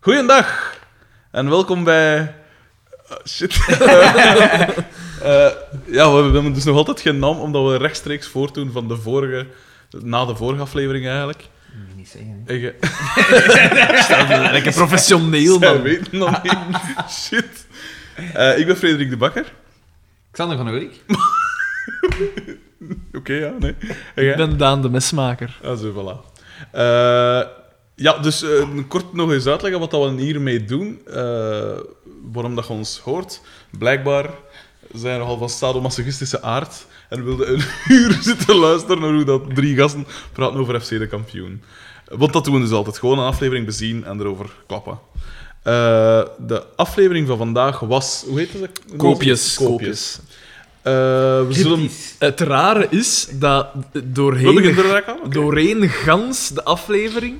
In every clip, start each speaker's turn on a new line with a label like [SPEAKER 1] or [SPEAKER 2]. [SPEAKER 1] Goeiedag en welkom bij. Ah, shit. Eh, ja, we hebben dus nog altijd geen naam, omdat we rechtstreeks voortdoen van de vorige, na de vorige aflevering eigenlijk. eh,
[SPEAKER 2] Moet je niet zeggen.
[SPEAKER 1] En je,
[SPEAKER 3] Lekker professioneel,
[SPEAKER 2] Oh,
[SPEAKER 1] Zij
[SPEAKER 3] man.
[SPEAKER 1] weten nog niet. Shit. Eh, ik ben Frederik de Bakker.
[SPEAKER 2] Xander van Oerik.
[SPEAKER 1] Oké, ja, nee. eh, En jij?
[SPEAKER 3] Ik ben Daan de mesmaker.
[SPEAKER 1] Ah, zo, voilà. Eh, ja, dus eh, kort nog eens uitleggen wat dat we hiermee doen. eh, waarom dat je ons hoort. Blijkbaar zijn we nogal van sadomasochistische aard en wilden een uur zitten luisteren naar hoe dat drie gasten praten over FC de kampioen. Want dat doen we dus altijd. Gewoon een aflevering bezien en erover klappen. Eh, de aflevering van vandaag was... Hoe heette ze?
[SPEAKER 3] Koopjes.
[SPEAKER 1] Koopjes. Eh, we zullen...
[SPEAKER 3] Het rare is dat
[SPEAKER 1] We
[SPEAKER 3] doorheen,
[SPEAKER 1] beginnen er eigenlijk aan? Oké.
[SPEAKER 3] doorheen gans de aflevering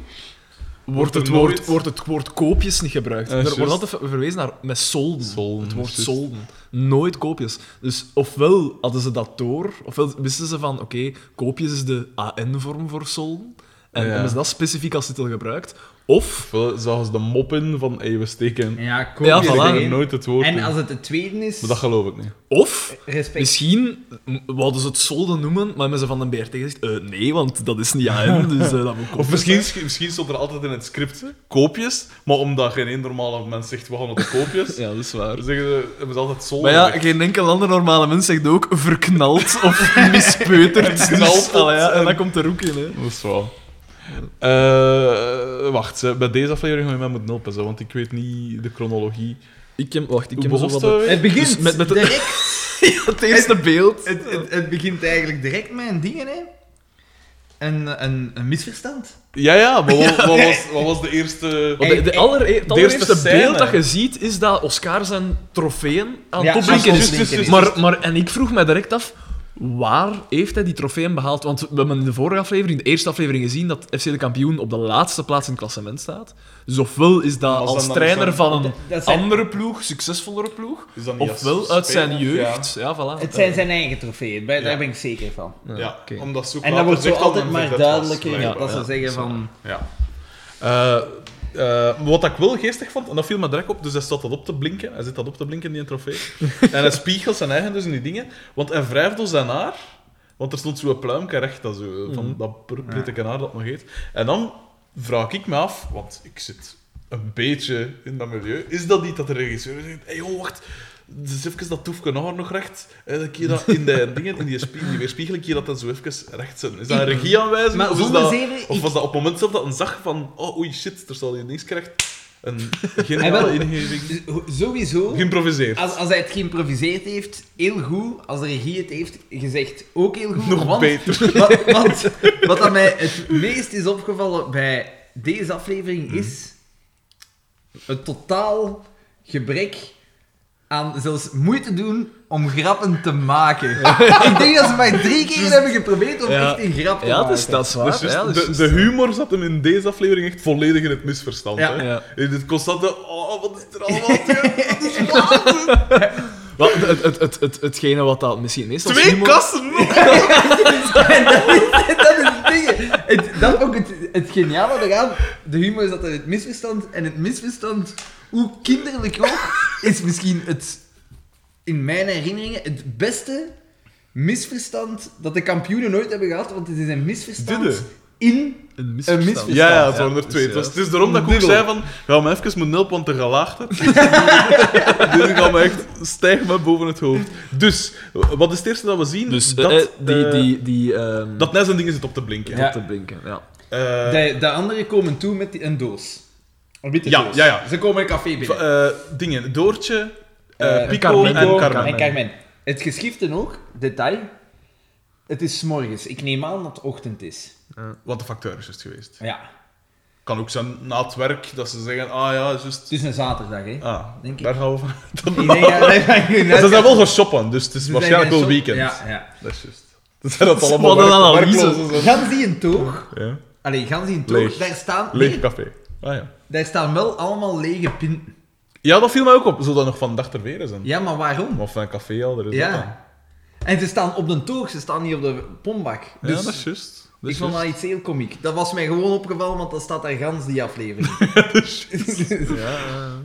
[SPEAKER 3] wordt
[SPEAKER 1] er
[SPEAKER 3] het, woord,
[SPEAKER 1] nooit-
[SPEAKER 3] wordt het woord koopjes niet gebruikt.
[SPEAKER 1] Eh,
[SPEAKER 3] er
[SPEAKER 1] juist.
[SPEAKER 3] wordt altijd ver- verwezen naar met solden.
[SPEAKER 1] Solden,
[SPEAKER 3] het woord
[SPEAKER 1] juist.
[SPEAKER 3] solden. Nooit koopjes. Dus ofwel hadden ze dat door, ofwel wisten ze van oké, koopjes is de AN-vorm voor solden. En
[SPEAKER 1] Ja.
[SPEAKER 3] hebben ze dat specifiek als titel gebruikt. Of
[SPEAKER 1] Ofwel zagen ze de mop in van hey, we steken
[SPEAKER 2] Ja, kom
[SPEAKER 3] Ja,
[SPEAKER 2] ja,
[SPEAKER 3] voilà.
[SPEAKER 1] Ik zeg er
[SPEAKER 3] Alleen-
[SPEAKER 1] nooit het woord in.
[SPEAKER 2] En als het de tweede is,
[SPEAKER 1] Maar dat geloof ik niet.
[SPEAKER 3] Of,
[SPEAKER 2] Respect.
[SPEAKER 3] misschien m- wouden ze het solden noemen, maar hebben ze van de BRT gezegd, eh, nee, want dat is niet aan dus eh, dat moet
[SPEAKER 1] Of misschien, misschien stond er altijd in het script koopjes, maar omdat geen één normale mens zegt we gaan op de koopjes,
[SPEAKER 3] Ja, dat is waar.
[SPEAKER 1] zeggen ze, hebben ze altijd zolder.
[SPEAKER 3] Maar ja,
[SPEAKER 1] weg.
[SPEAKER 3] geen enkel ander normale mens zegt ook verknald of mispeuterd. dus,
[SPEAKER 1] Knalpot
[SPEAKER 3] allee, ja, en
[SPEAKER 1] en-
[SPEAKER 3] dat komt er ook in, hè.
[SPEAKER 1] Dat is wel. Eh, wacht, hè. bij deze aflevering ga je mij moeten helpen, zo, want ik weet niet de chronologie.
[SPEAKER 3] Ik heb, wacht, ik
[SPEAKER 1] Hoe
[SPEAKER 3] heb zo
[SPEAKER 1] begon
[SPEAKER 3] wat...
[SPEAKER 1] het?
[SPEAKER 2] het begint
[SPEAKER 3] Dus met- met de-
[SPEAKER 2] direct.
[SPEAKER 3] Het eerste beeld.
[SPEAKER 2] Het, het, het begint eigenlijk direct met een ding, hè? Een, een, een misverstand.
[SPEAKER 1] Ja, ja, maar wat, wat was, wat was de eerste...
[SPEAKER 3] Want de, de aller, het allereerste
[SPEAKER 1] eerste scène.
[SPEAKER 3] beeld dat je ziet, is dat Oscar zijn trofeeën aan
[SPEAKER 2] Ja,
[SPEAKER 3] het opdrinken
[SPEAKER 2] aan
[SPEAKER 3] is.
[SPEAKER 2] het opdrinken is.
[SPEAKER 3] Maar, maar, en ik vroeg mij direct af, waar heeft hij die trofeeën behaald? Want we hebben in de vorige aflevering, de eerste aflevering, gezien dat FC de kampioen op de laatste plaats in het klassement staat. Dus ofwel is dat
[SPEAKER 1] Maar
[SPEAKER 3] als
[SPEAKER 1] zijn dat-
[SPEAKER 3] trainer
[SPEAKER 1] zijn-
[SPEAKER 3] van een
[SPEAKER 2] dat zijn-
[SPEAKER 3] andere ploeg, succesvollere ploeg,
[SPEAKER 1] Is dat niet als
[SPEAKER 3] ofwel uit zijn
[SPEAKER 1] speler?
[SPEAKER 3] jeugd. Ja, voilà.
[SPEAKER 2] Het zijn zijn eigen trofeeën, bij- daar
[SPEAKER 1] Ja.
[SPEAKER 2] ben ik zeker van.
[SPEAKER 1] Ja,
[SPEAKER 3] Ja,
[SPEAKER 1] ja,
[SPEAKER 3] oké.
[SPEAKER 1] omdat zo
[SPEAKER 2] En dat wordt zo altijd maar duidelijker
[SPEAKER 3] blijkbaar.
[SPEAKER 2] dat ze
[SPEAKER 3] Ja,
[SPEAKER 2] zeggen
[SPEAKER 3] ja,
[SPEAKER 2] van...
[SPEAKER 1] Ja. Eh, eh, wat ik wel geestig vond, en dat viel me direct op, dus hij staat dat op te blinken. Hij zit dat op te blinken, die trofee. en hij spiegelt zijn eigen dus in die dingen, want hij wrijft door zijn haar. Want er stond zo'n pluimke recht, dat, zo, eh, van
[SPEAKER 2] Mhm.
[SPEAKER 1] dat pr- prittige haar dat nog heet. En dan vraag ik me af, want ik zit een beetje in dat milieu, is dat niet dat de regisseur zegt, hé hey, joh, wacht, dus even dat toefje haar nog recht, en dan keer dat in die dingen, in die, spie- die weerspiegeling, keer dat dan zo even recht zijn. Is dat een regieaanwijzing?
[SPEAKER 2] Maar
[SPEAKER 1] of is
[SPEAKER 2] zonder
[SPEAKER 1] dat...
[SPEAKER 2] zeven,
[SPEAKER 1] Of
[SPEAKER 2] ik-
[SPEAKER 1] was dat op het moment zelf dat een zag van, oh oei shit, er zal je niks krijgt, een geniale
[SPEAKER 2] Hij wel-
[SPEAKER 1] ingeving.
[SPEAKER 2] Sowieso...
[SPEAKER 1] Geïmproviseerd.
[SPEAKER 2] Als, als hij het geïmproviseerd heeft, heel goed. Als de regie het heeft gezegd, ook heel goed.
[SPEAKER 1] Nog
[SPEAKER 2] want,
[SPEAKER 1] beter.
[SPEAKER 2] Wat, want wat aan mij het meest is opgevallen bij deze aflevering
[SPEAKER 1] Mhm.
[SPEAKER 2] is het totaal gebrek aan zelfs moeite doen om grappen te maken. Ik denk dat ze maar drie keer hebben geprobeerd om
[SPEAKER 3] Ja.
[SPEAKER 2] echt een grap te
[SPEAKER 3] Ja,
[SPEAKER 2] maken.
[SPEAKER 3] dat is, dat is waar.
[SPEAKER 1] Dus juist,
[SPEAKER 3] ja, dat is
[SPEAKER 1] de,
[SPEAKER 3] juist.
[SPEAKER 1] de humor zat hem in deze aflevering echt volledig in het misverstand.
[SPEAKER 2] Ja.
[SPEAKER 1] Hè?
[SPEAKER 3] Ja.
[SPEAKER 1] In het constante, oh wat is er allemaal gebeurd? Wat is er allemaal gebeurd?
[SPEAKER 3] Wel, het, het, het, het, hetgene wat dat misschien meestal
[SPEAKER 1] Twee
[SPEAKER 3] humor-
[SPEAKER 1] kassen!
[SPEAKER 2] En dat is, dat is het ding. Het, dat is ook het, het geniale eraan. De humor is dat er het misverstand. En het misverstand, hoe kinderlijk ook, is misschien het, in mijn herinneringen, het beste misverstand dat de kampioenen nooit hebben gehad. Want het is een misverstand
[SPEAKER 1] Dit, hè?
[SPEAKER 2] in...
[SPEAKER 3] Een
[SPEAKER 2] misverstand.
[SPEAKER 3] misverstand.
[SPEAKER 1] Ja, ja, het waren er
[SPEAKER 3] dus
[SPEAKER 1] twee. Het, was,
[SPEAKER 3] juist.
[SPEAKER 1] het is daarom dat ik ook
[SPEAKER 2] Dubbel.
[SPEAKER 1] zei van, ga me even moeten helpen, want de gelaagde. Dit gaat Dus me echt, stijg me boven het hoofd. Dus, wat is het eerste dat we zien?
[SPEAKER 3] Dus
[SPEAKER 1] dat,
[SPEAKER 3] eh, die...
[SPEAKER 1] eh,
[SPEAKER 3] die, die ehm,
[SPEAKER 1] dat net zo'n ding zit op te blinken.
[SPEAKER 2] Ja.
[SPEAKER 3] op te blinken, ja.
[SPEAKER 1] Eh,
[SPEAKER 2] De, de anderen komen toe met die- een doos. Een witte
[SPEAKER 1] Ja,
[SPEAKER 2] doos.
[SPEAKER 1] ja, ja.
[SPEAKER 2] Ze komen een café binnen.
[SPEAKER 1] Eh, dingen, Doortje, eh,
[SPEAKER 2] Eh,
[SPEAKER 1] Pico
[SPEAKER 3] Carmen.
[SPEAKER 1] en
[SPEAKER 3] Pico
[SPEAKER 1] Carmen.
[SPEAKER 2] En Carmen. Het geschriften ook, detail. Het is 's morgens. Ik neem aan dat het ochtend is.
[SPEAKER 1] Wat de facteur is juist geweest.
[SPEAKER 2] Ja.
[SPEAKER 1] Kan ook zijn na het werk dat ze zeggen, ah ja, is juist...
[SPEAKER 2] Het is een zaterdag, hè?
[SPEAKER 1] Ah,
[SPEAKER 2] Denk ik.
[SPEAKER 1] daar gaan we van.
[SPEAKER 2] Ik denk dat- dat- dat-
[SPEAKER 1] Ze zijn wel gaan shoppen, dus het is
[SPEAKER 2] Ze
[SPEAKER 1] waarschijnlijk
[SPEAKER 2] zijn
[SPEAKER 1] wel
[SPEAKER 2] gaan
[SPEAKER 1] weekend.
[SPEAKER 2] shoppen. Ja, ja.
[SPEAKER 1] Dat is juist. Dat zijn dat allemaal
[SPEAKER 3] Wat een
[SPEAKER 1] werk-
[SPEAKER 3] analyse.
[SPEAKER 1] werklozen zijn.
[SPEAKER 2] Gans die een toog.
[SPEAKER 1] Ja.
[SPEAKER 2] Allee, gans die een
[SPEAKER 1] Leeg.
[SPEAKER 2] toog. Daar staan, nee,
[SPEAKER 1] Leeg café. Ah ja.
[SPEAKER 2] daar staan wel allemaal lege pinten.
[SPEAKER 1] Ja, dat viel mij ook op. Zou dat nog van dag ter weer zijn?
[SPEAKER 2] Ja, maar waarom?
[SPEAKER 1] Of van een café al, er is dat dan.
[SPEAKER 2] Ja. En ze staan op de toog, ze staan niet op de pombak. Dus
[SPEAKER 1] ja, dat is juist. Dat
[SPEAKER 2] ik
[SPEAKER 1] is
[SPEAKER 2] vond dat
[SPEAKER 1] juist.
[SPEAKER 2] iets heel komiek. Dat was mij gewoon opgevallen, want dat staat daar gans die aflevering.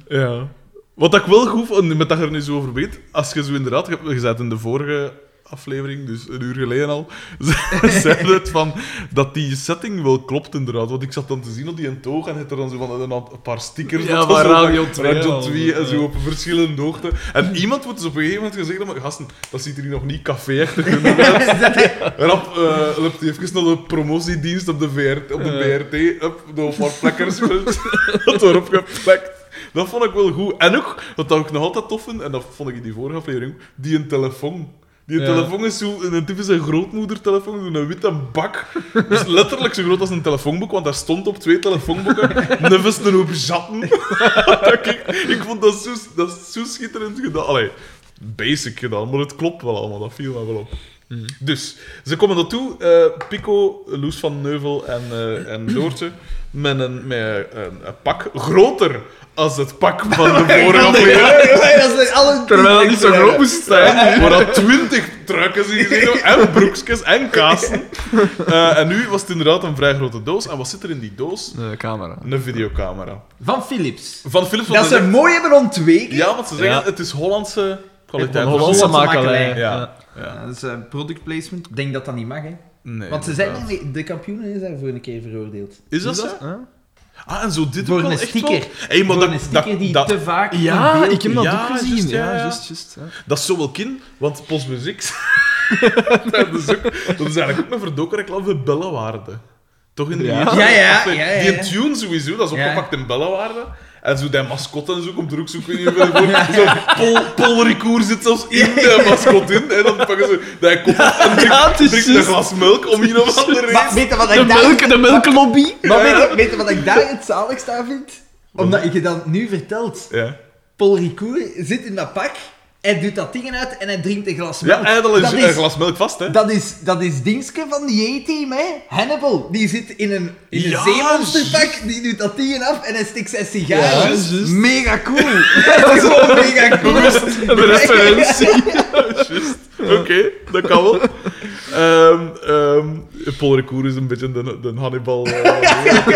[SPEAKER 1] Ja. Wat dat ik wel goed vond, met dat je er nu zo over weet, als je zo inderdaad, je hebt je zei het in de vorige aflevering, dus een uur geleden al, ze- zei het van dat die setting wel klopt inderdaad. Want ik zat dan te zien op die een toog en het er dan zo van een, een paar stickers
[SPEAKER 3] Ja,
[SPEAKER 1] op,
[SPEAKER 3] van
[SPEAKER 1] zo,
[SPEAKER 3] Radio 2
[SPEAKER 1] Radio
[SPEAKER 3] al,
[SPEAKER 1] 2 en
[SPEAKER 3] ja.
[SPEAKER 1] zo op verschillende hoogte. En iemand moet dus op een gegeven moment gezegd hebben, gasten, dat ziet er hier nog niet café-achtig uit. Rap, eh loopt hij even naar de promotiedienst op de, VR, op de BRT. Up, door wat plekkers dat erop geplakt. Dat vond ik wel goed. En ook, wat dat ik nog altijd tof vind, en dat vond ik in die vorige aflevering, ook, die een telefoon. Die een
[SPEAKER 3] Ja.
[SPEAKER 1] telefoon is zo, een typische grootmoedertelefoon, zo'n witte bak. Dus letterlijk zo groot als een telefoonboek, want daar stond op twee telefoonboeken nevens een hoop jatten. Dat ik, ik vond dat zo, dat is zo schitterend gedaan. Allee, basic gedaan, maar het klopt wel allemaal, dat viel me wel op. Dus, ze komen naartoe, eh Pico, Loes van Neuvel en, eh en Doortje, met, een, met eh, een, een pak groter als het pak van de vorige aflevering.
[SPEAKER 2] dat is alle
[SPEAKER 3] Terwijl dat niet zo groot moest zijn.
[SPEAKER 1] Waar dat twintig trucken in gezien hebben, en broekjes en kassen. Eh, en nu was het inderdaad een vrij grote doos. En wat zit er in die doos?
[SPEAKER 3] De camera.
[SPEAKER 1] Een videocamera.
[SPEAKER 2] Van Philips.
[SPEAKER 1] Van Philips van
[SPEAKER 2] Dat ze mooi hebben ontweken.
[SPEAKER 1] Ja, want ze zeggen,
[SPEAKER 3] Ja.
[SPEAKER 1] het is Hollandse kwaliteit. Dus-
[SPEAKER 3] Een Hollandse
[SPEAKER 2] Hollandse
[SPEAKER 3] makelij.
[SPEAKER 2] makelij.
[SPEAKER 1] Ja. ja.
[SPEAKER 2] Ja, dat is eh, product placement. Ik denk dat dat niet mag, hè.
[SPEAKER 1] Nee,
[SPEAKER 2] Want ze
[SPEAKER 1] inderdaad.
[SPEAKER 2] zijn er- de kampioenen is daarvoor een keer veroordeeld.
[SPEAKER 1] Is dat zo? Ah, en zo dit
[SPEAKER 2] Voor
[SPEAKER 1] ook wel
[SPEAKER 2] een
[SPEAKER 1] echt
[SPEAKER 2] sticker.
[SPEAKER 1] wel- Hey, maar
[SPEAKER 2] Voor
[SPEAKER 1] dat,
[SPEAKER 2] een
[SPEAKER 1] dat,
[SPEAKER 2] sticker die
[SPEAKER 1] dat,
[SPEAKER 2] te vaak in
[SPEAKER 3] Ja,
[SPEAKER 2] beeld
[SPEAKER 3] ik heb dat
[SPEAKER 1] Ja,
[SPEAKER 3] ook
[SPEAKER 1] juist,
[SPEAKER 3] gezien.
[SPEAKER 1] ja,
[SPEAKER 3] ja,
[SPEAKER 1] ja.
[SPEAKER 3] juist, juist. ja.
[SPEAKER 1] dat is zo wel kin, want Postbus X... dat, is ook, dat is eigenlijk ook een verdoken reclame voor Bellewaarde. Toch in die
[SPEAKER 3] Ja.
[SPEAKER 1] eerste
[SPEAKER 2] Ja, ja,
[SPEAKER 1] aflevering.
[SPEAKER 2] ja, ja, ja.
[SPEAKER 1] Die tune sowieso, dat is
[SPEAKER 2] Ja.
[SPEAKER 1] opgepakt in Bellewaarde. En zo die mascotte en zo komt er ook zo, ik weet niet hoeveel voor. Zo'n Pol, Paul Ricoeur zit zelfs in de mascot in. En dan pakken ze die kop op en drinkt,
[SPEAKER 3] Ja, het is
[SPEAKER 1] drinkt een
[SPEAKER 3] juist.
[SPEAKER 1] glas melk om hier of andere reden.
[SPEAKER 2] Maar weet je wat
[SPEAKER 3] De,
[SPEAKER 2] ik daar...
[SPEAKER 3] melk, de melklobby.
[SPEAKER 2] Maar weet, je, weet je wat ik daar het zaligste aan vind? Omdat je dat nu vertelt.
[SPEAKER 1] Ja.
[SPEAKER 2] Paul Ricoeur zit in dat pak, hij doet dat ding uit en hij drinkt een glas melk.
[SPEAKER 1] Ja, eigenlijk
[SPEAKER 2] dat
[SPEAKER 1] is een
[SPEAKER 2] is,
[SPEAKER 1] glas melk vast, hè.
[SPEAKER 2] dat is, dat is Dingske van die A-team, hè. Hannibal, die zit in een, in een
[SPEAKER 1] Ja,
[SPEAKER 2] zeemonsterpak, die doet dat ding af en hij stikt zijn sigaar.
[SPEAKER 3] Ja,
[SPEAKER 2] Dus
[SPEAKER 3] juist.
[SPEAKER 2] Mega cool. dat is gewoon mega cool.
[SPEAKER 3] De referentie.
[SPEAKER 1] Juist. Oké, dat kan wel. Ehm ehm, Paul Recour is een beetje de, de Hannibal. eh,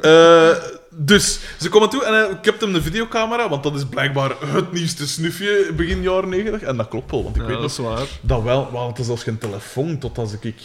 [SPEAKER 1] eh, dus, ze komen toe en hij hebt hem de videocamera, want dat is blijkbaar het nieuwste snufje begin jaren 90. En dat klopt wel, want ik weet nog
[SPEAKER 3] waar.
[SPEAKER 1] dat wel, want het is zelfs geen telefoon tot als ik... ik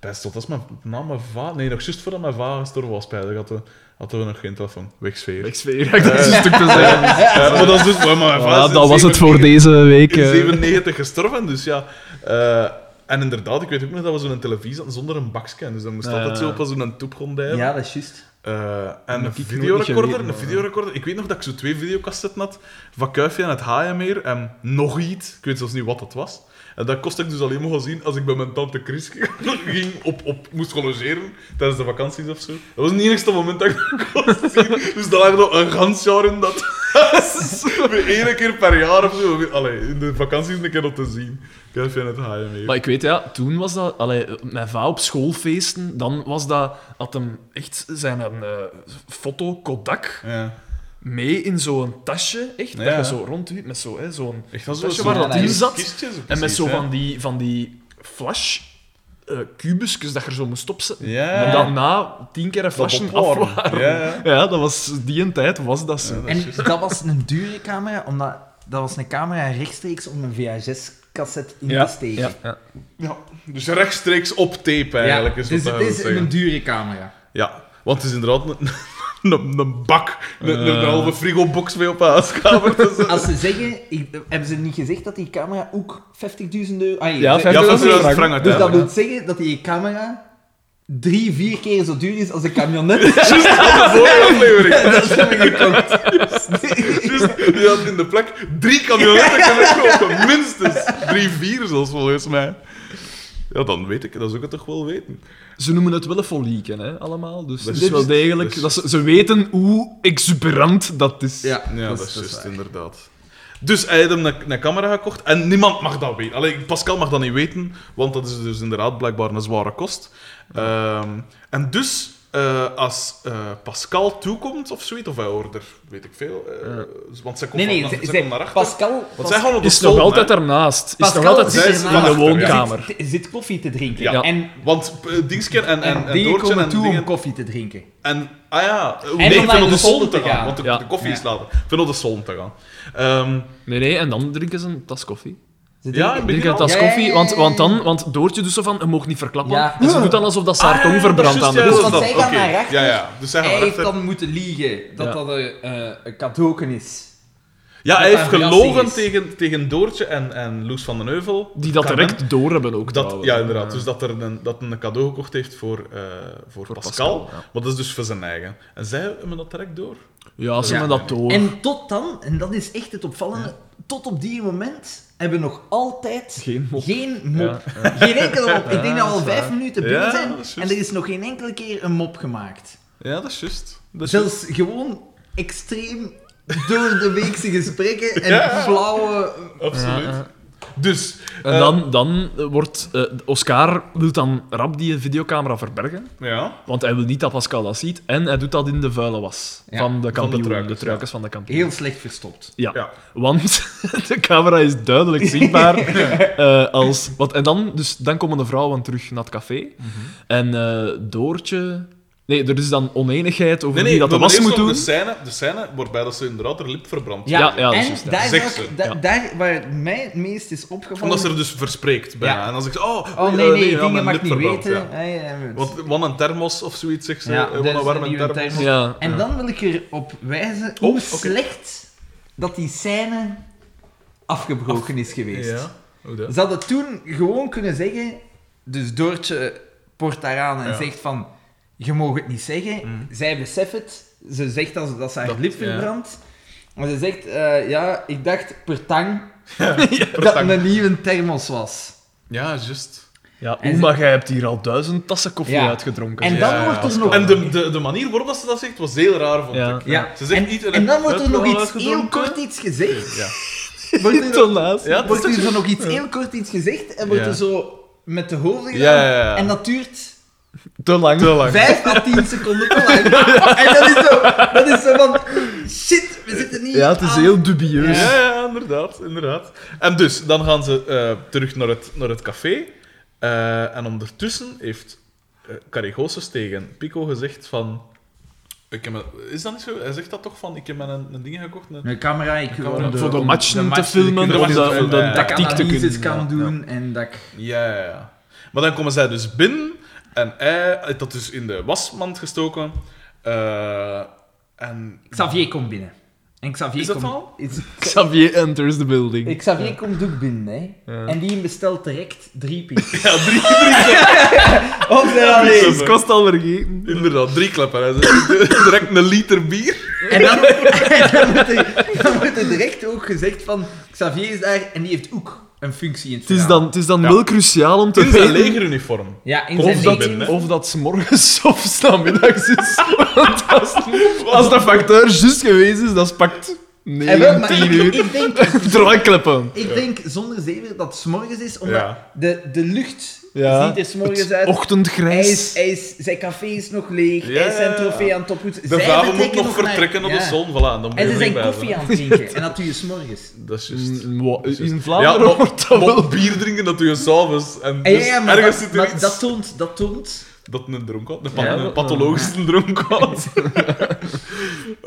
[SPEAKER 1] Best tot als mijn, na mijn va... Nee, nog juist voordat mijn va gestorven was, spijtig, hadden we, hadden we nog geen telefoon. Wegsfeer.
[SPEAKER 3] Ik zweer, ik dat is een stuk te zeggen.
[SPEAKER 1] Ja, maar dat is dus... maar mijn va is in
[SPEAKER 3] dat was het
[SPEAKER 1] 97
[SPEAKER 3] voor deze week.
[SPEAKER 1] in
[SPEAKER 3] eh.
[SPEAKER 1] 97 gestorven, dus ja. Eh, en inderdaad, ik weet ook nog dat we zo'n televisie hadden zonder een bakje. Dus dan moest
[SPEAKER 3] Ja.
[SPEAKER 1] altijd zo op als zo'n toep gondijden.
[SPEAKER 2] Ja, dat is juist.
[SPEAKER 1] Eh, en een
[SPEAKER 3] heb ik nooit
[SPEAKER 1] videorecorder,
[SPEAKER 3] geweten,
[SPEAKER 1] een
[SPEAKER 3] maar-
[SPEAKER 1] videorecorder. Ik weet nog dat ik zo twee videocassetten had. Van Kuifje en het Haaienmeer en nog iets. Ik weet zelfs niet wat dat was. En dat kostte ik dus alleen maar zien als ik bij mijn tante Chris ging op, op, moest gaan logeren tijdens de vakanties of zo. Dat was het enigste moment dat ik dat kon zien. Dus daar lag nog een gans jaar in dat huis. Eén keer per jaar of zo. Allee, in de vakanties een keer op te zien. Kuifje en het Haaienmeer.
[SPEAKER 3] Maar ik weet, ja, toen was dat... Allee, mijn va op schoolfeesten, dan was dat... Had hem echt zijn een, eh, foto Kodak
[SPEAKER 1] Ja.
[SPEAKER 3] mee in zo'n tasje, echt.
[SPEAKER 1] Ja.
[SPEAKER 3] Dat je zo rondduwt met zo, hè, zo'n...
[SPEAKER 1] Echt als
[SPEAKER 3] Weet je
[SPEAKER 1] zo'n
[SPEAKER 3] waar dat
[SPEAKER 2] in
[SPEAKER 3] zat?
[SPEAKER 1] kistjes,
[SPEAKER 3] En met
[SPEAKER 1] precies,
[SPEAKER 3] zo
[SPEAKER 1] hè.
[SPEAKER 3] van die, van die flash... eh kubusjes dat je er zo moest opzetten.
[SPEAKER 1] Ja.
[SPEAKER 3] En dan na tien keer een flasje
[SPEAKER 1] opwarmen.
[SPEAKER 3] afwarmen.
[SPEAKER 1] Ja, ja.
[SPEAKER 3] dat was... Die een tijd was dat zo.
[SPEAKER 2] En dat was een dure camera, omdat dat was een camera rechtstreeks om een VHS-cassette in te steken.
[SPEAKER 3] ja, ja.
[SPEAKER 1] Ja, dus rechtstreeks op tape eigenlijk is
[SPEAKER 2] dus
[SPEAKER 1] wat
[SPEAKER 2] het
[SPEAKER 1] dat
[SPEAKER 2] is
[SPEAKER 1] wil zeggen.
[SPEAKER 2] een dure camera.
[SPEAKER 1] Ja, want het is inderdaad een, een, een bak, een, een halve frigobox mee op de huiskamer. Dus, eh,
[SPEAKER 2] Als ze zeggen, ik- hebben ze niet gezegd dat die camera ook 50.000 euro... Ah,
[SPEAKER 3] Ja,
[SPEAKER 2] ze-
[SPEAKER 3] 50.000
[SPEAKER 1] ja, 5000 frank
[SPEAKER 2] Dus dat
[SPEAKER 1] uiteindelijk.
[SPEAKER 2] wil zeggen dat die camera drie, vier keer zo duur is als een camionet.
[SPEAKER 1] Juist aan de vorige aflevering.
[SPEAKER 2] dat ze hebben gekocht.
[SPEAKER 1] Juist, die had in de plek drie kamionetten kunnen kopen. Minstens. Drie, vier zelfs volgens mij. Ja, dan weet ik, dat zou ik het toch wel weten.
[SPEAKER 3] Ze noemen het wel een folieken, hè, allemaal. Dus
[SPEAKER 1] Dat
[SPEAKER 3] het
[SPEAKER 1] is
[SPEAKER 3] is wel
[SPEAKER 1] juist.
[SPEAKER 3] degelijk...
[SPEAKER 1] Dat is
[SPEAKER 3] Dat ze, ze weten hoe exuberant dat is.
[SPEAKER 1] Ja, dat, is juist, inderdaad. Dus hij heeft hem een, een camera gekocht en niemand mag dat weten. Allee, Pascal mag dat niet weten, want dat is dus inderdaad blijkbaar een zware kost. Ehm, en dus eh, als eh, Pascal toekomt of zoiets, of hij order, weet ik veel. eh, Want zij komt,
[SPEAKER 2] Nee, nee,
[SPEAKER 1] van-
[SPEAKER 2] ze-
[SPEAKER 1] zij
[SPEAKER 2] ze-
[SPEAKER 1] komt naar achter.
[SPEAKER 2] Pascal...
[SPEAKER 1] Want zij gaan op de
[SPEAKER 3] Is
[SPEAKER 1] stoel,
[SPEAKER 3] nog altijd
[SPEAKER 1] hè.
[SPEAKER 3] daarnaast. Is
[SPEAKER 2] Pascal
[SPEAKER 3] nog altijd
[SPEAKER 1] zit
[SPEAKER 3] zitten in
[SPEAKER 1] ernaast,
[SPEAKER 3] de
[SPEAKER 1] ja.
[SPEAKER 3] woonkamer.
[SPEAKER 2] zit, zit koffie te drinken.
[SPEAKER 1] Ja.
[SPEAKER 2] En,
[SPEAKER 1] Want eh, Dingske en, en,
[SPEAKER 2] en,
[SPEAKER 1] en
[SPEAKER 2] dingen
[SPEAKER 1] Doortje en
[SPEAKER 2] komen toe om
[SPEAKER 1] dingen...
[SPEAKER 2] koffie te drinken.
[SPEAKER 1] En, ah ja, eh,
[SPEAKER 2] En
[SPEAKER 1] nee,
[SPEAKER 2] om
[SPEAKER 1] ik
[SPEAKER 2] naar
[SPEAKER 1] vind op
[SPEAKER 2] de
[SPEAKER 1] de
[SPEAKER 2] zolder
[SPEAKER 1] zolder te
[SPEAKER 2] te
[SPEAKER 1] gaan,
[SPEAKER 2] gaan.
[SPEAKER 1] want de,
[SPEAKER 3] Ja.
[SPEAKER 1] de koffie
[SPEAKER 2] Ja.
[SPEAKER 1] is later. Ik vind op de zolder te gaan. Ehm,
[SPEAKER 3] Nee, nee, en dan drinken ze een tas koffie.
[SPEAKER 2] Ze
[SPEAKER 1] Ja,
[SPEAKER 2] drinken-
[SPEAKER 1] ik
[SPEAKER 3] Drinken een
[SPEAKER 1] al.
[SPEAKER 3] tas
[SPEAKER 2] Ja, ja, ja,
[SPEAKER 3] koffie,
[SPEAKER 2] ja,
[SPEAKER 3] want,
[SPEAKER 2] ja.
[SPEAKER 3] want dan, want Doortje doet zo van, je mag niet verklappen.
[SPEAKER 2] Ja.
[SPEAKER 3] En ze doet dan alsof dat ze haar
[SPEAKER 1] ah,
[SPEAKER 3] tong
[SPEAKER 1] ja, dat is
[SPEAKER 3] verbrandt
[SPEAKER 1] juist,
[SPEAKER 3] aan
[SPEAKER 1] ja,
[SPEAKER 3] de
[SPEAKER 1] dat is
[SPEAKER 2] Want
[SPEAKER 1] dat.
[SPEAKER 2] zij gaan
[SPEAKER 1] Oké,
[SPEAKER 2] naar rechter.
[SPEAKER 1] Ja, ja, dus zij
[SPEAKER 2] Hij
[SPEAKER 1] gaan naar
[SPEAKER 2] heeft
[SPEAKER 1] rechter.
[SPEAKER 2] dan moeten liegen dat
[SPEAKER 3] Ja.
[SPEAKER 2] dat een, eh, een cadeauken is.
[SPEAKER 1] Ja,
[SPEAKER 2] dat
[SPEAKER 1] hij heeft
[SPEAKER 2] daar een
[SPEAKER 1] gelogen
[SPEAKER 2] verrassing is.
[SPEAKER 1] tegen, tegen Doortje en, en Loes van den Heuvel.
[SPEAKER 3] Die dat
[SPEAKER 1] Carmen.
[SPEAKER 3] direct door hebben ook.
[SPEAKER 1] Dat,
[SPEAKER 3] trouwens.
[SPEAKER 1] ja, inderdaad. Dus dat er een, dat een cadeau gekocht heeft voor, eh, voor,
[SPEAKER 3] Voor
[SPEAKER 1] Pascal.
[SPEAKER 3] Pascal, ja.
[SPEAKER 1] Maar dat is dus voor zijn eigen. En zij hebben dat direct door.
[SPEAKER 3] Ja, ze
[SPEAKER 2] Ja.
[SPEAKER 3] hebben dat door.
[SPEAKER 2] En tot dan, en dat is echt het opvallende, tot op die moment hebben we nog altijd
[SPEAKER 3] Geen mop.
[SPEAKER 2] geen,
[SPEAKER 3] Ja,
[SPEAKER 2] mop. geen enkele mop. Ik denk dat we al
[SPEAKER 3] dat is
[SPEAKER 2] vijf
[SPEAKER 3] waar.
[SPEAKER 2] minuten
[SPEAKER 1] Ja,
[SPEAKER 2] binnen
[SPEAKER 1] dat
[SPEAKER 2] zijn
[SPEAKER 1] is
[SPEAKER 2] en
[SPEAKER 1] juist.
[SPEAKER 2] er is nog geen enkele keer een mop gemaakt.
[SPEAKER 1] Ja, dat is juist. Dat is juist.
[SPEAKER 2] Zelfs gewoon extreem door de weekse gesprekken en
[SPEAKER 1] Ja.
[SPEAKER 2] flauwe...
[SPEAKER 1] Absoluut.
[SPEAKER 3] Ja, ja.
[SPEAKER 1] Dus...
[SPEAKER 3] En
[SPEAKER 1] eh,
[SPEAKER 3] dan, dan eh, wordt eh, Oscar wil dan rap die videocamera verbergen,
[SPEAKER 1] Ja.
[SPEAKER 3] want hij wil niet dat Pascal dat ziet. En hij doet dat in de vuile was
[SPEAKER 2] Ja,
[SPEAKER 3] van de kampioen, de,
[SPEAKER 1] truikers,
[SPEAKER 3] truikers van de kampioen.
[SPEAKER 2] Heel slecht verstopt.
[SPEAKER 3] Ja.
[SPEAKER 1] Ja.
[SPEAKER 3] want de camera is duidelijk zichtbaar. eh, als, want, en dan, dus, dan komen de vrouwen terug naar het café.
[SPEAKER 1] Mhm.
[SPEAKER 3] En eh, Doortje... Nee, er is dan oneenigheid
[SPEAKER 1] Nee,
[SPEAKER 3] over wie
[SPEAKER 1] nee,
[SPEAKER 3] dat
[SPEAKER 1] dat
[SPEAKER 3] de was moet doen.
[SPEAKER 1] De scène, de scène waarbij dat ze inderdaad haar lip verbrandt.
[SPEAKER 3] Ja, ja, dat is
[SPEAKER 2] en
[SPEAKER 3] juist, ja.
[SPEAKER 2] daar, is
[SPEAKER 1] Seksen,
[SPEAKER 2] ook, da-
[SPEAKER 3] ja.
[SPEAKER 2] daar waar het mij het meest is opgevallen...
[SPEAKER 1] Omdat ze er dus verspreekt bijna.
[SPEAKER 2] Ja.
[SPEAKER 1] En dan zegt ze, oh,
[SPEAKER 2] Oh
[SPEAKER 1] oei,
[SPEAKER 2] nee,
[SPEAKER 1] eh,
[SPEAKER 2] nee,
[SPEAKER 1] ja,
[SPEAKER 2] dingen
[SPEAKER 1] mijn
[SPEAKER 2] mag
[SPEAKER 1] lip
[SPEAKER 2] niet
[SPEAKER 1] verbrandt,
[SPEAKER 2] weten.
[SPEAKER 1] ja.
[SPEAKER 2] Ah, ja, ja,
[SPEAKER 1] Want wat een thermos of zoiets, zegt ze.
[SPEAKER 2] Ja,
[SPEAKER 1] eh,
[SPEAKER 2] dat
[SPEAKER 1] wat
[SPEAKER 2] is
[SPEAKER 1] een
[SPEAKER 2] een
[SPEAKER 1] warme
[SPEAKER 2] nieuwe
[SPEAKER 1] thermos.
[SPEAKER 2] thermos.
[SPEAKER 3] Ja,
[SPEAKER 2] En
[SPEAKER 3] ja.
[SPEAKER 2] dan wil ik erop wijzen hoe
[SPEAKER 1] Oh, oké.
[SPEAKER 2] slecht dat die scène afgebroken is geweest.
[SPEAKER 1] Ja. Hoe dat?
[SPEAKER 2] Ze hadden toen gewoon kunnen zeggen... Dus Doortje port haar aan en
[SPEAKER 1] Ja. Mm.
[SPEAKER 2] zegt van... Je mag het niet zeggen. Zij beseft het. Ze zegt dat, ze- dat ze haar
[SPEAKER 1] Dat-
[SPEAKER 2] lip
[SPEAKER 1] ja.
[SPEAKER 2] verbrandt. Maar ze zegt... eh, ja, ik dacht per tang dat het
[SPEAKER 1] Verstandig.
[SPEAKER 2] een nieuwe thermos was.
[SPEAKER 1] Ja, juist.
[SPEAKER 3] Ja,
[SPEAKER 2] En
[SPEAKER 3] oeh,
[SPEAKER 2] ze-
[SPEAKER 3] maar jij hebt hier al duizend tassen koffie
[SPEAKER 2] Ja.
[SPEAKER 3] uitgedronken.
[SPEAKER 2] En
[SPEAKER 3] Ja,
[SPEAKER 2] dan
[SPEAKER 3] ja,
[SPEAKER 2] wordt er
[SPEAKER 3] Pascal.
[SPEAKER 2] nog-
[SPEAKER 1] En de, de, de manier waarop dat ze dat zegt was heel raar, vond
[SPEAKER 3] Ja.
[SPEAKER 1] ik.
[SPEAKER 2] Ja.
[SPEAKER 1] Ze zegt
[SPEAKER 2] en,
[SPEAKER 1] niet,
[SPEAKER 2] en dan wordt er
[SPEAKER 1] heb
[SPEAKER 2] nog
[SPEAKER 1] je
[SPEAKER 2] iets
[SPEAKER 1] al
[SPEAKER 2] heel
[SPEAKER 1] uitgedronken?
[SPEAKER 2] kort iets gezegd.
[SPEAKER 1] Ja.
[SPEAKER 2] Wordt er-
[SPEAKER 3] Intonatie.
[SPEAKER 1] Ja, dat
[SPEAKER 2] wordt
[SPEAKER 1] is
[SPEAKER 2] er
[SPEAKER 1] toch-
[SPEAKER 2] zo nog iets heel kort iets gezegd en wordt
[SPEAKER 1] Ja.
[SPEAKER 2] er zo met de hoofden gedaan.
[SPEAKER 1] Ja, ja, ja.
[SPEAKER 2] En dat duurt
[SPEAKER 3] Te lang. Te lang.
[SPEAKER 2] 5 à 10 seconden te lang. En dat is, zo, dat is zo van, shit, we zitten niet
[SPEAKER 3] Ja, het is
[SPEAKER 2] aan.
[SPEAKER 3] heel
[SPEAKER 2] Dus-
[SPEAKER 3] dubieus.
[SPEAKER 1] Ah. Ja, ja, inderdaad, inderdaad. En dus, dan gaan ze eh, terug naar het, naar het café. Eh, en ondertussen heeft eh, Carigossus tegen Pico gezegd van... Ik heb een- is dat niet zo? Hij zegt dat toch van, ik heb mijn een ding gekocht. een-
[SPEAKER 2] Een camera, ik wil
[SPEAKER 1] camera.
[SPEAKER 3] Voor de
[SPEAKER 2] om
[SPEAKER 3] matchen te
[SPEAKER 2] matchen
[SPEAKER 3] filmen,
[SPEAKER 1] kunnen
[SPEAKER 3] om
[SPEAKER 1] doen.
[SPEAKER 3] de, om de
[SPEAKER 1] Ja, ja.
[SPEAKER 3] tactiek te
[SPEAKER 2] analyses
[SPEAKER 3] kunnen.
[SPEAKER 2] kan
[SPEAKER 3] Ja, ja.
[SPEAKER 2] doen en dat ik...
[SPEAKER 1] Ja, ja, ja. Maar dan komen zij dus binnen en hij heeft dat dus in de wasmand gestoken. Eh, en...
[SPEAKER 2] Xavier komt binnen. En Xavier
[SPEAKER 1] Is dat
[SPEAKER 2] komt-
[SPEAKER 1] al?
[SPEAKER 2] Is-
[SPEAKER 3] Xavier enters the building.
[SPEAKER 2] Xavier komt ook binnen, hè.
[SPEAKER 3] Ja.
[SPEAKER 2] En die bestelt direct drie pizza's.
[SPEAKER 1] Ja, drie, drie
[SPEAKER 3] Oh,
[SPEAKER 2] Of de alleen.
[SPEAKER 3] Het kost al vergeten.
[SPEAKER 1] Inderdaad, drie klappen. Hij zegt direct een liter bier.
[SPEAKER 2] En dan, en dan, wordt er, dan wordt er direct ook gezegd van Xavier is daar en die heeft ook een functie in het
[SPEAKER 3] Het is
[SPEAKER 2] verhaal.
[SPEAKER 3] dan, het is dan
[SPEAKER 1] Ja.
[SPEAKER 3] wel cruciaal om te
[SPEAKER 1] In zijn
[SPEAKER 3] weten
[SPEAKER 1] legeruniform.
[SPEAKER 2] Ja, in zijn
[SPEAKER 3] of dat,
[SPEAKER 1] leger.
[SPEAKER 3] of dat 's morgens of 's namiddags is. Want als, als de facteur juist geweest is, dat is pakt
[SPEAKER 2] En Eh, wel, maar
[SPEAKER 3] 19
[SPEAKER 2] ik,
[SPEAKER 3] uur.
[SPEAKER 2] ik denk,
[SPEAKER 3] Draaikleppen.
[SPEAKER 2] ik denk zonder zeven dat het 's morgens is, omdat
[SPEAKER 1] Ja.
[SPEAKER 2] de, de lucht
[SPEAKER 3] Ja.
[SPEAKER 2] ziet er 's morgens
[SPEAKER 3] Het
[SPEAKER 2] uit. Hij is,
[SPEAKER 3] Ochtendgrijs.
[SPEAKER 2] hij is, zijn café is nog leeg,
[SPEAKER 1] Ja,
[SPEAKER 2] hij is zijn
[SPEAKER 1] ja, ja.
[SPEAKER 2] trofee aan het ophoeden.
[SPEAKER 1] De
[SPEAKER 2] Zij
[SPEAKER 1] vader moet
[SPEAKER 2] vertrekken
[SPEAKER 1] nog
[SPEAKER 2] naar-
[SPEAKER 1] vertrekken op de
[SPEAKER 2] ja.
[SPEAKER 1] zon. Voilà, en dan moet
[SPEAKER 2] En
[SPEAKER 1] je
[SPEAKER 2] ze zijn
[SPEAKER 1] bij
[SPEAKER 2] koffie
[SPEAKER 1] zijn.
[SPEAKER 2] aan het drinken en dat doe je 's morgens.
[SPEAKER 1] Dat is juist.
[SPEAKER 3] Mm, wa-
[SPEAKER 1] Dat is juist.
[SPEAKER 3] In Vlaanderen
[SPEAKER 1] Ja,
[SPEAKER 3] wordt dat
[SPEAKER 1] Mop
[SPEAKER 3] wel...
[SPEAKER 1] bier drinken dat je s'avonds. En
[SPEAKER 2] Ja,
[SPEAKER 1] dus
[SPEAKER 2] ja, maar,
[SPEAKER 1] ergens
[SPEAKER 2] dat,
[SPEAKER 1] zit er
[SPEAKER 2] maar
[SPEAKER 1] iets
[SPEAKER 2] dat
[SPEAKER 1] dat,
[SPEAKER 2] toont, dat toont
[SPEAKER 1] een dronk had. Een,
[SPEAKER 3] Ja,
[SPEAKER 1] pat- een
[SPEAKER 3] dat-
[SPEAKER 1] pathologische dronk had. Oké,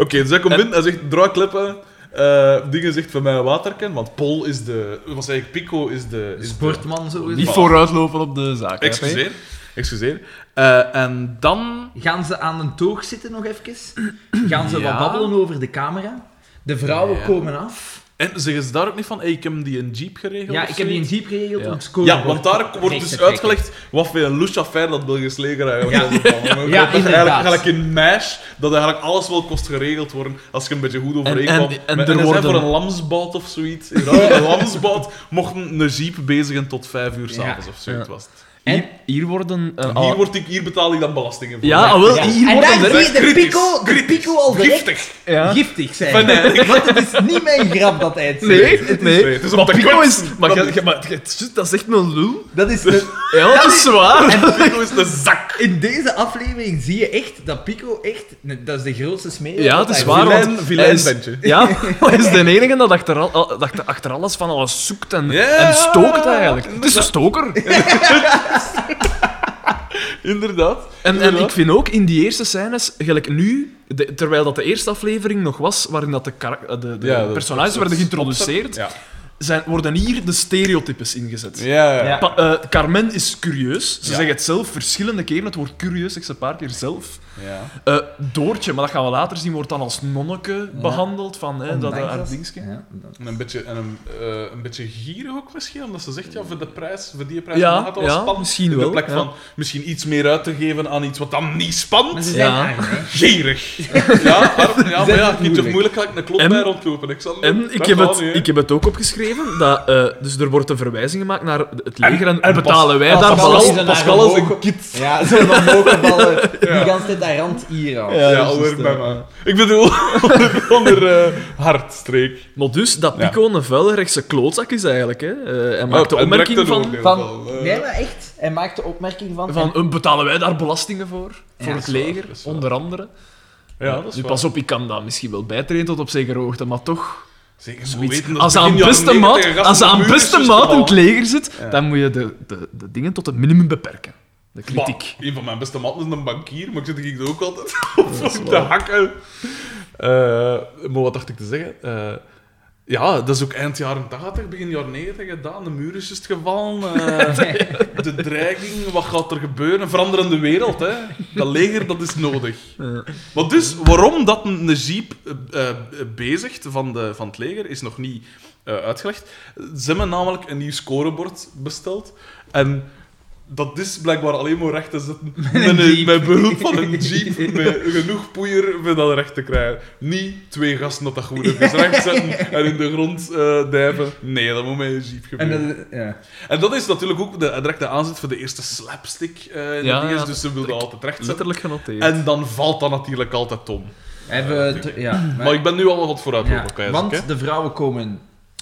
[SPEAKER 1] dus hij komt binnen en zegt: draai kleppen. eh, dingen zegt van mij een waterken, want Pol is de. Wat zei ik? Pico is de. Is de-
[SPEAKER 2] sportman zo.
[SPEAKER 3] Niet vooruitlopen op de zaak. hè,
[SPEAKER 1] Excuseer. Excuseer. Eh, en dan.
[SPEAKER 2] Gaan ze aan een toog zitten nog even? Gaan ze
[SPEAKER 3] Ja.
[SPEAKER 2] wat babbelen over de camera? De vrouwen
[SPEAKER 1] Ja.
[SPEAKER 2] komen af.
[SPEAKER 1] En zeggen ze daar ook niet van: hey, ik heb die een jeep geregeld?
[SPEAKER 2] Ja,
[SPEAKER 1] of
[SPEAKER 2] ik heb die in
[SPEAKER 1] zoiets?
[SPEAKER 2] jeep geregeld
[SPEAKER 3] Ja.
[SPEAKER 2] om het scoren.
[SPEAKER 1] Ja, want daar wordt
[SPEAKER 2] recht
[SPEAKER 1] dus
[SPEAKER 2] te trekken.
[SPEAKER 1] uitgelegd wat voor een Luchafair dat Belgisch leger eigenlijk
[SPEAKER 2] Ja.
[SPEAKER 1] is. Dat is eigenlijk,
[SPEAKER 2] inderdaad.
[SPEAKER 1] eigenlijk in MASH dat eigenlijk alles wel kost geregeld worden als je een beetje goed
[SPEAKER 3] En- en-
[SPEAKER 1] overeenkomt.
[SPEAKER 3] en
[SPEAKER 1] Met-
[SPEAKER 3] er
[SPEAKER 1] er zijn
[SPEAKER 3] worden-
[SPEAKER 1] voor een lamsbout of zoiets. In ruil voor een lamsbout mochten een jeep bezigen tot vijf uur s'avonds
[SPEAKER 2] Ja.
[SPEAKER 1] of zoiets was het.
[SPEAKER 3] Hier, hier worden... eh,
[SPEAKER 1] Hier,
[SPEAKER 3] ah,
[SPEAKER 1] word ik, hier betaal ik dan belastingen voor.
[SPEAKER 3] ja, ah, wel, hier
[SPEAKER 2] en
[SPEAKER 3] worden
[SPEAKER 2] daar
[SPEAKER 3] er-
[SPEAKER 2] zie je de
[SPEAKER 1] Kritisch.
[SPEAKER 2] pico, de
[SPEAKER 1] Kritisch.
[SPEAKER 2] pico al direct
[SPEAKER 1] Giftig.
[SPEAKER 3] Ja.
[SPEAKER 2] giftig zijn.
[SPEAKER 1] Van, eh,
[SPEAKER 2] Want het is niet mijn grap dat hij het zegt.
[SPEAKER 3] Nee,
[SPEAKER 2] Het is-
[SPEAKER 3] nee.
[SPEAKER 1] nee, het is om
[SPEAKER 3] maar
[SPEAKER 1] te
[SPEAKER 3] Pico
[SPEAKER 1] kwetsen.
[SPEAKER 3] is... Maar, jij- jij- maar, jij- shit, dat is echt een lul.
[SPEAKER 2] Dat is de-
[SPEAKER 3] Ja, dat is zwaar.
[SPEAKER 1] Pico is de zak.
[SPEAKER 2] in deze aflevering zie je echt dat Pico echt... Dat is de grootste smeer.
[SPEAKER 3] Ja, het
[SPEAKER 2] dat
[SPEAKER 3] is
[SPEAKER 2] hij
[SPEAKER 3] waar,
[SPEAKER 2] doet.
[SPEAKER 1] Villain-
[SPEAKER 3] want
[SPEAKER 1] villain
[SPEAKER 3] hij is-
[SPEAKER 1] bandje.
[SPEAKER 3] Ja, hij is de enige dat achter, al- al- dat achter- achter alles van alles zoekt en,
[SPEAKER 1] Ja,
[SPEAKER 3] en stookt eigenlijk. Het is een stoker.
[SPEAKER 1] Inderdaad.
[SPEAKER 3] En, en
[SPEAKER 1] Inderdaad.
[SPEAKER 3] ik vind ook in die eerste scènes, gelijk nu, de- terwijl dat de eerste aflevering nog was, waarin dat de, karak- eh, de, de
[SPEAKER 1] Ja, dat-
[SPEAKER 3] personages
[SPEAKER 1] dat-
[SPEAKER 3] werden
[SPEAKER 1] dat-
[SPEAKER 3] geïntroduceerd,
[SPEAKER 1] Ja.
[SPEAKER 3] zijn, worden hier de stereotypes ingezet.
[SPEAKER 1] Ja, ja.
[SPEAKER 2] Ja.
[SPEAKER 3] Pa- eh, Carmen is curieus. Ze
[SPEAKER 1] Ja.
[SPEAKER 3] zegt het zelf verschillende keren. Het woord curieus zegt ze een paar keer zelf.
[SPEAKER 1] ja.
[SPEAKER 3] Eh, Doortje, maar dat gaan we later zien, wordt dan als nonneke behandeld. Van, hè, dat, eh,
[SPEAKER 2] Ondanks
[SPEAKER 3] haar
[SPEAKER 2] dat-
[SPEAKER 3] dingetje.
[SPEAKER 2] Ja, dat-
[SPEAKER 1] En een beetje, en een, eh, een beetje gierig ook misschien, omdat ze zegt, ja, voor, de prijs, voor die prijs
[SPEAKER 3] Ja,
[SPEAKER 1] mag het wel
[SPEAKER 3] ja,
[SPEAKER 1] spannend.
[SPEAKER 3] misschien
[SPEAKER 1] In
[SPEAKER 3] wel,
[SPEAKER 1] plek
[SPEAKER 3] ja.
[SPEAKER 1] van misschien iets meer uit te geven aan iets wat dan niet
[SPEAKER 2] Maar
[SPEAKER 1] spant.
[SPEAKER 2] ze zijn
[SPEAKER 3] Ja.
[SPEAKER 2] arm, hè.
[SPEAKER 1] Gierig. Ja, maar, ja, maar
[SPEAKER 2] Zijn
[SPEAKER 1] ja, niet
[SPEAKER 2] het
[SPEAKER 1] te
[SPEAKER 2] moeilijk.
[SPEAKER 1] moeilijk ga ik een klot
[SPEAKER 3] En-
[SPEAKER 1] bij rondlopen. Ik zal
[SPEAKER 3] En ik
[SPEAKER 1] dat
[SPEAKER 3] heb,
[SPEAKER 1] gaat
[SPEAKER 3] het,
[SPEAKER 1] niet, hè.
[SPEAKER 3] ik heb het ook opgeschreven. Dat, eh, dus er wordt een verwijzing gemaakt naar het leger. En,
[SPEAKER 1] en
[SPEAKER 3] betalen wij
[SPEAKER 2] Pas-
[SPEAKER 3] daar
[SPEAKER 2] Pascal
[SPEAKER 3] balans?
[SPEAKER 2] is een
[SPEAKER 1] Pascal is een
[SPEAKER 2] arme
[SPEAKER 1] kid.
[SPEAKER 2] Ja, zo'n omhoog ballen. Die ganse tijd aan rand hier al.
[SPEAKER 1] Ja,
[SPEAKER 3] dus
[SPEAKER 1] alweer bij mij. Ik bedoel, onder, onder eh, hartstreek.
[SPEAKER 3] Maar dus, dat
[SPEAKER 1] Ja. Oh,
[SPEAKER 3] Pico een vuil rechtse klootzak is eigenlijk. Hè. Eh, hij maakt de
[SPEAKER 1] en direct
[SPEAKER 3] opmerking
[SPEAKER 1] een
[SPEAKER 3] van,
[SPEAKER 1] oordeel
[SPEAKER 2] Van,
[SPEAKER 1] Eh,
[SPEAKER 2] nee, maar echt. Hij maakt de opmerking van...
[SPEAKER 3] van eh, betalen wij daar belastingen voor? Voor
[SPEAKER 2] Ja,
[SPEAKER 3] het
[SPEAKER 2] dat is
[SPEAKER 1] waar,
[SPEAKER 3] leger,
[SPEAKER 1] dat is waar.
[SPEAKER 3] onder andere.
[SPEAKER 1] ja, dat is
[SPEAKER 3] nu,
[SPEAKER 1] waar.
[SPEAKER 3] pas op, ik kan dat misschien wel bijtrainen tot op zekere hoogte, maar toch...
[SPEAKER 1] Zeker,
[SPEAKER 3] Zoiets.
[SPEAKER 1] we weten dat
[SPEAKER 3] Als
[SPEAKER 1] begin
[SPEAKER 3] aan
[SPEAKER 1] jaren
[SPEAKER 3] beste
[SPEAKER 1] 90
[SPEAKER 3] maat,
[SPEAKER 1] gasten
[SPEAKER 3] als
[SPEAKER 1] op de
[SPEAKER 3] aan
[SPEAKER 1] muur
[SPEAKER 3] beste
[SPEAKER 1] is
[SPEAKER 3] maat in het
[SPEAKER 1] gestaan.
[SPEAKER 3] leger zit,
[SPEAKER 1] Ja.
[SPEAKER 3] dan moet je de, de, de dingen tot het minimum beperken. De kritiek.
[SPEAKER 1] Bah, een van mijn beste mannen is een bankier, maar ik zit ik ook altijd op te hakken. Eh, maar wat dacht ik te zeggen? Eh, ja, dat is ook eind jaren 80, begin jaren 90 gedaan. De muur is juist gevallen. eh, de dreiging, wat gaat er gebeuren? Een veranderende wereld, hè? Dat leger, dat is nodig.
[SPEAKER 3] Ja.
[SPEAKER 1] Maar dus, waarom dat een een jeep eh, eh, bezigt van, de, van het leger, is nog niet eh, uitgelegd. Ze hebben namelijk een nieuw scorebord besteld. En dat is blijkbaar alleen maar recht te zetten met,
[SPEAKER 2] een
[SPEAKER 1] een-
[SPEAKER 2] jeep.
[SPEAKER 1] met behulp van een jeep. Met genoeg poeier om dat recht te krijgen. Niet twee gasten op dat goede vis recht zetten en in de grond eh dijven. Nee, dat moet met een jeep
[SPEAKER 2] En
[SPEAKER 1] gebeuren. En
[SPEAKER 2] dat, ja.
[SPEAKER 1] dat, is natuurlijk ook de directe aanzet voor de eerste slapstick. eh in
[SPEAKER 3] Ja,
[SPEAKER 1] de
[SPEAKER 3] ja,
[SPEAKER 1] dus ze wilden altijd recht zetten.
[SPEAKER 3] Letterlijk genoteerd.
[SPEAKER 1] En dan valt dat natuurlijk altijd om.
[SPEAKER 2] Hebben we... ter- eh, Ja.
[SPEAKER 1] Maar, ik ben nu al wat vooruit
[SPEAKER 2] Ja,
[SPEAKER 1] lopen, kan je zeggen,
[SPEAKER 2] want
[SPEAKER 1] hè.
[SPEAKER 2] de vrouwen komen.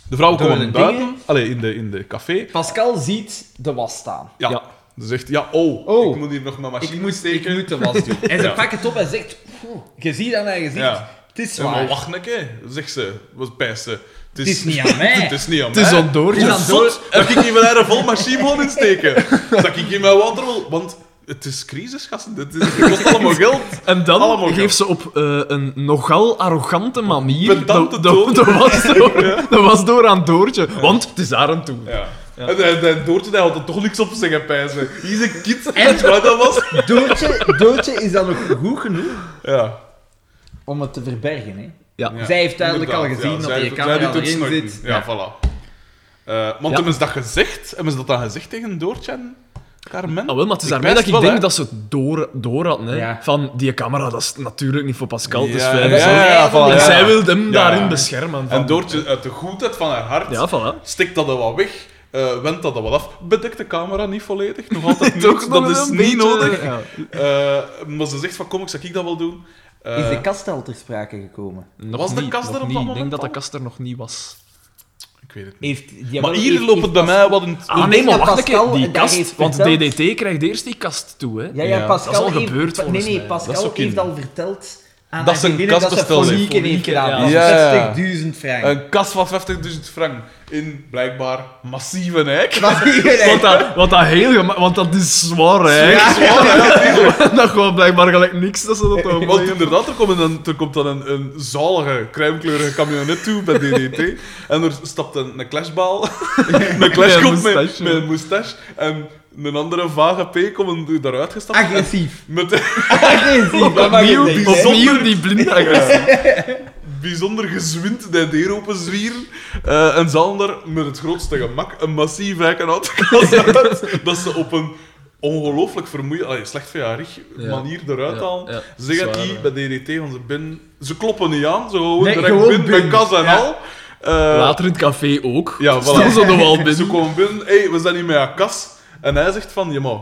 [SPEAKER 1] De vrouwen
[SPEAKER 2] door
[SPEAKER 1] komen
[SPEAKER 2] de
[SPEAKER 1] buiten,
[SPEAKER 2] dingen-
[SPEAKER 1] allee, in, de, in de café.
[SPEAKER 2] Pascal ziet de was staan.
[SPEAKER 1] Ja.
[SPEAKER 3] Ja.
[SPEAKER 1] Ze zegt, ja, oh,
[SPEAKER 2] Oh.
[SPEAKER 1] ik moet hier nog mijn machine
[SPEAKER 2] Ik moet, ik
[SPEAKER 1] steken.
[SPEAKER 2] moet de was doen. En ze
[SPEAKER 1] Ja.
[SPEAKER 2] pakt het op en zegt... "Oeh, Je ziet aan haar gezicht,
[SPEAKER 1] Ja.
[SPEAKER 2] het is
[SPEAKER 1] Ja, maar
[SPEAKER 2] zwaar.
[SPEAKER 1] wacht een keer, zegt ze. Wat pijst ze.
[SPEAKER 2] Het is niet aan mij.
[SPEAKER 1] Het is niet aan
[SPEAKER 3] het is
[SPEAKER 1] mij.
[SPEAKER 3] een doortje.
[SPEAKER 2] Hoe
[SPEAKER 1] Hoe
[SPEAKER 2] dan
[SPEAKER 1] zot dat ik hier wel een vol machine wil insteken. Dat ik hier mijn water wil... Want het is crisis, gasten. Het, is, het kost allemaal geld.
[SPEAKER 3] En dan
[SPEAKER 1] Allemaal
[SPEAKER 3] geeft ze op eh, een nogal arrogante manier
[SPEAKER 1] Pedante
[SPEAKER 3] de,
[SPEAKER 1] toon.
[SPEAKER 3] de, was door, de was door aan Doortje. Want het is haar aan toe.
[SPEAKER 1] Ja. En, en, en Doortje die had er toch niks op te zeggen, pijzen. Hier is een kind.
[SPEAKER 2] En-
[SPEAKER 1] Wat dat was.
[SPEAKER 2] Doodje, Doodje is dan nog goed genoeg
[SPEAKER 1] Ja.
[SPEAKER 2] om het te verbergen. Hè?
[SPEAKER 3] Ja.
[SPEAKER 1] Ja,
[SPEAKER 2] Zij heeft duidelijk al
[SPEAKER 1] inderdaad,
[SPEAKER 2] gezien dat
[SPEAKER 1] zij-
[SPEAKER 2] die
[SPEAKER 1] zij
[SPEAKER 2] camera
[SPEAKER 1] doet het
[SPEAKER 2] erin
[SPEAKER 1] snorken.
[SPEAKER 2] zit.
[SPEAKER 1] Ja, voilà. Eh, want hebben ze dat gezegd? Hebben ze dat dan gezegd tegen Doortje en Carmen?
[SPEAKER 3] Ah, wel, maar het is
[SPEAKER 1] Ik
[SPEAKER 3] daarmee dat
[SPEAKER 1] wijs wel,
[SPEAKER 3] ik denk
[SPEAKER 1] hè.
[SPEAKER 3] dat ze het door, door hadden. Hè.
[SPEAKER 2] Ja.
[SPEAKER 3] Van, die camera, dat is natuurlijk niet voor Pascal, het is
[SPEAKER 1] Ja,
[SPEAKER 3] fijn.
[SPEAKER 1] ja, ja, ja, voilà,
[SPEAKER 3] dus En
[SPEAKER 1] ja.
[SPEAKER 3] zij wil hem
[SPEAKER 1] Ja,
[SPEAKER 3] daarin
[SPEAKER 1] ja.
[SPEAKER 3] beschermen. Van,
[SPEAKER 1] En Doortje, uit de goedheid van haar hart,
[SPEAKER 3] Ja, voilà.
[SPEAKER 1] stikt dat er wat weg, eh wendt dat er wat af, bedekt de camera niet volledig, nog altijd niet,
[SPEAKER 3] Toch nog
[SPEAKER 1] dat is
[SPEAKER 3] een
[SPEAKER 1] niet
[SPEAKER 3] beetje,
[SPEAKER 1] nodig.
[SPEAKER 3] ja.
[SPEAKER 1] Eh, maar ze zegt van, kom, ik zal ik dat wel doen. Eh,
[SPEAKER 2] Is de kast al ter sprake gekomen?
[SPEAKER 3] Nog
[SPEAKER 1] Was de
[SPEAKER 3] niet,
[SPEAKER 1] kast
[SPEAKER 3] nog
[SPEAKER 1] er op
[SPEAKER 3] niet.
[SPEAKER 1] dat
[SPEAKER 3] Ik denk
[SPEAKER 1] moment
[SPEAKER 3] dat de
[SPEAKER 1] al?
[SPEAKER 3] kast er nog niet was.
[SPEAKER 1] Ik weet het niet.
[SPEAKER 2] Heeft, jawel,
[SPEAKER 1] Maar hier
[SPEAKER 2] heeft-
[SPEAKER 1] loopt het bij
[SPEAKER 2] heeft Pas-
[SPEAKER 1] mij wat een...
[SPEAKER 3] Ah,
[SPEAKER 2] Ik
[SPEAKER 3] nee,
[SPEAKER 2] denk
[SPEAKER 3] maar
[SPEAKER 2] dat
[SPEAKER 3] wacht een keer.
[SPEAKER 2] Pascal
[SPEAKER 3] Die
[SPEAKER 2] daar
[SPEAKER 3] kast,
[SPEAKER 2] heeft
[SPEAKER 3] want
[SPEAKER 2] verteld-
[SPEAKER 3] DDT krijgt eerst die kast toe, hè.
[SPEAKER 2] Ja, ja,
[SPEAKER 1] Ja,
[SPEAKER 2] Pascal
[SPEAKER 3] dat is al
[SPEAKER 2] heeft-
[SPEAKER 3] gebeurd
[SPEAKER 2] Pa-
[SPEAKER 3] volgens
[SPEAKER 2] Nee, nee,
[SPEAKER 3] mij.
[SPEAKER 1] Dat is
[SPEAKER 2] Pascal
[SPEAKER 1] ook in-
[SPEAKER 2] heeft al verteld aan
[SPEAKER 1] Dat
[SPEAKER 2] haar
[SPEAKER 1] ze een
[SPEAKER 2] vriendinnen
[SPEAKER 1] kast
[SPEAKER 2] dat ze
[SPEAKER 1] besteld heeft.
[SPEAKER 2] fonieken heeft
[SPEAKER 3] Fonieken,
[SPEAKER 2] gedaan.
[SPEAKER 3] ja.
[SPEAKER 1] Ja.
[SPEAKER 2] 60.000 frank.
[SPEAKER 1] Een kast van 50.000 frank in, blijkbaar, massieve eik.
[SPEAKER 3] Wat dat, wat dat heel gema- want dat is zwaar, hè. dat gewoon blijkbaar gelijk niks dat ze dat doen.
[SPEAKER 1] Want inderdaad, er komt dan, er komt dan een, een zalige, crèmekleurige camionet toe bij DDT. En er stapt een, een clashbal, een clashkop met, met
[SPEAKER 3] moustache, ja.
[SPEAKER 1] een moustache. En een andere vage P komt daaruit gestapt. En
[SPEAKER 2] Agressief.
[SPEAKER 1] Met een
[SPEAKER 2] Agressief. dat mag je
[SPEAKER 3] Opnieuw,
[SPEAKER 2] denken, hè.
[SPEAKER 3] opnieuw die blinde agressie.
[SPEAKER 1] bijzonder gezwind de deur open zwier. Eh, en zal daar met het grootste gemak een massief eiken uitkast uit. Dat ze op een ongelooflijk vermoeiend, allee, slecht verjaardig
[SPEAKER 3] Ja.
[SPEAKER 1] manier eruit
[SPEAKER 3] Ja,
[SPEAKER 1] halen.
[SPEAKER 3] ja.
[SPEAKER 1] Zeg dat
[SPEAKER 3] Zwaar,
[SPEAKER 1] die
[SPEAKER 3] ja.
[SPEAKER 1] bij DDT, want ze, binnen, ze kloppen niet aan, ze gewoon
[SPEAKER 2] Nee,
[SPEAKER 1] direct
[SPEAKER 2] gewoon
[SPEAKER 1] binnen,
[SPEAKER 2] binnen.
[SPEAKER 1] met kas en
[SPEAKER 2] Ja.
[SPEAKER 1] al. Eh,
[SPEAKER 3] Later in het café ook.
[SPEAKER 1] Ja, voilà.
[SPEAKER 3] Staan ze er wel
[SPEAKER 1] Ze
[SPEAKER 3] binnen.
[SPEAKER 1] komen binnen, hé, hey, we zijn hier met haar kas. En hij zegt van, ja maar,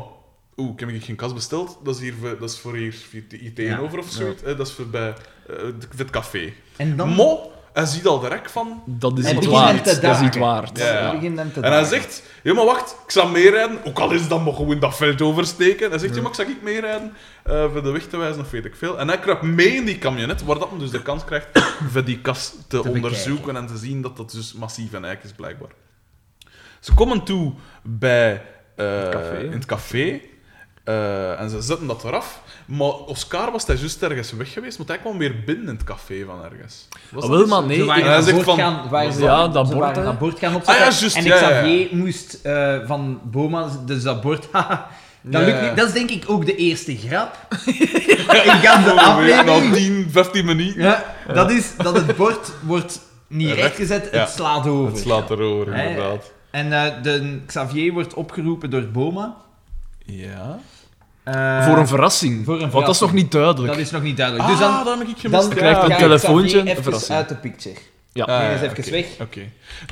[SPEAKER 1] oeh, ik heb hier geen kas besteld. Dat is, hier, voor- dat is voor hier, hier, hier tegenover of zoiets. hè. Dat is voor bij eh, het- het café.
[SPEAKER 2] En dan...
[SPEAKER 1] Mo, hij ziet al direct van...
[SPEAKER 3] Dat is
[SPEAKER 2] Hij
[SPEAKER 3] niet
[SPEAKER 1] begint
[SPEAKER 3] waard.
[SPEAKER 1] hem
[SPEAKER 2] te
[SPEAKER 3] Dat is niet
[SPEAKER 2] dagen.
[SPEAKER 3] waard.
[SPEAKER 1] Ja, ja.
[SPEAKER 2] Hij begint hem te
[SPEAKER 1] En hij
[SPEAKER 2] dagen.
[SPEAKER 1] zegt, ja maar wacht, ik zal meerijden. Ook al is dat maar gewoon dat veld oversteken. Hij zegt, ja maar ik zal ik meerijden eh, voor de weg te wijzen of weet ik veel. En hij kruipt mee in die camionet, waar dat hem dus de kans krijgt voor die kast te, onderzoeken en te zien dat dat dus massief en eik is blijkbaar. Ze komen toe bij, eh,
[SPEAKER 3] café, hè?
[SPEAKER 1] in het café. eh, en ze zetten dat eraf. Maar Oscar was daar juist ergens weg geweest, want hij kwam weer binnen in het café van ergens. Was
[SPEAKER 3] Ah,
[SPEAKER 1] dat
[SPEAKER 3] wel,
[SPEAKER 1] niet zo?
[SPEAKER 2] Ze
[SPEAKER 3] maar nee. ik-
[SPEAKER 2] waren
[SPEAKER 1] hij
[SPEAKER 2] aan
[SPEAKER 1] zegt
[SPEAKER 2] boord
[SPEAKER 1] van-
[SPEAKER 2] gaan, waren ze-
[SPEAKER 3] Ja, dat
[SPEAKER 2] ze
[SPEAKER 3] bord,
[SPEAKER 2] waren
[SPEAKER 3] hè.
[SPEAKER 2] aan boord gaan opzetten.
[SPEAKER 1] Ah ja, juist,
[SPEAKER 2] en
[SPEAKER 1] ja, ja, ja.
[SPEAKER 2] Xavier moest eh, van Boma, dus dat bord, haha, dat
[SPEAKER 1] Ja,
[SPEAKER 2] lukt
[SPEAKER 1] ja.
[SPEAKER 2] niet. Dat is denk ik ook de eerste grap. In gaan de
[SPEAKER 1] Gewoon weer Na
[SPEAKER 2] aflevering.
[SPEAKER 1] 10, 15 minuten.
[SPEAKER 2] Ja, dat is dat het bord wordt niet
[SPEAKER 1] Ja,
[SPEAKER 2] rechtgezet,
[SPEAKER 1] ja.
[SPEAKER 2] het slaat over.
[SPEAKER 1] Het slaat erover,
[SPEAKER 2] Ja, ja.
[SPEAKER 1] inderdaad.
[SPEAKER 2] En eh, de Xavier wordt opgeroepen door Boma.
[SPEAKER 1] Ja.
[SPEAKER 2] Eh,
[SPEAKER 3] voor een verrassing.
[SPEAKER 2] voor een
[SPEAKER 3] Want dat is nog
[SPEAKER 2] verrassing.
[SPEAKER 3] niet duidelijk.
[SPEAKER 2] Dat is nog niet duidelijk.
[SPEAKER 1] Ah,
[SPEAKER 2] dus dan,
[SPEAKER 1] dat heb ik gemist.
[SPEAKER 2] dan
[SPEAKER 3] krijgt een
[SPEAKER 2] gaat
[SPEAKER 3] telefoontje,
[SPEAKER 2] Xavier
[SPEAKER 3] een
[SPEAKER 2] even
[SPEAKER 3] verrassing.
[SPEAKER 2] uit de picture.
[SPEAKER 1] Ah,
[SPEAKER 2] Nee,
[SPEAKER 1] ja,
[SPEAKER 2] is even
[SPEAKER 1] oké,
[SPEAKER 2] weg.
[SPEAKER 1] oké.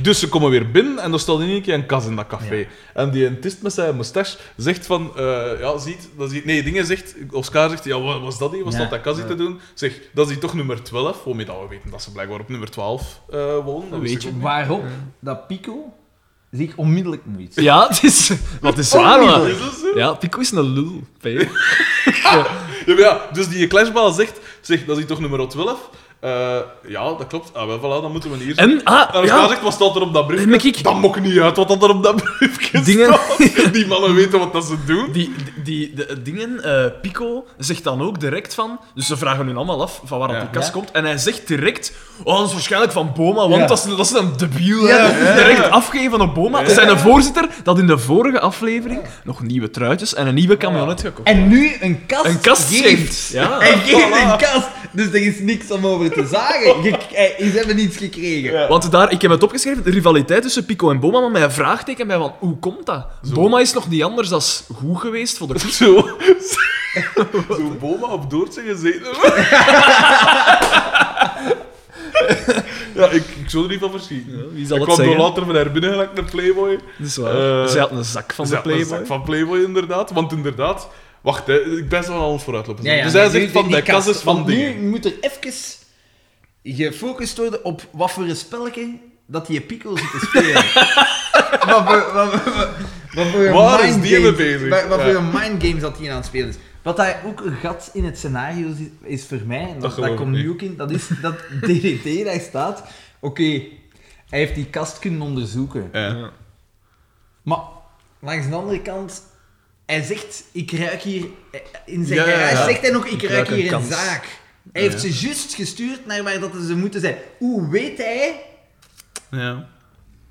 [SPEAKER 1] Dus ze komen weer binnen en er staat in één keer een kas in dat café.
[SPEAKER 2] Ja.
[SPEAKER 1] En die entist met zijn moustache zegt van... eh, ja, ziet, dat ziet... Nee, dingen zegt... Oscar zegt, ja, wat was dat hier? Was
[SPEAKER 2] Ja,
[SPEAKER 1] dat dat kas hier
[SPEAKER 3] ja.
[SPEAKER 1] te doen? Zeg, dat is hier toch nummer 12? Waarmee dat we weten dat ze blijkbaar op nummer 12 eh, wonen. Dat
[SPEAKER 3] Weet
[SPEAKER 1] wist ik
[SPEAKER 3] je.
[SPEAKER 1] ook niet.
[SPEAKER 2] Waarop dat Pico zich onmiddellijk moeit.
[SPEAKER 3] Ja, het is... Wat is waar,
[SPEAKER 1] Is
[SPEAKER 3] maar...
[SPEAKER 1] Oh, dus, dat zo?
[SPEAKER 3] Ja, Pico is een lul. P.
[SPEAKER 1] Ja, maar ja, dus die clashbal zegt, zeg, dat is hier toch nummer 12? Eh, ja, dat klopt. Ah, wel, voilà, dan moeten we hier...
[SPEAKER 3] En,
[SPEAKER 1] En
[SPEAKER 3] ah,
[SPEAKER 1] als
[SPEAKER 3] ja,
[SPEAKER 1] zegt, wat staat er op dat briefje?
[SPEAKER 3] Heb ik-
[SPEAKER 1] Dat mokt niet uit wat dat er op dat briefje
[SPEAKER 3] Dingen-
[SPEAKER 1] staat. Die mannen weten wat dat ze doen.
[SPEAKER 3] die, die, die- de dingen, eh, Pico zegt dan ook direct van, dus ze vragen hun allemaal af van waar dat
[SPEAKER 1] Ja.
[SPEAKER 3] die kast
[SPEAKER 2] Ja.
[SPEAKER 3] komt, en hij zegt direct, oh, dat is waarschijnlijk van Boma, want
[SPEAKER 2] Ja.
[SPEAKER 3] dat, is, dat is een debiel, hè.
[SPEAKER 2] Ja.
[SPEAKER 3] direct afgeven op Boma.
[SPEAKER 1] Ja.
[SPEAKER 3] Zijn een voorzitter dat in de vorige aflevering nog nieuwe truitjes en een nieuwe camionet gekocht.
[SPEAKER 2] En nu een kast,
[SPEAKER 3] Een kast
[SPEAKER 2] geeft.
[SPEAKER 3] geeft. Ja.
[SPEAKER 2] Hij geeft
[SPEAKER 1] Voilà.
[SPEAKER 2] een kast, dus er is niks om over te zagen. Je, eh, ze hebben niets gekregen.
[SPEAKER 1] Ja.
[SPEAKER 3] Want daar, ik heb het opgeschreven, de rivaliteit tussen Pico en Boma, maar met een vraagteken bij van, hoe komt dat? Boma is nog niet anders dan goed geweest voor de club.
[SPEAKER 1] Zo. Zo'n boma op Doortje gezeten. ja, ik, ik zou er niet van verschieten.
[SPEAKER 3] Wie zal
[SPEAKER 1] ik
[SPEAKER 3] dat
[SPEAKER 1] kwam door
[SPEAKER 3] zeggen?
[SPEAKER 1] later van haar binnen gelijk naar Playboy.
[SPEAKER 3] Dat is waar.
[SPEAKER 1] Eh,
[SPEAKER 3] Zij had een zak van
[SPEAKER 1] Ze
[SPEAKER 3] de
[SPEAKER 1] had een zak
[SPEAKER 3] Playboy.
[SPEAKER 1] Van Playboy, inderdaad. Want inderdaad... Wacht, hè, ik ben zo aan het vooruitlopen.
[SPEAKER 2] Ja, ja,
[SPEAKER 1] dus hij
[SPEAKER 2] nu-
[SPEAKER 1] zegt van,
[SPEAKER 2] die
[SPEAKER 1] de kas is van
[SPEAKER 2] want
[SPEAKER 1] dingen.
[SPEAKER 2] Nu moet er even gefocust worden op wat voor een spelletje dat die Pico zit te spelen. wat voor, wat, voor- wat, voor een
[SPEAKER 1] Waar is
[SPEAKER 2] mind
[SPEAKER 1] die mee
[SPEAKER 2] games-
[SPEAKER 1] bezig?
[SPEAKER 2] Wat, wat
[SPEAKER 1] Ja.
[SPEAKER 2] voor een mind games dat hij aan het spelen is. Wat daar ook een gat in het scenario is, is voor mij, en
[SPEAKER 1] Dat
[SPEAKER 2] dat, dat,
[SPEAKER 1] geloof ik
[SPEAKER 2] komt
[SPEAKER 1] niet.
[SPEAKER 2] nu ook in, dat is dat DDT daar staat. Oké, hij heeft die kast kunnen onderzoeken.
[SPEAKER 1] Ja.
[SPEAKER 2] Maar langs de andere kant, hij zegt: Ik ruik hier. eh, In zijn
[SPEAKER 1] Ja, ja, ja.
[SPEAKER 2] garage zegt hij nog: Ik,
[SPEAKER 3] ruik
[SPEAKER 2] ruik
[SPEAKER 3] een
[SPEAKER 2] hier een
[SPEAKER 3] kans.
[SPEAKER 2] zaak. Hij
[SPEAKER 1] Ja,
[SPEAKER 2] heeft ze juist gestuurd naar waar dat ze moeten zijn. Hoe weet hij
[SPEAKER 1] ja.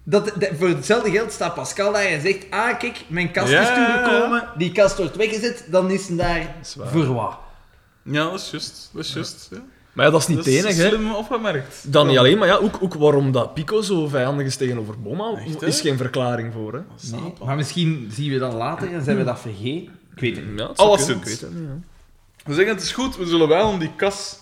[SPEAKER 2] dat, dat- voor hetzelfde geld staat Pascal daar en zegt: Ah, kijk, mijn kast
[SPEAKER 1] Ja,
[SPEAKER 2] is
[SPEAKER 1] ja, ja.
[SPEAKER 2] toegekomen, die kast wordt weggezet, dan is hij daar
[SPEAKER 3] is waar.
[SPEAKER 2] voor wat.
[SPEAKER 1] Ja, dat is juist. Dat is juist. Ja.
[SPEAKER 3] Maar ja, dat is niet
[SPEAKER 1] Dat is
[SPEAKER 3] het enige, hè.
[SPEAKER 1] Slim opgemerkt.
[SPEAKER 3] Dan niet
[SPEAKER 1] Ja.
[SPEAKER 3] alleen, maar ja, ook, ook waarom dat Pico zo vijandig is tegenover Boma,
[SPEAKER 1] Echt, hè?
[SPEAKER 3] is geen verklaring voor. Hè?
[SPEAKER 2] Nee, Maar misschien zien we dat later en zijn we dat vergeten. Ik weet het niet.
[SPEAKER 3] Ja, het zou
[SPEAKER 1] Alleszins.
[SPEAKER 3] kunnen, ik weet het niet, ja.
[SPEAKER 1] We zeggen het is goed, we zullen wel om die kas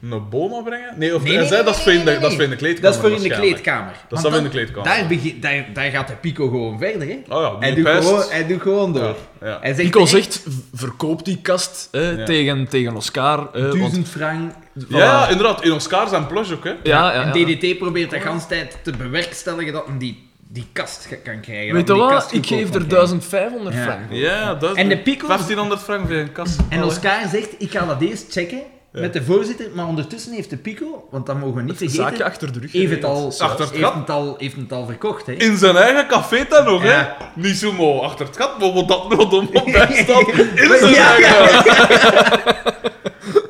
[SPEAKER 1] naar Boma brengen. Nee, of
[SPEAKER 2] Nee,
[SPEAKER 1] hij
[SPEAKER 2] nee,
[SPEAKER 1] zei
[SPEAKER 2] nee,
[SPEAKER 1] dat is voor in de-
[SPEAKER 2] nee, nee,
[SPEAKER 1] dat is voor in de
[SPEAKER 2] nee.
[SPEAKER 1] kleedkamer.
[SPEAKER 2] Dat is voor in de
[SPEAKER 1] waarschijnlijk.
[SPEAKER 2] kleedkamer.
[SPEAKER 1] Dat
[SPEAKER 2] Want
[SPEAKER 1] staat wel in
[SPEAKER 2] dan-
[SPEAKER 1] de kleedkamer.
[SPEAKER 2] Daar, begin- daar, daar gaat de Pico gewoon verder, hè?
[SPEAKER 1] Oh ja,
[SPEAKER 2] Hij
[SPEAKER 1] die
[SPEAKER 2] doet,
[SPEAKER 1] pest.
[SPEAKER 2] gewoon, hij doet gewoon door.
[SPEAKER 1] Ja, ja.
[SPEAKER 2] Hij zegt,
[SPEAKER 3] Pico
[SPEAKER 2] hè,
[SPEAKER 3] zegt, eh, v- verkoop die kast hè,
[SPEAKER 1] Ja.
[SPEAKER 3] tegen, tegen Oscar. hè, want,
[SPEAKER 2] duizend frank.
[SPEAKER 3] voilà.
[SPEAKER 1] Ja, ja, inderdaad. In Oscar zijn plush ook, hè.
[SPEAKER 3] Ja, ja, ja.
[SPEAKER 2] En DDT probeert de hele tijd te bewerkstelligen dat hij die, die kast ge- kan krijgen.
[SPEAKER 3] Weet je
[SPEAKER 2] dat hem die
[SPEAKER 3] wat?
[SPEAKER 2] kast
[SPEAKER 3] Ik
[SPEAKER 2] goedkoop
[SPEAKER 3] geef
[SPEAKER 2] kan
[SPEAKER 3] er
[SPEAKER 2] krijgen.
[SPEAKER 3] 1500
[SPEAKER 2] Ja.
[SPEAKER 3] frank. voor.
[SPEAKER 1] Ja, dat
[SPEAKER 2] En de pickles?
[SPEAKER 1] 1500 frank voor een kas.
[SPEAKER 2] En
[SPEAKER 1] Allee.
[SPEAKER 2] Oscar zegt, ik ga dat eerst checken met de voorzitter, maar ondertussen heeft de Pico, want dat mogen we niet
[SPEAKER 3] Zaakje
[SPEAKER 2] vergeten,
[SPEAKER 3] achter de rug.
[SPEAKER 2] heeft het al,
[SPEAKER 1] Achter het
[SPEAKER 2] heeft
[SPEAKER 1] gat.
[SPEAKER 2] het al, heeft het al verkocht, hè?
[SPEAKER 1] In zijn eigen café dan nog,
[SPEAKER 2] Ja.
[SPEAKER 1] hè. Niet zo mooi achter het gat, maar wat dat nog dom op daar staat. In zijn
[SPEAKER 2] Ja.
[SPEAKER 1] eigen...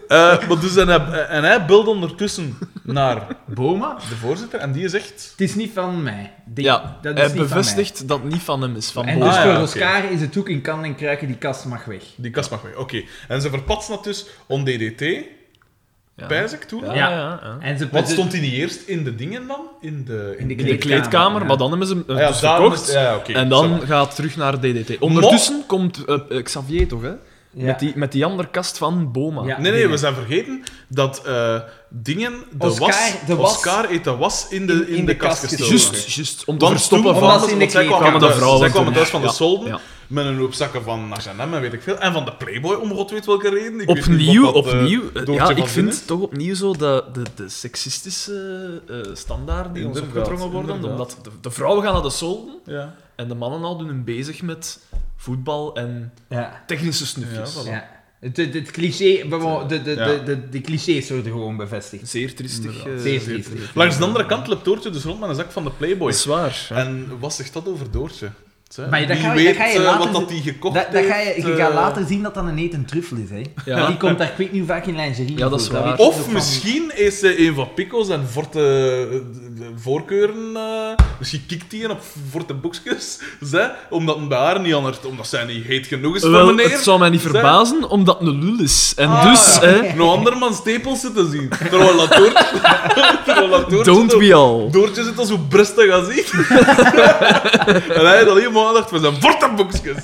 [SPEAKER 1] Eh, maar dus, en, hij, en hij belt ondertussen naar
[SPEAKER 2] Boma?
[SPEAKER 1] de voorzitter en die zegt...
[SPEAKER 2] Het is niet van mij. Die-
[SPEAKER 3] Ja,
[SPEAKER 2] dat is
[SPEAKER 3] hij
[SPEAKER 2] niet van mij.
[SPEAKER 3] bevestigt dat het niet van hem is, van
[SPEAKER 2] En
[SPEAKER 3] Boma.
[SPEAKER 2] dus
[SPEAKER 1] Ah,
[SPEAKER 2] voor
[SPEAKER 1] ja, oké.
[SPEAKER 2] Oscar is het ook in kan en kruiken, die kast mag weg.
[SPEAKER 1] Die kast mag weg, oké. En ze verpatsen dat dus om DDT,
[SPEAKER 3] Ja.
[SPEAKER 1] pijs ik toen.
[SPEAKER 3] Ja,
[SPEAKER 2] Ja.
[SPEAKER 3] ja, ja.
[SPEAKER 2] En ze
[SPEAKER 1] Wat stond hij niet eerst in de dingen dan? In de,
[SPEAKER 2] In de
[SPEAKER 3] In de kleedkamer,
[SPEAKER 2] Ja.
[SPEAKER 3] maar dan hebben ze hem eh,
[SPEAKER 1] Ah ja,
[SPEAKER 3] dus
[SPEAKER 1] daar
[SPEAKER 3] verkocht.
[SPEAKER 1] moest- ja, ja, oké.
[SPEAKER 3] En
[SPEAKER 1] Zo.
[SPEAKER 3] dan gaat terug naar DDT. Ondertussen komt eh, eh, Xavier toch, hè?
[SPEAKER 2] Ja.
[SPEAKER 3] Met, die, met die andere kast van Boma.
[SPEAKER 2] Ja.
[SPEAKER 1] Nee, nee,
[SPEAKER 2] dingen.
[SPEAKER 1] we zijn vergeten dat eh, dingen, de
[SPEAKER 2] Oscar,
[SPEAKER 1] was,
[SPEAKER 2] de was-
[SPEAKER 1] Oscar heeft de was in de, in,
[SPEAKER 2] in
[SPEAKER 1] de
[SPEAKER 2] de
[SPEAKER 1] kast
[SPEAKER 2] kast
[SPEAKER 1] gestoken.
[SPEAKER 3] Juist, juist. Om te
[SPEAKER 1] Want
[SPEAKER 3] verstoppen
[SPEAKER 1] toen-
[SPEAKER 3] van...
[SPEAKER 2] omdat
[SPEAKER 1] want
[SPEAKER 2] ze in de
[SPEAKER 1] zij
[SPEAKER 2] kleedkamer
[SPEAKER 1] kwamen
[SPEAKER 3] kwamen de
[SPEAKER 1] thuis,
[SPEAKER 3] vrouwen
[SPEAKER 1] zij kwamen
[SPEAKER 3] toen,
[SPEAKER 1] thuis
[SPEAKER 3] ja.
[SPEAKER 1] van de
[SPEAKER 3] Ja.
[SPEAKER 1] solden.
[SPEAKER 3] Ja.
[SPEAKER 1] Met een hoop zakken van H&M en weet ik veel. En van de Playboy, om god weet welke reden. Ik weet niet
[SPEAKER 3] Opnieuw,
[SPEAKER 1] wat dat, eh,
[SPEAKER 3] opnieuw. eh,
[SPEAKER 1] Doortje
[SPEAKER 3] ja,
[SPEAKER 1] van
[SPEAKER 3] ik
[SPEAKER 1] Zinnen
[SPEAKER 3] vind toch opnieuw zo de, de, de seksistische eh, standaarden die ons
[SPEAKER 1] Inderdaad,
[SPEAKER 3] opgedrongen worden.
[SPEAKER 1] inderdaad.
[SPEAKER 3] Omdat de, de vrouwen gaan naar de solden
[SPEAKER 1] Ja.
[SPEAKER 3] en de mannen houden hun bezig met voetbal en
[SPEAKER 2] Ja.
[SPEAKER 3] technische snufjes.
[SPEAKER 1] Ja, voilà.
[SPEAKER 2] ja. Het, het, het cliché, de, de, de,
[SPEAKER 1] Ja.
[SPEAKER 2] de, de, de clichés worden gewoon bevestigd.
[SPEAKER 3] Zeer triestig. eh,
[SPEAKER 2] Zeer triestig.
[SPEAKER 1] Langs de andere kant loopt Doortje dus rond met een zak van de Playboy.
[SPEAKER 3] Is waar. ja.
[SPEAKER 1] En wat zegt dat over Doortje? Zeg,
[SPEAKER 2] Maar dat
[SPEAKER 1] wie
[SPEAKER 2] ga je- dat
[SPEAKER 1] weet
[SPEAKER 2] ga je
[SPEAKER 1] eh,
[SPEAKER 2] later
[SPEAKER 1] wat dat
[SPEAKER 2] zien.
[SPEAKER 1] die gekocht
[SPEAKER 2] Dat, dat ga je,
[SPEAKER 1] heeft,
[SPEAKER 2] je gaat
[SPEAKER 1] eh,
[SPEAKER 2] later zien dat dat een eten truffel is, hè.
[SPEAKER 3] Ja.
[SPEAKER 2] Die komt daar, ik weet niet hoe vaak in lingerie.
[SPEAKER 3] Ja, dat is
[SPEAKER 2] voor,
[SPEAKER 3] waar.
[SPEAKER 2] weet ik nog
[SPEAKER 1] Of
[SPEAKER 2] van-
[SPEAKER 1] misschien is ze een van Pico's en Forte eh, de voorkeuren. eh, misschien kikt hij een op Forte boekjes. Zij, omdat een bij haar niet anders. Omdat zij niet heet genoeg is
[SPEAKER 3] Wel,
[SPEAKER 1] Dus van meneer.
[SPEAKER 3] het zou mij niet
[SPEAKER 1] Zij-
[SPEAKER 3] verbazen, omdat het een lul is. En
[SPEAKER 1] Ah,
[SPEAKER 3] dus,
[SPEAKER 1] ja.
[SPEAKER 3] hè,
[SPEAKER 1] Nog andermans tepels zitten zien. Terwijl dat Doortje... terwijl dat Doortje
[SPEAKER 3] don't
[SPEAKER 1] zo-
[SPEAKER 3] we all.
[SPEAKER 1] Doortje zit al zo brustig als ik. en hij had alleen maar aandacht voor zijn vortenboekjes.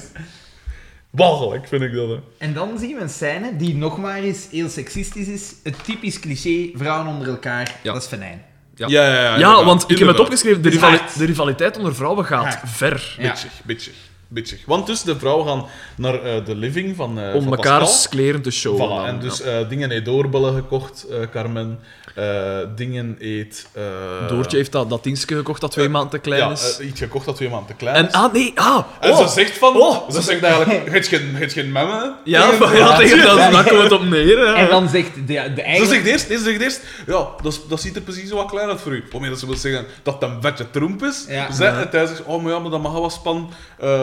[SPEAKER 1] Walgelijk vind ik dat. Hè.
[SPEAKER 2] En dan zien we een scène die nog maar eens heel seksistisch is. Het typisch cliché, vrouwen onder elkaar,
[SPEAKER 3] Ja.
[SPEAKER 2] dat is venijn.
[SPEAKER 3] Ja.
[SPEAKER 1] ja, ja, ja,
[SPEAKER 3] Ja,
[SPEAKER 1] inderdaad,
[SPEAKER 3] want ik heb het
[SPEAKER 1] inderdaad.
[SPEAKER 3] opgeschreven, de,
[SPEAKER 2] Het is
[SPEAKER 3] rivali-
[SPEAKER 2] hard.
[SPEAKER 3] de rivaliteit onder vrouwen gaat
[SPEAKER 2] Hard.
[SPEAKER 3] ver.
[SPEAKER 2] Ja.
[SPEAKER 1] Bitchig, bitchig, bitchig. Want dus de vrouwen gaan naar eh, de living van, eh
[SPEAKER 3] Om
[SPEAKER 1] van
[SPEAKER 3] mekaars
[SPEAKER 1] Pascal.
[SPEAKER 3] kleren te showen.
[SPEAKER 1] Voilà,
[SPEAKER 3] dan,
[SPEAKER 1] en dus
[SPEAKER 3] ja.
[SPEAKER 1] eh, dingen eet doorbellen gekocht, eh, Carmen. Eh, dingen eet... eh,
[SPEAKER 3] Doortje heeft dat, dat dienstje gekocht dat twee
[SPEAKER 1] eh,
[SPEAKER 3] maanden te klein
[SPEAKER 1] ja,
[SPEAKER 3] is.
[SPEAKER 1] eh, iets gekocht dat twee maanden te klein
[SPEAKER 3] en,
[SPEAKER 1] is.
[SPEAKER 3] ah, nee, ah.
[SPEAKER 1] En
[SPEAKER 3] oh.
[SPEAKER 1] ze zegt van...
[SPEAKER 3] Oh.
[SPEAKER 1] Ze zegt eigenlijk, het is geen, het is geen memme.
[SPEAKER 3] Ja, maar
[SPEAKER 2] Ja,
[SPEAKER 3] ja, tegen dat,
[SPEAKER 2] tuurlijk.
[SPEAKER 3] daar komt het op neer. hè.
[SPEAKER 2] En dan zegt de, de
[SPEAKER 1] Ze
[SPEAKER 2] eigenlijk-
[SPEAKER 1] zegt eerst, nee, ze zegt eerst, ja, dat, is- dat ziet er precies zo wat klein uit voor u. Waarmee dat ze wil zeggen dat dat een vetje tromp is.
[SPEAKER 2] Ja.
[SPEAKER 1] Ze, En hij zegt, oh, maar ja, maar dat mag wel span. eh, eh,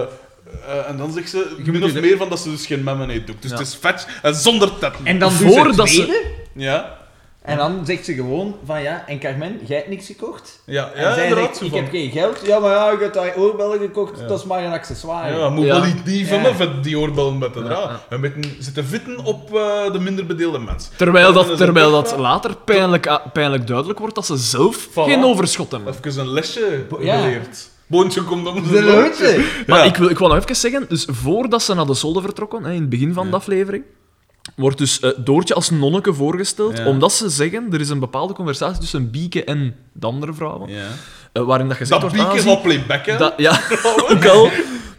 [SPEAKER 1] en dan zegt ze min
[SPEAKER 2] moet
[SPEAKER 1] of
[SPEAKER 2] je-
[SPEAKER 1] meer van dat ze dus geen memmen eet doet. Dus
[SPEAKER 3] Ja.
[SPEAKER 1] het is vet en zonder tetten.
[SPEAKER 2] En dan doet ze
[SPEAKER 3] Voordat
[SPEAKER 2] het
[SPEAKER 3] ze-
[SPEAKER 2] tweede.
[SPEAKER 1] Ja,
[SPEAKER 2] En dan zegt ze gewoon van ja, en Carmen, jij hebt niks gekocht.
[SPEAKER 1] ja,
[SPEAKER 2] En
[SPEAKER 1] ja
[SPEAKER 2] zij
[SPEAKER 1] inderdaad.
[SPEAKER 2] zegt,
[SPEAKER 1] zo
[SPEAKER 2] ik
[SPEAKER 1] van,
[SPEAKER 2] heb geen geld. Ja, maar ja, ik heb daar oorbellen gekocht,
[SPEAKER 1] Ja.
[SPEAKER 2] dat is maar een accessoire.
[SPEAKER 1] ja, moet
[SPEAKER 3] Ja.
[SPEAKER 1] wel niet die van
[SPEAKER 2] Ja.
[SPEAKER 1] me vet die oorbellen met te
[SPEAKER 3] Ja,
[SPEAKER 1] dragen.
[SPEAKER 3] ja.
[SPEAKER 1] We moeten zitten vitten op eh, de minder bedeelde mens.
[SPEAKER 3] Terwijl
[SPEAKER 1] En
[SPEAKER 3] dat,
[SPEAKER 1] dan
[SPEAKER 3] terwijl
[SPEAKER 1] zegt
[SPEAKER 3] dat
[SPEAKER 1] ze,
[SPEAKER 3] later pijnlijk, ah, pijnlijk duidelijk wordt dat ze zelf geen overschot hebben.
[SPEAKER 1] Even een lesje
[SPEAKER 2] Bo- ja.
[SPEAKER 1] geleerd. Boontje komt om
[SPEAKER 2] De loodje.
[SPEAKER 3] Maar
[SPEAKER 1] Ja.
[SPEAKER 3] ik, wil, ik wil nog even zeggen, dus voordat ze naar de zolder vertrokken, hè, in het begin van de aflevering, wordt dus eh, Doortje als nonneke voorgesteld,
[SPEAKER 1] Ja.
[SPEAKER 3] omdat ze zeggen, er is een bepaalde conversatie tussen Bieke en de andere vrouwen,
[SPEAKER 1] Ja.
[SPEAKER 3] eh, waarin dat gezegd
[SPEAKER 1] Dat
[SPEAKER 3] wordt...
[SPEAKER 1] piek is
[SPEAKER 3] "Ah,
[SPEAKER 1] al playback, hè?
[SPEAKER 3] zie, dat, Ja, ook al.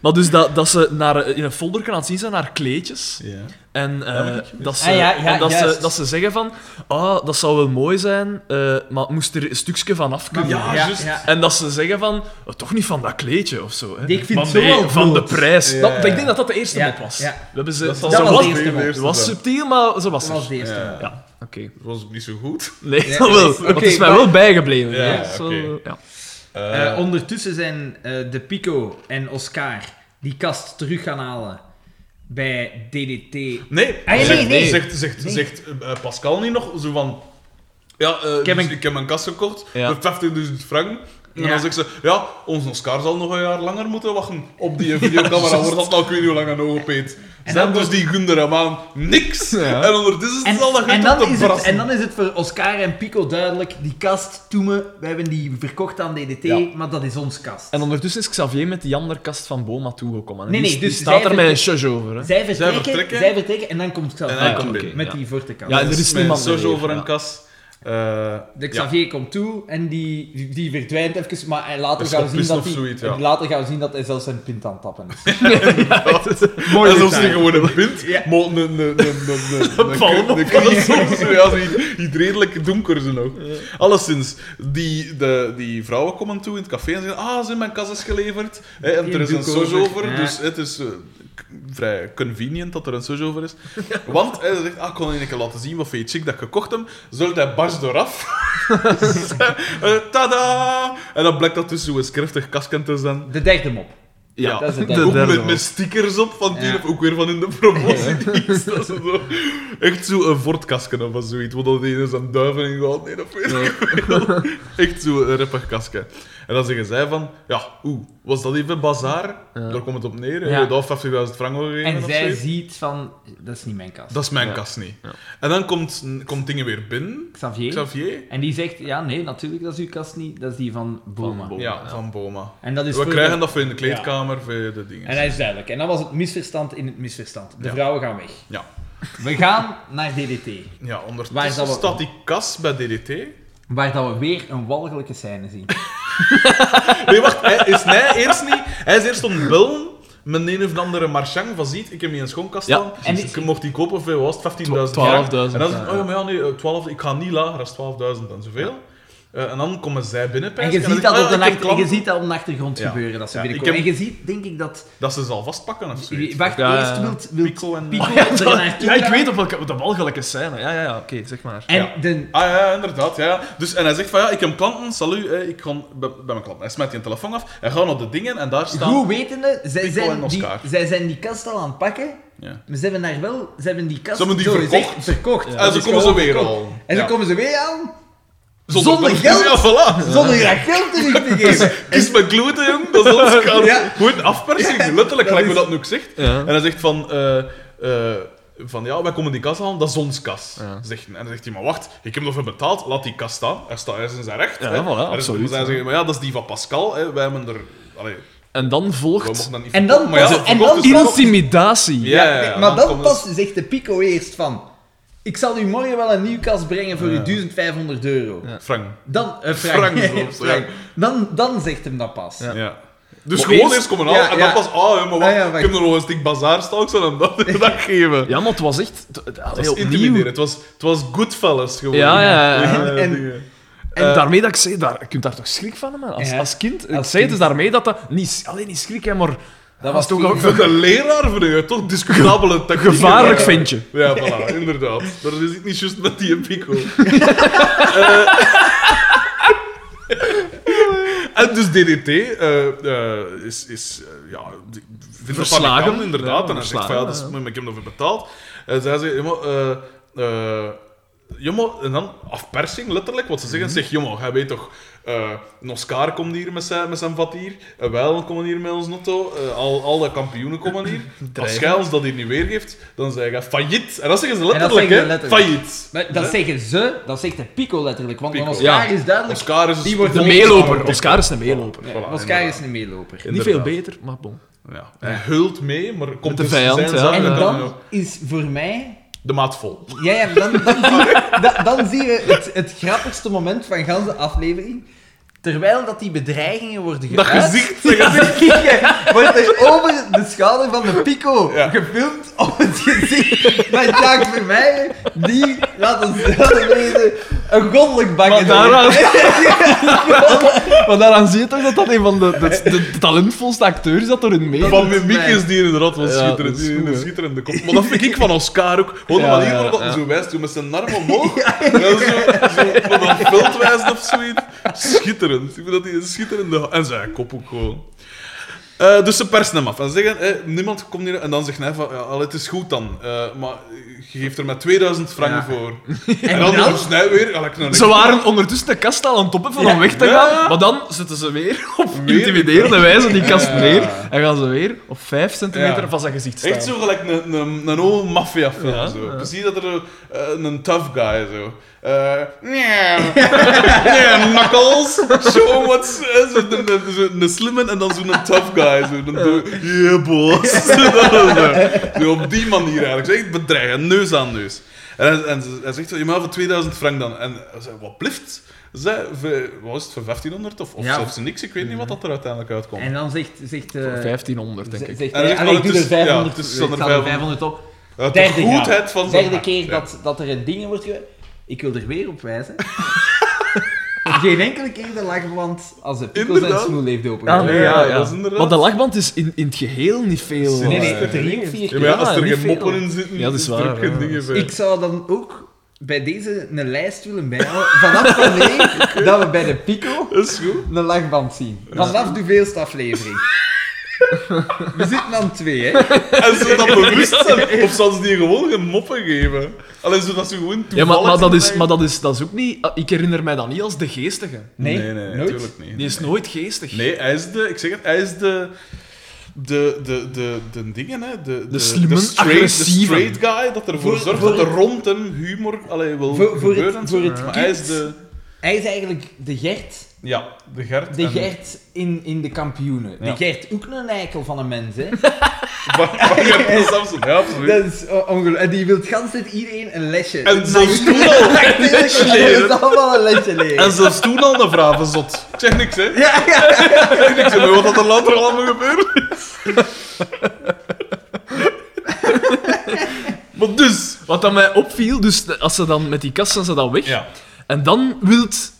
[SPEAKER 3] Maar dus dat, dat ze naar, eh, in een folder gaan zien zijn haar kleedjes.
[SPEAKER 1] Ja.
[SPEAKER 3] En, eh,
[SPEAKER 1] maar ik-
[SPEAKER 3] dat, ze,
[SPEAKER 2] Ah, ja, ja,
[SPEAKER 3] en dat, ze,
[SPEAKER 2] juist.
[SPEAKER 3] dat ze zeggen van, ah, dat zou wel mooi zijn, eh, maar het moest er een stukje van af kunnen.
[SPEAKER 1] Ja,
[SPEAKER 2] Ja,
[SPEAKER 1] juist.
[SPEAKER 2] ja.
[SPEAKER 3] En dat ze zeggen van, "Oh, toch niet van dat kleedje of zo. Hè.
[SPEAKER 2] Ik vind
[SPEAKER 3] van,
[SPEAKER 2] het zo wel
[SPEAKER 3] van de
[SPEAKER 2] groot.
[SPEAKER 3] prijs.
[SPEAKER 1] Ja.
[SPEAKER 3] Dat, ik denk dat dat de eerste
[SPEAKER 2] Ja,
[SPEAKER 3] mop was.
[SPEAKER 2] ja.
[SPEAKER 3] We hebben ze,
[SPEAKER 1] Dat
[SPEAKER 3] ze
[SPEAKER 1] zal-
[SPEAKER 2] dat was
[SPEAKER 3] was,
[SPEAKER 2] de eerste mop.
[SPEAKER 3] ze was
[SPEAKER 1] zijn.
[SPEAKER 3] subtiel, maar ze was
[SPEAKER 2] Dat
[SPEAKER 3] er.
[SPEAKER 2] was de eerste.
[SPEAKER 1] Ja.
[SPEAKER 3] Ja, oké.
[SPEAKER 1] Dat was niet zo goed.
[SPEAKER 3] Nee,
[SPEAKER 2] Ja,
[SPEAKER 3] dat wel.
[SPEAKER 2] oké,
[SPEAKER 3] Want het is mij
[SPEAKER 2] maar-
[SPEAKER 3] wel bijgebleven.
[SPEAKER 1] Ja,
[SPEAKER 3] hè.
[SPEAKER 1] oké.
[SPEAKER 3] Zo, ja.
[SPEAKER 1] Eh,
[SPEAKER 2] Eh, ondertussen zijn eh, De Pico en Oscar die kast terug gaan halen bij DDT.
[SPEAKER 1] nee,
[SPEAKER 2] Ah, nee,
[SPEAKER 1] zegt,
[SPEAKER 2] nee.
[SPEAKER 1] zegt, zegt,
[SPEAKER 2] Nee.
[SPEAKER 1] zegt eh, Pascal niet nog zo van... Ja, eh, dus ik, heb
[SPEAKER 2] heb
[SPEAKER 1] een...
[SPEAKER 2] een-
[SPEAKER 1] kast gekocht
[SPEAKER 3] Ja.
[SPEAKER 1] voor 50.000 frank. En
[SPEAKER 2] Ja.
[SPEAKER 1] dan zegt ze, ja, onze Oscar zal nog een jaar langer moeten wachten op die videocamera. Wordt dat nou, ik weet niet hoe lang een oog opeet.
[SPEAKER 2] En
[SPEAKER 1] Zijn
[SPEAKER 2] dan
[SPEAKER 1] dus die gunder hem aan niks.
[SPEAKER 3] Ja.
[SPEAKER 1] En ondertussen
[SPEAKER 2] En,
[SPEAKER 1] is het al dat
[SPEAKER 2] en,
[SPEAKER 1] je op
[SPEAKER 2] dan
[SPEAKER 1] te
[SPEAKER 2] is het,
[SPEAKER 1] brassen.
[SPEAKER 2] en dan is het voor Oscar en Pico duidelijk, die kast, Toeme, we hebben die verkocht aan DDT,
[SPEAKER 1] Ja.
[SPEAKER 2] maar dat is ons kast.
[SPEAKER 3] En ondertussen is Xavier met die andere kast van Boma toegekomen. En
[SPEAKER 2] Nee,
[SPEAKER 3] die-
[SPEAKER 2] nee,
[SPEAKER 3] die
[SPEAKER 2] dus
[SPEAKER 3] staat
[SPEAKER 2] zij
[SPEAKER 3] er met een
[SPEAKER 2] vertrekt-
[SPEAKER 3] shush over. Hè.
[SPEAKER 2] Zij vertrekken, zij
[SPEAKER 1] vertrekken.
[SPEAKER 2] vertrekken, en dan komt Xavier
[SPEAKER 1] En dan
[SPEAKER 2] Ah,
[SPEAKER 1] komt
[SPEAKER 2] oké.
[SPEAKER 1] hij.
[SPEAKER 2] met
[SPEAKER 3] Ja.
[SPEAKER 2] die vorte kast.
[SPEAKER 3] Ja, en er is
[SPEAKER 1] Met een
[SPEAKER 3] niemand
[SPEAKER 1] sojo
[SPEAKER 3] meer,
[SPEAKER 1] over
[SPEAKER 3] ja.
[SPEAKER 1] een kas. Eh,
[SPEAKER 2] De
[SPEAKER 1] ja.
[SPEAKER 2] Xavier komt toe en die, die- die verdwijnt even, maar en later,
[SPEAKER 1] Een
[SPEAKER 2] gaan we zien
[SPEAKER 1] schoppissen
[SPEAKER 2] dat
[SPEAKER 1] of
[SPEAKER 2] die,
[SPEAKER 1] zoiets, ja.
[SPEAKER 2] later gaan we zien dat hij zelfs zijn pint aan het tappen is.
[SPEAKER 1] Mooi en
[SPEAKER 2] detail.
[SPEAKER 1] soms niet gewoon een pint,
[SPEAKER 2] Ja.
[SPEAKER 1] maar een, een, een, een, een, een,
[SPEAKER 3] palm
[SPEAKER 1] een- een- dat is soms zo, ja, zoiets- iets redelijk donker ze nog. Alleszins, die, de, die vrouwen komen toe in het café en zeggen ah, ze mijn kas is geleverd. Hè, en
[SPEAKER 2] Die
[SPEAKER 1] er is een
[SPEAKER 2] doek over.
[SPEAKER 1] sojo over,
[SPEAKER 2] Ja.
[SPEAKER 1] dus het is eh, k- vrij convenient dat er een sojo over is. Want hij zegt, ah, ik kon je een keer laten zien wat voor je chick dat ik gekocht heb. Zult hij bars dooraf. Dus, eh, eh, tada! En dan blijkt dat dus zo'n krachtig kasken te zijn.
[SPEAKER 2] De derde mop.
[SPEAKER 1] Ja,
[SPEAKER 2] dat is het
[SPEAKER 1] ook
[SPEAKER 2] derde.
[SPEAKER 3] derde
[SPEAKER 1] met,
[SPEAKER 3] man.
[SPEAKER 1] met stickers op van die
[SPEAKER 2] Ja.
[SPEAKER 1] of ook weer van in de promotiedienst. dat is zo, echt zo'n vortkasken of zoiets. Want dat ene is een duiven in gehad. Nee, dat weet ik wel. Echt zo'n rippig kasken. En dan zeggen zij van, ja, oeh, was dat even bazaar? Daar komt het op neer.
[SPEAKER 2] Ja.
[SPEAKER 1] Ja. Je hebt 50.000 frank al gegeven
[SPEAKER 2] En
[SPEAKER 1] of
[SPEAKER 2] zij
[SPEAKER 1] zoiets.
[SPEAKER 2] ziet van, dat is niet mijn kast.
[SPEAKER 1] Dat is mijn
[SPEAKER 3] Ja.
[SPEAKER 1] kast niet. En dan komt, komt dingen weer binnen.
[SPEAKER 2] Xavier.
[SPEAKER 1] Xavier.
[SPEAKER 2] En die zegt, ja nee, natuurlijk, dat is uw kast niet, dat is die van Boma.
[SPEAKER 3] Boma.
[SPEAKER 1] Ja,
[SPEAKER 3] ja.
[SPEAKER 1] van Boma.
[SPEAKER 2] En dat is
[SPEAKER 1] We
[SPEAKER 2] voor
[SPEAKER 1] krijgen
[SPEAKER 2] de-
[SPEAKER 1] dat voor in de kleedkamer, voor de dingen.
[SPEAKER 2] En dat is duidelijk. En dat was het misverstand in het misverstand. De
[SPEAKER 1] Ja.
[SPEAKER 2] vrouwen gaan weg.
[SPEAKER 1] Ja.
[SPEAKER 2] We gaan naar DDT,
[SPEAKER 1] ja,
[SPEAKER 2] Waar is
[SPEAKER 1] ondertussen
[SPEAKER 2] dat wel-
[SPEAKER 1] staat die kast bij DDT.
[SPEAKER 2] waar dat we weer een walgelijke scène zien.
[SPEAKER 1] Nee, wacht. Hij is, nee, eerst niet. Hij is eerst om bellen met een of andere marchang van ziet, ik heb hier een schoonkast
[SPEAKER 3] Ja.
[SPEAKER 1] staan,
[SPEAKER 2] En
[SPEAKER 1] ik mocht die kopen voor was het 15.000
[SPEAKER 3] 12.000,
[SPEAKER 1] frank. En dan is het,
[SPEAKER 3] ja,
[SPEAKER 1] oh ja,
[SPEAKER 3] ja.
[SPEAKER 1] maar ja, nee, eh, 12, ik ga niet lager dan 12.000 en zoveel. Eh, en dan komen zij binnen,
[SPEAKER 2] En
[SPEAKER 1] pijs ik,
[SPEAKER 2] je
[SPEAKER 1] en dan
[SPEAKER 2] ziet
[SPEAKER 1] zeg ik,
[SPEAKER 2] dat op
[SPEAKER 1] oh ja,
[SPEAKER 2] de,
[SPEAKER 1] ik heb
[SPEAKER 2] achter- en je
[SPEAKER 1] klanten.
[SPEAKER 2] ziet dat op de achtergrond
[SPEAKER 1] Ja.
[SPEAKER 2] gebeuren, dat ze
[SPEAKER 1] Ja, ik
[SPEAKER 2] binnenkomen.
[SPEAKER 1] heb-
[SPEAKER 2] En je ziet, denk ik, dat...
[SPEAKER 1] Dat ze ze al vastpakken of zoiets.
[SPEAKER 2] Wacht,
[SPEAKER 3] Ja, ja, ja.
[SPEAKER 2] eerst wilt, wilt
[SPEAKER 1] Pico en-
[SPEAKER 2] Pico
[SPEAKER 1] Oh,
[SPEAKER 3] Ja,
[SPEAKER 2] er
[SPEAKER 3] dat-
[SPEAKER 2] naartoe
[SPEAKER 3] ja, ik
[SPEAKER 2] gaan.
[SPEAKER 3] weet op welke, op de walgelijke scène. Ja, ja, ja, oké, zeg maar.
[SPEAKER 2] En
[SPEAKER 1] Ja.
[SPEAKER 2] de...
[SPEAKER 1] Ah ja, ja, inderdaad. Ja. ja. Dus, en hij zegt van ja, ik heb klanten, salu, hè, ik ga bij, bij mijn klanten. Hij smijt die telefoon af, hij gaat naar de dingen en daar staan.
[SPEAKER 2] Goed wetende, zij
[SPEAKER 1] Pico
[SPEAKER 2] zijn,
[SPEAKER 1] en
[SPEAKER 2] die,
[SPEAKER 1] Oscar.
[SPEAKER 2] zij zijn die kast al aan het pakken.
[SPEAKER 1] Ja.
[SPEAKER 2] Maar ze hebben daar wel... Ze hebben die kast
[SPEAKER 1] Ze hebben die
[SPEAKER 2] zo gezegd
[SPEAKER 1] verkocht.
[SPEAKER 2] verkocht.
[SPEAKER 3] Ja,
[SPEAKER 2] Dat
[SPEAKER 1] en ze
[SPEAKER 2] is
[SPEAKER 1] komen ze
[SPEAKER 2] gewoon
[SPEAKER 1] weer
[SPEAKER 2] verkocht.
[SPEAKER 1] al.
[SPEAKER 2] En ze
[SPEAKER 1] Ja.
[SPEAKER 2] komen ze weer aan,
[SPEAKER 1] Zonder,
[SPEAKER 2] Zonder
[SPEAKER 1] geld.
[SPEAKER 2] geld.
[SPEAKER 1] Ja, voilà.
[SPEAKER 2] zonder dat geld terug te geven. Dus-
[SPEAKER 1] Kies met gloed, jong. Dat is ons kan.
[SPEAKER 2] Ja.
[SPEAKER 1] Gewoon afpersing, letterlijk,
[SPEAKER 2] dat
[SPEAKER 1] gelijk hoe
[SPEAKER 2] is-
[SPEAKER 1] dat nu ook zegt.
[SPEAKER 3] Ja.
[SPEAKER 1] En hij zegt van... eh, eh, van ja, wij komen die kas halen, dat is ons kas.
[SPEAKER 3] Ja.
[SPEAKER 1] Zegt, hij. en dan zegt hij, maar wacht, ik heb ervoor betaald, laat die kas staan. Hij staat hij is in zijn recht.
[SPEAKER 3] Ja,
[SPEAKER 1] hè.
[SPEAKER 3] voilà,
[SPEAKER 1] Er is-
[SPEAKER 3] absoluut,
[SPEAKER 1] Zij
[SPEAKER 3] ja.
[SPEAKER 1] zeggen, maar ja, dat is die van Pascal, hè. wij hebben er... Allee,
[SPEAKER 3] En dan
[SPEAKER 1] we
[SPEAKER 3] volgt
[SPEAKER 1] mochten dat niet
[SPEAKER 2] En
[SPEAKER 1] verkopen,
[SPEAKER 2] dan pas-
[SPEAKER 1] dat
[SPEAKER 2] en
[SPEAKER 1] verkocht dus
[SPEAKER 2] dan
[SPEAKER 1] is wel-
[SPEAKER 2] pas-
[SPEAKER 3] intimidatie.
[SPEAKER 1] Ja, ja, ja,
[SPEAKER 2] nee,
[SPEAKER 1] en
[SPEAKER 2] maar
[SPEAKER 1] dan
[SPEAKER 2] dan
[SPEAKER 1] komen
[SPEAKER 2] pas
[SPEAKER 1] ze-
[SPEAKER 2] zegt de Pico eerst van... Ik zal u morgen wel een nieuw kast brengen voor
[SPEAKER 1] Ja.
[SPEAKER 2] uw 1500 euro.
[SPEAKER 1] Frank.
[SPEAKER 2] Dan, eh,
[SPEAKER 1] Frank
[SPEAKER 2] Frank.
[SPEAKER 1] is het, ja.
[SPEAKER 2] Frank. Dan, dan zegt hem dat pas.
[SPEAKER 3] Ja.
[SPEAKER 1] Ja. Dus
[SPEAKER 3] Maar
[SPEAKER 1] gewoon eerst,
[SPEAKER 3] eerst-
[SPEAKER 1] komen halen,
[SPEAKER 2] ja,
[SPEAKER 1] en dan
[SPEAKER 2] ja.
[SPEAKER 1] pas, ah, hè, maar wacht,
[SPEAKER 2] Ah, ja,
[SPEAKER 1] ik
[SPEAKER 2] wacht.
[SPEAKER 1] heb er nog een stuk bazaar staan, ik zal hem dat, dat geven.
[SPEAKER 3] Ja, maar het was echt... Het, het-
[SPEAKER 1] Het was
[SPEAKER 3] opnieuw.
[SPEAKER 1] intimiderend, het was, het was Goodfellas gewoon.
[SPEAKER 3] Ja, ja, ja.
[SPEAKER 2] En- en-
[SPEAKER 1] dingen.
[SPEAKER 3] En
[SPEAKER 1] Eh,
[SPEAKER 3] daarmee dat ik zei, daar, je kunt daar toch schrik van hebben als,
[SPEAKER 2] Ja.
[SPEAKER 3] als kind. ik
[SPEAKER 2] Als
[SPEAKER 3] zei
[SPEAKER 2] kind.
[SPEAKER 3] dus daarmee dat dat niet, alleen niet schrik, hè, maar dat was
[SPEAKER 2] was
[SPEAKER 3] toch
[SPEAKER 2] toen-
[SPEAKER 3] ook
[SPEAKER 1] Voor
[SPEAKER 3] een
[SPEAKER 1] de leraar vind ik het toch discutabele tactieken.
[SPEAKER 3] gevaarlijk ventje.
[SPEAKER 1] Ja, voilà, inderdaad. Dat is het niet juist met die Eh, pico. En dus DDT eh, eh, is, is eh, ja, die- vindt
[SPEAKER 3] Verslagen.
[SPEAKER 1] dat van inderdaad.
[SPEAKER 3] Ja,
[SPEAKER 1] en hij zegt van,
[SPEAKER 3] verslagen,
[SPEAKER 1] ja, dat is,
[SPEAKER 3] ja.
[SPEAKER 1] maar ik heb ervoor betaald. En zij zegt, jongen, eh eh, jongen, en dan afpersing letterlijk, wat ze zeggen.
[SPEAKER 2] Mhm.
[SPEAKER 1] Zeg, jongen, jij weet toch, eh een Oscar komt hier met zijn, met zijn vat hier, en wij komen hier met ons notto, eh, al, al dat kampioenen komen hier. Als jij ons dat hier niet weergeeft, dan zeg je failliet. En dat zeggen ze letterlijk,
[SPEAKER 2] zeggen ze
[SPEAKER 1] hè.
[SPEAKER 2] letterlijk.
[SPEAKER 1] Failliet.
[SPEAKER 2] Maar
[SPEAKER 1] Hè?
[SPEAKER 2] dat zeggen ze, dat zegt de Pico letterlijk. Want
[SPEAKER 1] Pico.
[SPEAKER 2] Oscar
[SPEAKER 3] Ja.
[SPEAKER 2] is duidelijk...
[SPEAKER 1] Oscar is een
[SPEAKER 2] Die wordt
[SPEAKER 3] De
[SPEAKER 2] De
[SPEAKER 3] meeloper.
[SPEAKER 2] meeloper.
[SPEAKER 3] Oscar is een meeloper.
[SPEAKER 2] Nee,
[SPEAKER 1] Voilà,
[SPEAKER 2] Oscar
[SPEAKER 1] inderdaad.
[SPEAKER 2] is een meeloper.
[SPEAKER 3] Niet veel
[SPEAKER 1] Inderdaad.
[SPEAKER 3] beter, maar bon.
[SPEAKER 1] Ja. Hij hult mee, maar komt
[SPEAKER 3] de
[SPEAKER 1] dus
[SPEAKER 3] vijand,
[SPEAKER 1] zijn
[SPEAKER 3] ja.
[SPEAKER 1] zaak
[SPEAKER 2] En
[SPEAKER 1] en
[SPEAKER 2] dan is voor mij
[SPEAKER 1] de maat vol.
[SPEAKER 2] Ja, ja, dan, dan, zie, da- dan zie je het, het grappigste moment van ganse aflevering. Terwijl dat die bedreigingen worden
[SPEAKER 1] Dat
[SPEAKER 2] geuit...
[SPEAKER 1] gezicht, dat gezicht.
[SPEAKER 2] dat gezicht wordt er over de schouder van de pico
[SPEAKER 1] Ja.
[SPEAKER 2] gefilmd op het gezicht van Jacques Vermeijer, die, laat ons zelf weten, een goddelijk bakken
[SPEAKER 3] Maar daaraan, maar daaraan zie je toch dat dat een van de, de, de talentvolste acteurs is dat erin mee.
[SPEAKER 1] Van mimiek is die inderdaad wel
[SPEAKER 3] Ja,
[SPEAKER 1] schitterend.
[SPEAKER 3] dat is
[SPEAKER 1] Die
[SPEAKER 3] goed,
[SPEAKER 1] een
[SPEAKER 3] hè.
[SPEAKER 1] schitterende kop. Maar dat vind ik van Oscar ook. Gewoon de
[SPEAKER 3] Ja,
[SPEAKER 1] manier
[SPEAKER 3] ja,
[SPEAKER 1] waarop dat hij
[SPEAKER 3] ja.
[SPEAKER 1] zo wijst, zo met zijn arm omhoog. En zo, zo met een veld wijst of zoiets. Schitterend. Ik vind dat hij een schitterende... En zijn kop ook gewoon. Eh, dus ze persen hem af en zeggen, eh, niemand komt hier. En dan zegt hij van, ja, al, het is goed dan, eh, maar je geeft er met 2000 frank
[SPEAKER 2] Ja.
[SPEAKER 1] voor.
[SPEAKER 2] En
[SPEAKER 1] En dan
[SPEAKER 2] dan?
[SPEAKER 1] wordt hij weer... ja, ik nou
[SPEAKER 3] Ze
[SPEAKER 1] niks-
[SPEAKER 3] waren ondertussen de kast al aan het toppen van om weg te
[SPEAKER 1] Ja.
[SPEAKER 3] gaan, maar dan zetten ze weer op
[SPEAKER 1] Weer.
[SPEAKER 3] intimiderende wijze die kast
[SPEAKER 1] Ja.
[SPEAKER 3] neer en gaan ze weer op 5 centimeter
[SPEAKER 1] Ja.
[SPEAKER 3] van zijn gezicht staan.
[SPEAKER 1] Echt zo gelijk een, een, een oude maffiafilm.
[SPEAKER 3] Ja,
[SPEAKER 1] zo.
[SPEAKER 3] ja.
[SPEAKER 1] Precies dat er eh, een tough guy zo. Eh, Nee, nee, knuckles. Show what's. eh, Zo, de, de, zo, een slimme en dan zo'n tough guy. Zo. Dan doe, yeah, boss. Dat is het. Zo op die manier eigenlijk. Zo Echt bedreigen, neus aan neus. En, hij- en ze- hij zegt: Je mag voor 2000 frank dan. En hij zei, Wat blift? Zij, voor- wat was het voor 1500 of, of
[SPEAKER 2] Ja.
[SPEAKER 1] zelfs niks? Ik weet niet wat dat er uiteindelijk uitkomt.
[SPEAKER 2] En dan zegt... zegt eh,
[SPEAKER 3] 1500, denk ik.
[SPEAKER 2] Zegt,
[SPEAKER 1] En dan
[SPEAKER 2] hij,
[SPEAKER 1] zegt
[SPEAKER 2] allee,
[SPEAKER 1] hij,
[SPEAKER 2] ik doe
[SPEAKER 1] het is-
[SPEAKER 2] er
[SPEAKER 1] ja,
[SPEAKER 2] 500,
[SPEAKER 1] het
[SPEAKER 2] ik
[SPEAKER 1] is dan er
[SPEAKER 2] zal er 500 op.
[SPEAKER 1] Uit de
[SPEAKER 2] Derde,
[SPEAKER 1] goedheid
[SPEAKER 2] graad.
[SPEAKER 1] van zijn
[SPEAKER 2] derde
[SPEAKER 1] hart,
[SPEAKER 2] keer
[SPEAKER 1] ja.
[SPEAKER 2] dat, dat er een ding wordt ge... Ik wil er weer op wijzen. Geen enkele keer de lachband als de pikkels en
[SPEAKER 1] Inderdaad.
[SPEAKER 2] smoel heeft
[SPEAKER 3] Ah,
[SPEAKER 2] opengegaan.
[SPEAKER 3] nee,
[SPEAKER 1] Ja,
[SPEAKER 3] ja,
[SPEAKER 1] ja,
[SPEAKER 3] ja.
[SPEAKER 1] dat is inderdaad-
[SPEAKER 3] Maar de lachband is in, in het geheel niet veel.
[SPEAKER 1] Nee,
[SPEAKER 2] nee, nee,
[SPEAKER 3] eh,
[SPEAKER 2] het er ging vier
[SPEAKER 1] Ja,
[SPEAKER 2] keer.
[SPEAKER 1] maar ja, als er
[SPEAKER 3] Ja,
[SPEAKER 1] geen
[SPEAKER 3] niet
[SPEAKER 1] moppen
[SPEAKER 3] veel.
[SPEAKER 1] in zitten,
[SPEAKER 3] Ja, dat is
[SPEAKER 1] er
[SPEAKER 3] waar,
[SPEAKER 1] ook geen
[SPEAKER 3] ja.
[SPEAKER 1] dingen bij.
[SPEAKER 2] Ik zou dan ook bij deze een lijst willen bijhouden vanaf wanneer dat we bij de pico
[SPEAKER 1] Dat is goed.
[SPEAKER 2] een lachband zien. Vanaf de veelste aflevering. We zitten aan twee, hè.
[SPEAKER 1] En ze dat bewust zijn, of zal ze die gewoon geen moppen geven? Alleen zodat ze gewoon toevallig...
[SPEAKER 3] Ja, maar, maar, dat is,
[SPEAKER 1] zijn.
[SPEAKER 3] maar dat, is, dat is ook niet... ah, Ik herinner mij dat niet als de geestige.
[SPEAKER 1] Nee,
[SPEAKER 2] Nee,
[SPEAKER 1] nee, nee
[SPEAKER 2] nooit.
[SPEAKER 1] natuurlijk niet.
[SPEAKER 3] Die is nooit geestig.
[SPEAKER 1] Nee, hij is de... Ik zeg het, hij is de... De, de, de, de dingen, hè. De, de,
[SPEAKER 3] slimme,
[SPEAKER 1] de straight,
[SPEAKER 3] agressieve.
[SPEAKER 1] De straight guy, dat ervoor
[SPEAKER 2] Voor-
[SPEAKER 1] zorgt
[SPEAKER 2] voor
[SPEAKER 1] dat er rond hem humor allee, wil
[SPEAKER 2] Voor- voor het-
[SPEAKER 1] gebeuren. en zo.
[SPEAKER 2] voor het
[SPEAKER 1] maar hij is
[SPEAKER 2] kind.
[SPEAKER 1] de...
[SPEAKER 2] Hij is eigenlijk de Gert
[SPEAKER 1] Ja, de Gert.
[SPEAKER 2] De
[SPEAKER 1] en-
[SPEAKER 2] Gert in, in de kampioenen.
[SPEAKER 1] Ja.
[SPEAKER 2] De Gert ook een eikel van een mens, hè.
[SPEAKER 1] Van van Jeffrey Samson, ja, absoluut.
[SPEAKER 2] Dat is o- ongelooflijk. En die wil gans tijd iedereen een lesje.
[SPEAKER 1] En zelfs toen al.
[SPEAKER 2] Natuurlijk,
[SPEAKER 1] lesje
[SPEAKER 2] die
[SPEAKER 1] leren.
[SPEAKER 2] wil allemaal een lesje
[SPEAKER 1] En
[SPEAKER 2] leren.
[SPEAKER 1] zelfs toen al een vravenzot. Ik zeg niks, hè. Ik
[SPEAKER 2] Ja, ja.
[SPEAKER 1] zeg niks, hè, maar wat dat er later allemaal gebeurt. maar dus...
[SPEAKER 3] Wat dan mij opviel, dus als ze dan met die kast zijn ze dan weg.
[SPEAKER 1] Ja,
[SPEAKER 3] En dan wilt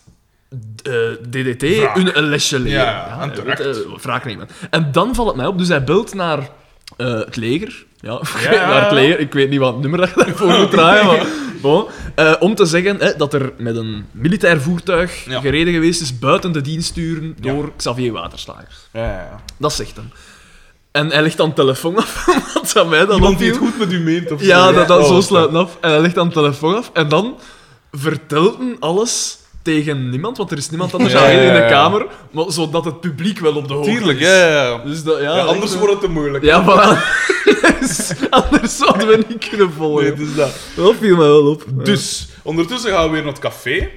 [SPEAKER 3] eh, DDT
[SPEAKER 1] Wraak.
[SPEAKER 3] hun een lesje leren.
[SPEAKER 1] Ja, en
[SPEAKER 3] hij
[SPEAKER 1] terecht.
[SPEAKER 3] wil, eh, wraak nemen. En dan valt het mij op, dus hij belt naar eh, het leger. Ja,
[SPEAKER 1] Ja, ja,
[SPEAKER 3] naar het
[SPEAKER 1] ja.
[SPEAKER 3] leger. Ik weet niet wat nummer dat je daarvoor moet draaien, maar bon. Eh, om te zeggen eh, dat er met een militair voertuig
[SPEAKER 1] Ja.
[SPEAKER 3] gereden geweest is buiten de dienstturen
[SPEAKER 1] Ja.
[SPEAKER 3] door Xavier Waterslagers.
[SPEAKER 1] ja, ja.
[SPEAKER 3] Dat zegt hem. En hij legt dan telefoon af, wat aan mij dan
[SPEAKER 1] Iemand die
[SPEAKER 3] opviel.
[SPEAKER 1] het goed met u meent, of
[SPEAKER 3] Ja,
[SPEAKER 1] zo.
[SPEAKER 3] dat, dat,
[SPEAKER 1] Oh,
[SPEAKER 3] zo sluit het af. En hij legt dan de telefoon af. En dan vertelt hij alles tegen niemand, want er is niemand anders
[SPEAKER 1] Ja,
[SPEAKER 3] aan
[SPEAKER 1] ja,
[SPEAKER 3] in de
[SPEAKER 1] ja.
[SPEAKER 3] kamer, maar, zodat het publiek wel op de hoogte
[SPEAKER 1] Tuurlijk,
[SPEAKER 3] is.
[SPEAKER 1] ja, ja, ja.
[SPEAKER 3] Dus dat, ja,
[SPEAKER 1] Ja, anders wordt het te moeilijk.
[SPEAKER 3] Ja, voilà. Dus anders zouden we niet kunnen volgen.
[SPEAKER 1] Nee, dus- het is dat.
[SPEAKER 3] Dat viel mij wel op.
[SPEAKER 1] Dus, ondertussen gaan we weer naar het café.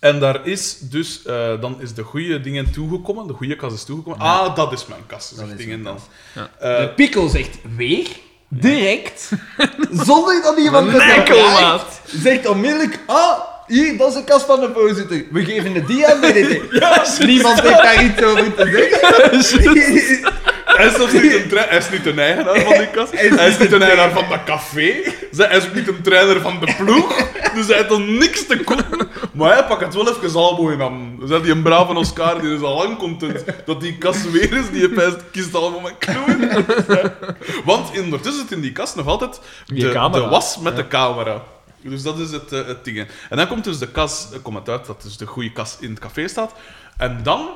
[SPEAKER 1] En daar is dus, eh, dan is de goede dingen toegekomen, de goede kast is toegekomen. Ah, dat is mijn kast, zegt
[SPEAKER 2] is
[SPEAKER 1] dingen dan.
[SPEAKER 3] Ja.
[SPEAKER 1] Eh,
[SPEAKER 2] Pikkel zegt weer, direct, zonder dat iemand het
[SPEAKER 3] Nekkelmaat.
[SPEAKER 2] vraagt, zegt onmiddellijk, ah, hier, dat is de kast van de voorzitter. We geven het die aan DDT. Niemand heeft daar iets over te zeggen.
[SPEAKER 1] hij, is zelfs niet een tra- hij is niet een eigenaar van die kast,
[SPEAKER 2] Hij is
[SPEAKER 1] hij is
[SPEAKER 2] niet
[SPEAKER 1] niet een eigenaar van dat café, Zij- hij is ook niet een trainer van de ploeg, dus hij heeft al niks te kopen. Maar hij pakt het wel even allemaal in aan. Dus dat die een brave Oscar, die is al lang content dat die kast weer is, die hij kist allemaal met knoeien. Want ondertussen zit in die kast nog altijd de,
[SPEAKER 3] Die camera.
[SPEAKER 1] de was met de camera. Dus dat is het, eh, het ding. hè. En dan komt dus de kas, eh, komt het uit dat dus de goede kas in het café staat. En dan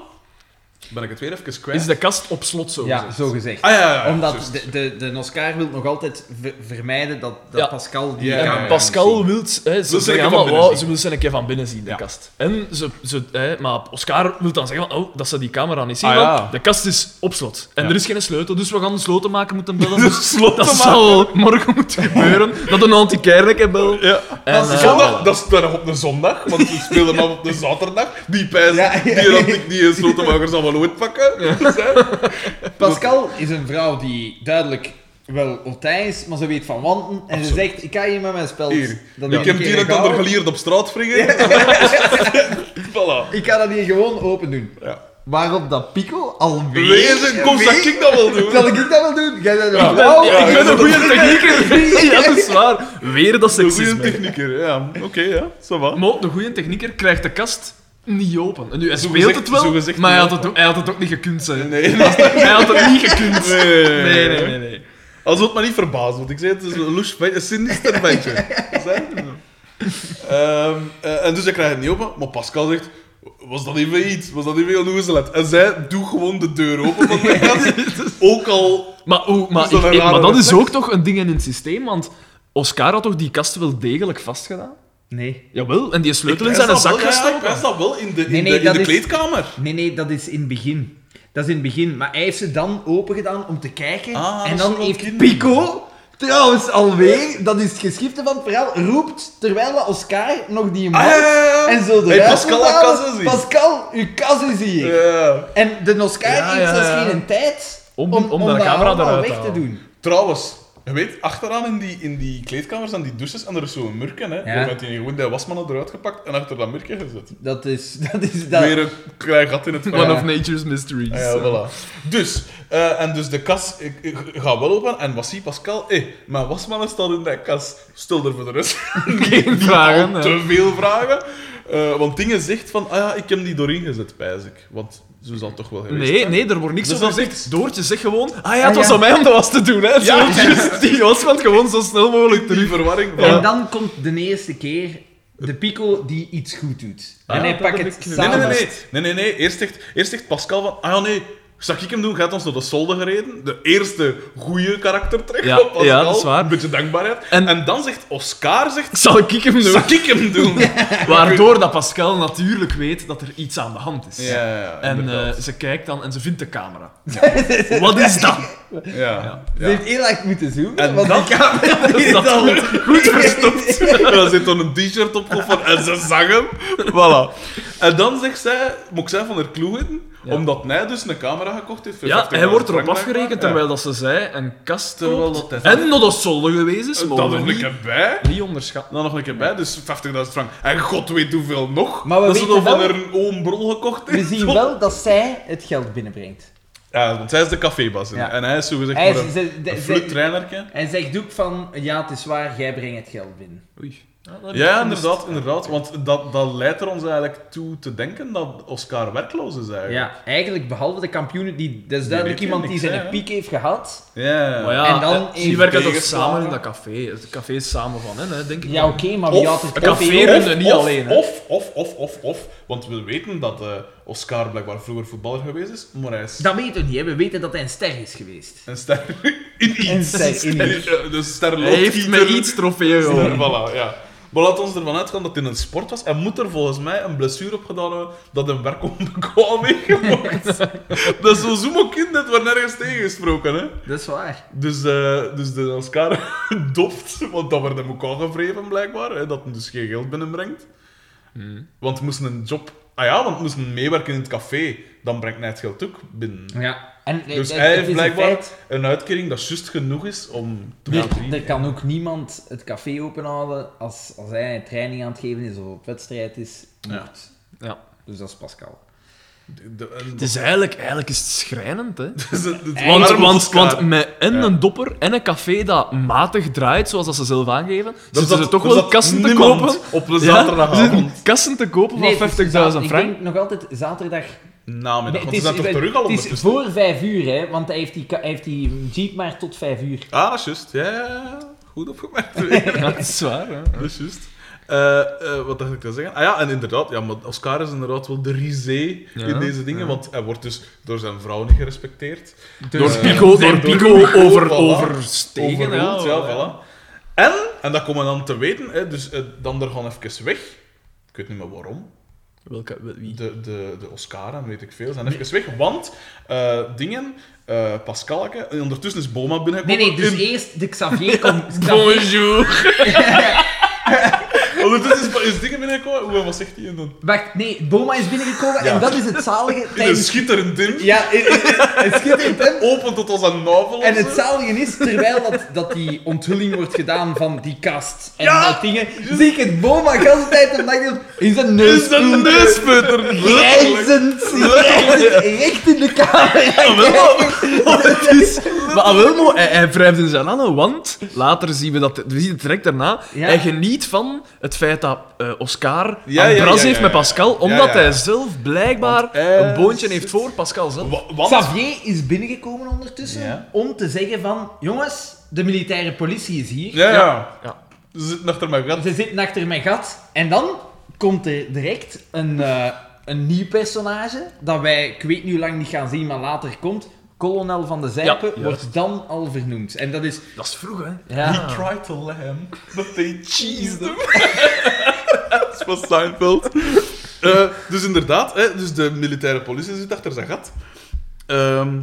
[SPEAKER 1] ben ik het weer even kwijt.
[SPEAKER 3] Is de kast op slot zo?
[SPEAKER 2] Ja,
[SPEAKER 3] gezegd?
[SPEAKER 2] zo gezegd.
[SPEAKER 1] Ah ja, ja, ja,
[SPEAKER 2] Omdat
[SPEAKER 1] juist.
[SPEAKER 2] de, de, de Oscar wil nog altijd ver- vermijden dat, dat
[SPEAKER 3] Ja.
[SPEAKER 2] Pascal die
[SPEAKER 1] Ja,
[SPEAKER 3] En
[SPEAKER 1] ja,
[SPEAKER 2] camera
[SPEAKER 3] Pascal
[SPEAKER 2] moet
[SPEAKER 3] wil, hè,
[SPEAKER 1] Ze
[SPEAKER 3] ze,
[SPEAKER 1] zijn
[SPEAKER 3] zeggen
[SPEAKER 1] een keer van
[SPEAKER 3] allemaal,
[SPEAKER 1] binnen
[SPEAKER 3] wauw,
[SPEAKER 1] zien.
[SPEAKER 3] ze wil ze een keer van binnen zien, de
[SPEAKER 1] Ja.
[SPEAKER 3] kast. En ze, ze, hè, maar Oscar wil dan zeggen, van, oh, dat ze die camera niet zien,
[SPEAKER 1] Ah,
[SPEAKER 3] want
[SPEAKER 1] ja.
[SPEAKER 3] de kast is op slot. En
[SPEAKER 1] Ja.
[SPEAKER 3] er is geen sleutel, dus we gaan de sloten maken moeten bellen.
[SPEAKER 1] De
[SPEAKER 3] Dus
[SPEAKER 1] sloten
[SPEAKER 3] dat
[SPEAKER 1] maken.
[SPEAKER 3] zal morgen moeten gebeuren, dat een anti-kerk belt.
[SPEAKER 1] Ja.
[SPEAKER 3] En,
[SPEAKER 1] Dat is
[SPEAKER 3] eh,
[SPEAKER 1] zondag, dat is dan nog op de zondag, want we spelen hem op de zaterdag. Die pijs,
[SPEAKER 2] Ja, ja.
[SPEAKER 1] die had ik die slotenmakers allemaal ooit pakken. Dus, hè.
[SPEAKER 2] zien. Pascal is een vrouw die duidelijk wel Otij is, maar ze weet van wanten. En ze zegt, ik kan je met mijn spel.
[SPEAKER 1] Hier. ik heb het een en ander geleerd op straat wringen. voilà.
[SPEAKER 2] Ik kan dat hier gewoon open doen.
[SPEAKER 1] Ja.
[SPEAKER 2] Waarop dat Pico alweer...
[SPEAKER 1] Wezen, kom, zou ik dat wel doen?
[SPEAKER 2] Zal ik dat wel Oh, doen? Jij bent een
[SPEAKER 3] ik ben,
[SPEAKER 2] vrouw.
[SPEAKER 1] ja,
[SPEAKER 3] ik ben een goede technieker.
[SPEAKER 2] Ja.
[SPEAKER 3] ja, dat is waar. Weer dat
[SPEAKER 1] De goede
[SPEAKER 3] seksisme.
[SPEAKER 1] technieker, ja. Oké, ja, ça va.
[SPEAKER 3] Maar de goede technieker krijgt de kast niet open. En nu, hij
[SPEAKER 1] Zo
[SPEAKER 3] speelt
[SPEAKER 1] gezegd-
[SPEAKER 3] het wel,
[SPEAKER 1] zo gezegd
[SPEAKER 3] maar hij
[SPEAKER 1] niet
[SPEAKER 3] had, het, ook- hij had het ook niet gekund, zijn.
[SPEAKER 1] Nee, dat is-
[SPEAKER 3] Hij had het niet gekund. Nee, nee, nee. nee.
[SPEAKER 1] Als het maar niet verbaasd, want ik zei het is een loes bandje, een sinister bandje. Dat zei hij. Ehm, eh, en dus ik krijg het niet open, maar Pascal zegt, was dat even iets? Was dat even een loezelet? En zij, doe gewoon de deur open van mijn kast. Ook al...
[SPEAKER 3] Maar, oeh, maar,
[SPEAKER 1] Is Dus dat
[SPEAKER 3] ik-
[SPEAKER 1] een
[SPEAKER 3] ik-
[SPEAKER 1] rare
[SPEAKER 3] maar dat is
[SPEAKER 1] reflex?
[SPEAKER 3] ook toch een ding in het systeem, want Oscar had toch die kast wel degelijk vastgedaan?
[SPEAKER 2] Nee.
[SPEAKER 3] Jawel, en die sleutel in
[SPEAKER 1] Ik
[SPEAKER 3] zijn
[SPEAKER 1] prijs dat
[SPEAKER 3] zak
[SPEAKER 1] wel, ja,
[SPEAKER 3] gestoken.
[SPEAKER 1] Ik prijs dat wel in de, in
[SPEAKER 2] Nee, nee,
[SPEAKER 1] de, in
[SPEAKER 2] dat
[SPEAKER 1] de
[SPEAKER 2] is-
[SPEAKER 1] kleedkamer.
[SPEAKER 2] Nee, nee, dat is in het begin. Dat is in het begin. Maar hij heeft ze dan open gedaan om te kijken.
[SPEAKER 1] Ah,
[SPEAKER 2] en
[SPEAKER 1] dat is
[SPEAKER 2] dan
[SPEAKER 1] wel
[SPEAKER 2] heeft
[SPEAKER 1] kinderlijk.
[SPEAKER 2] Pico, trouwens alweer, dat is het geschifte van het verhaal, roept terwijl dat Oscar nog die man
[SPEAKER 1] Ah, ja, ja, ja.
[SPEAKER 2] en zo de
[SPEAKER 1] Hey,
[SPEAKER 2] ruimte
[SPEAKER 1] Pascal, haar
[SPEAKER 2] halen.
[SPEAKER 1] kas is hier.
[SPEAKER 2] Pascal, uw kas is hier.
[SPEAKER 1] Ja.
[SPEAKER 2] En de Oscar
[SPEAKER 3] Ja,
[SPEAKER 2] heeft
[SPEAKER 3] ja,
[SPEAKER 2] zelfs
[SPEAKER 3] ja.
[SPEAKER 2] geen tijd
[SPEAKER 3] Om- om de camera
[SPEAKER 2] allemaal
[SPEAKER 3] eruit te
[SPEAKER 2] weg te
[SPEAKER 3] halen.
[SPEAKER 2] doen.
[SPEAKER 1] Trouwens, je weet, achteraan in die, in die kleedkamers en die douches, en er is zo'n murken, hè.
[SPEAKER 2] Ja.
[SPEAKER 1] Daar werd die gewoon die wasman eruit gepakt en achter dat murken gezet.
[SPEAKER 2] Dat is... Dat is dat.
[SPEAKER 1] Weer een klein gat in het
[SPEAKER 3] One
[SPEAKER 1] verhaal.
[SPEAKER 3] of Nature's Mysteries.
[SPEAKER 1] Ah Ja, voilà. Dus, eh, en dus de kas ik, ik, gaat wel open en was zie Pascal, hé, mijn wasmannen staat in die kas. Stel er voor de rest
[SPEAKER 3] Geen vragen. hè.
[SPEAKER 1] te veel vragen. Eh, want dingen zegt van, ah ja, ik heb die doorin gezet, pijs ik. Want zo zal het toch wel geweest
[SPEAKER 3] Nee, nee, er wordt niks
[SPEAKER 1] Dus
[SPEAKER 3] over
[SPEAKER 1] dat is
[SPEAKER 3] gezegd. Doortje, zeg gewoon... Ah ja,
[SPEAKER 2] Ah,
[SPEAKER 3] het was
[SPEAKER 2] ja.
[SPEAKER 3] aan mij om dat was te doen, hè. Zo,
[SPEAKER 1] Ja.
[SPEAKER 3] juist, die Oswald gewoon zo snel mogelijk
[SPEAKER 1] Die
[SPEAKER 3] terug.
[SPEAKER 1] verwarring.
[SPEAKER 3] Ja.
[SPEAKER 2] En dan komt de eerste keer de Pico die iets goed doet.
[SPEAKER 3] Ah,
[SPEAKER 2] en hij
[SPEAKER 3] dat
[SPEAKER 2] pakt
[SPEAKER 3] heb
[SPEAKER 2] het
[SPEAKER 3] ik- Nee,
[SPEAKER 1] Nee, nee,
[SPEAKER 2] samen.
[SPEAKER 1] nee, nee. nee, nee, nee. Eerst, zegt, eerst zegt Pascal van, ah ja, nee, zag ik hem doen, gaat ons naar de solde gereden. De eerste goede karaktertrek
[SPEAKER 3] Ja,
[SPEAKER 1] van Pascal.
[SPEAKER 3] ja, dat is waar.
[SPEAKER 1] Een beetje dankbaarheid. En,
[SPEAKER 3] En-
[SPEAKER 1] dan zegt Oscar, zegt,
[SPEAKER 3] Zal ik hem doen?
[SPEAKER 1] zag ik hem doen.
[SPEAKER 3] Waardoor dat Pascal natuurlijk weet dat er iets aan de hand is.
[SPEAKER 1] Ja, ja, ja,
[SPEAKER 3] en
[SPEAKER 1] inderdaad.
[SPEAKER 3] eh, ze kijkt dan en ze vindt de camera. Wat is dat?
[SPEAKER 1] Ja.
[SPEAKER 2] Ze
[SPEAKER 1] ja.
[SPEAKER 2] heeft heel erg moeten zoeken,
[SPEAKER 1] En
[SPEAKER 2] want
[SPEAKER 1] dat-
[SPEAKER 2] die camera is
[SPEAKER 3] dat
[SPEAKER 2] al...
[SPEAKER 1] Goed verstopt. Daar zit dan een t-shirt op van en ze zag hem. Voilà. En dan zegt zij, moet ik zij van haar kloegen?
[SPEAKER 3] Ja.
[SPEAKER 1] Omdat hij dus een camera gekocht heeft. voor
[SPEAKER 3] Ja,
[SPEAKER 1] 50
[SPEAKER 3] hij wordt
[SPEAKER 1] euro
[SPEAKER 3] erop
[SPEAKER 1] Frankrijk,
[SPEAKER 3] afgerekend
[SPEAKER 1] maar-
[SPEAKER 3] terwijl dat ze zei een kast
[SPEAKER 1] Terwijl
[SPEAKER 3] koopt
[SPEAKER 1] dat hij-
[SPEAKER 3] en nog dat zolder geweest is.
[SPEAKER 1] Ja.
[SPEAKER 3] mogen
[SPEAKER 1] Dan
[SPEAKER 3] we
[SPEAKER 1] nog een
[SPEAKER 3] niet,
[SPEAKER 1] keer bij.
[SPEAKER 3] niet onderschatten.
[SPEAKER 1] Dan nog een keer bij, dus 50.000 frank. En god weet hoeveel nog.
[SPEAKER 2] Maar we
[SPEAKER 1] dat ze
[SPEAKER 2] weten
[SPEAKER 1] dan van
[SPEAKER 2] wel-
[SPEAKER 1] een oom brol gekocht
[SPEAKER 2] We
[SPEAKER 1] heeft.
[SPEAKER 2] zien wel dat zij het geld binnenbrengt.
[SPEAKER 1] Ja, want zij is de cafébas.
[SPEAKER 2] Ja.
[SPEAKER 1] En hij is zo gezegd
[SPEAKER 2] Hij,
[SPEAKER 1] maar
[SPEAKER 2] is-
[SPEAKER 1] een,
[SPEAKER 2] ze- de-
[SPEAKER 1] een
[SPEAKER 2] ze-
[SPEAKER 1] fluttrainerke.
[SPEAKER 2] hij zegt ook van, ja, het is waar, jij brengt het geld binnen.
[SPEAKER 3] Oei. Ja, dat heb ik
[SPEAKER 1] Ja,
[SPEAKER 3] gemist.
[SPEAKER 1] inderdaad, inderdaad. Want dat, dat leidt er ons eigenlijk toe te denken dat Oscar werkloos is eigenlijk.
[SPEAKER 2] Ja, eigenlijk behalve de kampioenen, die, dat is duidelijk
[SPEAKER 1] weet
[SPEAKER 2] iemand
[SPEAKER 1] niks,
[SPEAKER 2] die zijn
[SPEAKER 1] hè?
[SPEAKER 2] piek heeft gehad.
[SPEAKER 1] Ja.
[SPEAKER 3] Maar ja,
[SPEAKER 2] En dan
[SPEAKER 3] eh,
[SPEAKER 2] in
[SPEAKER 3] die werken toch
[SPEAKER 1] tegenslagen.
[SPEAKER 3] samen in dat café. Het café is samen van hen, hè, denk ik.
[SPEAKER 2] Ja, oké, maar wie had het
[SPEAKER 3] een
[SPEAKER 2] geld
[SPEAKER 3] café
[SPEAKER 2] binnen?
[SPEAKER 3] runnen niet alleen, hè.
[SPEAKER 1] Of, of, of, of, of. Want we weten dat eh, Oscar blijkbaar vroeger voetballer geweest is, maar hij is
[SPEAKER 2] Dat weten we niet, hè. we weten dat hij een ster is geweest.
[SPEAKER 1] een ster in iets.
[SPEAKER 2] Een ster in iets.
[SPEAKER 1] Eh, Dus ster
[SPEAKER 3] Hij heeft met iets trofee
[SPEAKER 1] Ster,
[SPEAKER 3] gewonnen.
[SPEAKER 1] voilà, ja. Maar laat ons ervan uitgaan dat het in een sport was. En moet er volgens mij een blessure op gedaan hebben dat een werk onbekwaam heeft gemaakt. dat is zo'n zoemokind, dat wordt nergens tegengesproken, hè.
[SPEAKER 2] Dat is waar.
[SPEAKER 1] Dus, eh, dus de Oscar doft, want dat werd hem ook aangevreven blijkbaar, hè, dat hij dus geen geld binnenbrengt.
[SPEAKER 2] Hmm.
[SPEAKER 1] Want hij moest een job... Ah ja, want hij moest meewerken in het café, dan brengt hij het geld ook binnen.
[SPEAKER 2] Ja. En eh,
[SPEAKER 1] Dus
[SPEAKER 2] het-
[SPEAKER 1] hij
[SPEAKER 2] het
[SPEAKER 1] heeft
[SPEAKER 2] is een
[SPEAKER 1] blijkbaar
[SPEAKER 2] feit,
[SPEAKER 1] een uitkering dat juist genoeg is om te
[SPEAKER 2] er-
[SPEAKER 1] gaan zien.
[SPEAKER 2] er kan ook niemand het café openhalen als, als hij een training aan het geven is of op wedstrijd is.
[SPEAKER 1] Ja.
[SPEAKER 2] Moet.
[SPEAKER 3] Ja.
[SPEAKER 2] Dus dat is Pascal.
[SPEAKER 1] De- de- en-
[SPEAKER 3] Het is eigenlijk, eigenlijk is het schrijnend, hè.
[SPEAKER 1] het is een- het is
[SPEAKER 3] Want,
[SPEAKER 1] arm
[SPEAKER 3] want,
[SPEAKER 1] Oscar.
[SPEAKER 3] want met en
[SPEAKER 1] Ja.
[SPEAKER 3] een dopper en een café dat matig draait, zoals dat ze zelf aangeven,
[SPEAKER 1] Er
[SPEAKER 3] zitten ze
[SPEAKER 1] zat-
[SPEAKER 3] toch
[SPEAKER 1] er
[SPEAKER 3] wel
[SPEAKER 1] zat
[SPEAKER 3] kassen te
[SPEAKER 1] niemand
[SPEAKER 3] kopen.
[SPEAKER 1] Op een
[SPEAKER 3] Ja,
[SPEAKER 1] zaterdagavond.
[SPEAKER 3] er zitten kassen te kopen
[SPEAKER 2] Nee, het
[SPEAKER 3] van
[SPEAKER 2] is
[SPEAKER 3] 50.000
[SPEAKER 2] za- Ik
[SPEAKER 3] frank.
[SPEAKER 2] denk nog altijd zaterdag.
[SPEAKER 1] Namiddag,
[SPEAKER 2] Nee,
[SPEAKER 1] want ze zijn toch terug al
[SPEAKER 2] het is
[SPEAKER 1] ondertussen.
[SPEAKER 2] voor vijf uur, hè? Want hij heeft, die, ka- hij heeft die jeep maar tot vijf uur.
[SPEAKER 1] Ah, dat is juist. Ja, ja, ja. Goed opgemerkt.
[SPEAKER 3] Ja, dat is waar, hè.
[SPEAKER 1] Dat is juist. Eh, eh, wat dacht ik te zeggen? Ah ja, en inderdaad, ja, maar Oscar is inderdaad wel de risée in deze dingen, want hij wordt dus door zijn vrouw niet gerespecteerd.
[SPEAKER 3] Door
[SPEAKER 1] Eh,
[SPEAKER 3] Pico, door
[SPEAKER 1] door
[SPEAKER 3] Pico
[SPEAKER 1] Pico,
[SPEAKER 3] over,
[SPEAKER 1] voilà.
[SPEAKER 3] overstegen.
[SPEAKER 1] Overruled, ja,
[SPEAKER 3] ja.
[SPEAKER 1] voilà. En, en dat komen we dan te weten, hè, dus eh, dan er gewoon even weg. Ik weet niet meer waarom.
[SPEAKER 3] Welke, wel- wie?
[SPEAKER 1] De, de, de Oscar en weet ik veel zijn even weg, want eh, dingen, eh Pascalke, en ondertussen is Boma
[SPEAKER 2] Nee,
[SPEAKER 1] binnengekomen.
[SPEAKER 2] nee, dus
[SPEAKER 1] In-
[SPEAKER 2] eerst de Xavier komt. Xavier,
[SPEAKER 3] Bonjour.
[SPEAKER 1] Ondertussen is, is dingen binnengekomen. Hoe, wat zegt hij dan?
[SPEAKER 2] wacht, nee, Boma is binnengekomen
[SPEAKER 1] Ja.
[SPEAKER 2] en dat is het zalige
[SPEAKER 1] In een
[SPEAKER 2] tijdens.
[SPEAKER 1] schitterend ding.
[SPEAKER 2] Ja, in- in- in- het schitterend hem.
[SPEAKER 1] Open tot als een novel.
[SPEAKER 2] En
[SPEAKER 1] of
[SPEAKER 2] het
[SPEAKER 1] zo.
[SPEAKER 2] zalige is, terwijl dat, dat die onthulling wordt gedaan van die kast en
[SPEAKER 1] Ja!
[SPEAKER 2] dat dingen, zie ik het Boma de hele tijd op nacht in zijn neus.
[SPEAKER 1] is een neusputter. Letterlijk.
[SPEAKER 2] Grijzend, recht in de camera.
[SPEAKER 3] Maar ah, wel, maar hij, hij wrijft in zijn handen, want later zien we dat, we zien het direct daarna,
[SPEAKER 2] Ja.
[SPEAKER 3] hij geniet van het feit dat eh, Oscar
[SPEAKER 1] Ja,
[SPEAKER 3] een
[SPEAKER 1] ja,
[SPEAKER 3] bras
[SPEAKER 1] ja,
[SPEAKER 3] heeft
[SPEAKER 1] ja,
[SPEAKER 3] met
[SPEAKER 1] ja.
[SPEAKER 3] Pascal,
[SPEAKER 1] Ja,
[SPEAKER 3] omdat
[SPEAKER 1] ja.
[SPEAKER 3] hij zelf blijkbaar
[SPEAKER 1] Want hij
[SPEAKER 3] een boontje
[SPEAKER 1] zit-
[SPEAKER 3] heeft voor Pascal zelf.
[SPEAKER 1] Wa- Want,
[SPEAKER 2] Xavier is binnengekomen ondertussen
[SPEAKER 1] Ja.
[SPEAKER 2] om te zeggen van, jongens, de militaire politie is hier.
[SPEAKER 1] Ja, ja.
[SPEAKER 3] Ja.
[SPEAKER 1] Ze zitten achter mijn gat.
[SPEAKER 2] Ze zitten achter mijn gat. En dan komt er direct een, eh, een nieuw personage dat wij, ik weet nu lang niet gaan zien, maar later komt. Kolonel van de Zijpen
[SPEAKER 3] Ja,
[SPEAKER 2] wordt dan al vernoemd. En dat is...
[SPEAKER 3] Dat is vroeg, hè?
[SPEAKER 1] He
[SPEAKER 2] Ja,
[SPEAKER 1] tried to let him, but they cheesed him. Dat is van Seinfeld. Eh, dus inderdaad, hè, dus de militaire politie zit achter zijn gat. Ehm,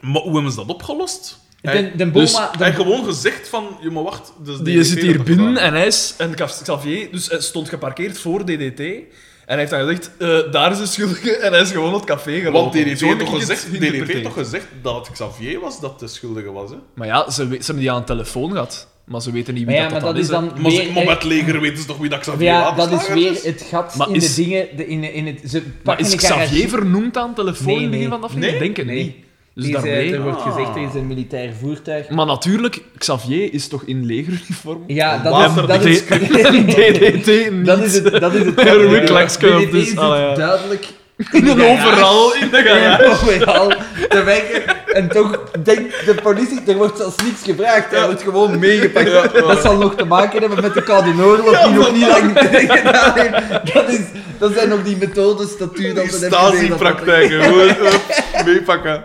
[SPEAKER 1] maar hoe hebben ze dat opgelost?
[SPEAKER 2] de, de
[SPEAKER 3] Dus
[SPEAKER 2] Boma...
[SPEAKER 1] Hij
[SPEAKER 2] de-
[SPEAKER 1] gewoon gezegd van, je maar wacht. dus
[SPEAKER 3] Die
[SPEAKER 1] DDT
[SPEAKER 3] zit
[SPEAKER 1] heeft
[SPEAKER 3] hier
[SPEAKER 1] dat
[SPEAKER 3] binnen
[SPEAKER 1] gedaan.
[SPEAKER 3] en hij is, en Xavier dus, hij stond geparkeerd voor DDT. En hij heeft dan gezegd, eh, daar is de schuldige, en hij is gewoon het café gelopen.
[SPEAKER 1] Want DDT
[SPEAKER 3] Zo
[SPEAKER 1] heeft,
[SPEAKER 3] heb
[SPEAKER 1] toch
[SPEAKER 3] ik het
[SPEAKER 1] gezegd, DDT
[SPEAKER 3] geïnterpreteerd.
[SPEAKER 1] heeft toch gezegd dat het Xavier was dat de schuldige was, hè?
[SPEAKER 3] Maar ja, ze, we- ze hebben die aan de telefoon gehad, maar ze weten niet
[SPEAKER 2] Maar
[SPEAKER 3] wie
[SPEAKER 2] ja,
[SPEAKER 3] dat,
[SPEAKER 2] maar dat
[SPEAKER 3] dat,
[SPEAKER 2] is
[SPEAKER 3] hè.
[SPEAKER 2] dan
[SPEAKER 1] Maar, ze- maar
[SPEAKER 2] weer...
[SPEAKER 1] bij het leger weten ze toch wie dat Xavier
[SPEAKER 2] eh, Ja, dat
[SPEAKER 1] Wapenslager
[SPEAKER 2] is weer het gat
[SPEAKER 3] Maar
[SPEAKER 2] in
[SPEAKER 3] is-
[SPEAKER 2] de dingen... De, in, in het, ze
[SPEAKER 3] Maar
[SPEAKER 2] pakken
[SPEAKER 3] is
[SPEAKER 2] een garage-
[SPEAKER 3] Xavier vernoemd aan telefoon
[SPEAKER 2] Nee,
[SPEAKER 3] in het begin
[SPEAKER 2] nee.
[SPEAKER 3] van de aflevering?
[SPEAKER 1] Nee?
[SPEAKER 3] Denk het
[SPEAKER 2] Nee.
[SPEAKER 3] niet. Dus
[SPEAKER 2] Die zei-
[SPEAKER 3] daarmee... Mm.
[SPEAKER 2] Er wordt
[SPEAKER 1] Ah.
[SPEAKER 2] gezegd, er is een militair voertuig.
[SPEAKER 3] Maar natuurlijk, Xavier is toch in legeruniform?
[SPEAKER 2] Ja,
[SPEAKER 1] Wat?
[SPEAKER 2] dat is... Dat
[SPEAKER 3] D-
[SPEAKER 2] is
[SPEAKER 3] DDT niet.
[SPEAKER 2] Dat is het. Dat is het.
[SPEAKER 3] Her Wiklaks
[SPEAKER 2] Ja,
[SPEAKER 3] komt
[SPEAKER 2] DDT
[SPEAKER 3] dus,
[SPEAKER 2] zit
[SPEAKER 3] ah, ja.
[SPEAKER 2] duidelijk
[SPEAKER 3] In een
[SPEAKER 2] garage.
[SPEAKER 3] overal, in de
[SPEAKER 2] in
[SPEAKER 3] garage.
[SPEAKER 2] een overal te werken. En toch denkt de politie, er wordt zelfs niks gevraagd. Hij wordt gewoon meegepakt. Dat zal nog te maken hebben met de Koude Oorlog, die nog niet lang gedaan heeft. Dat, is, dat zijn nog die methodes dat u dat
[SPEAKER 1] Die
[SPEAKER 2] we net gezien hebben.
[SPEAKER 1] Stasi-praktijken, gewoon hup, meepakken.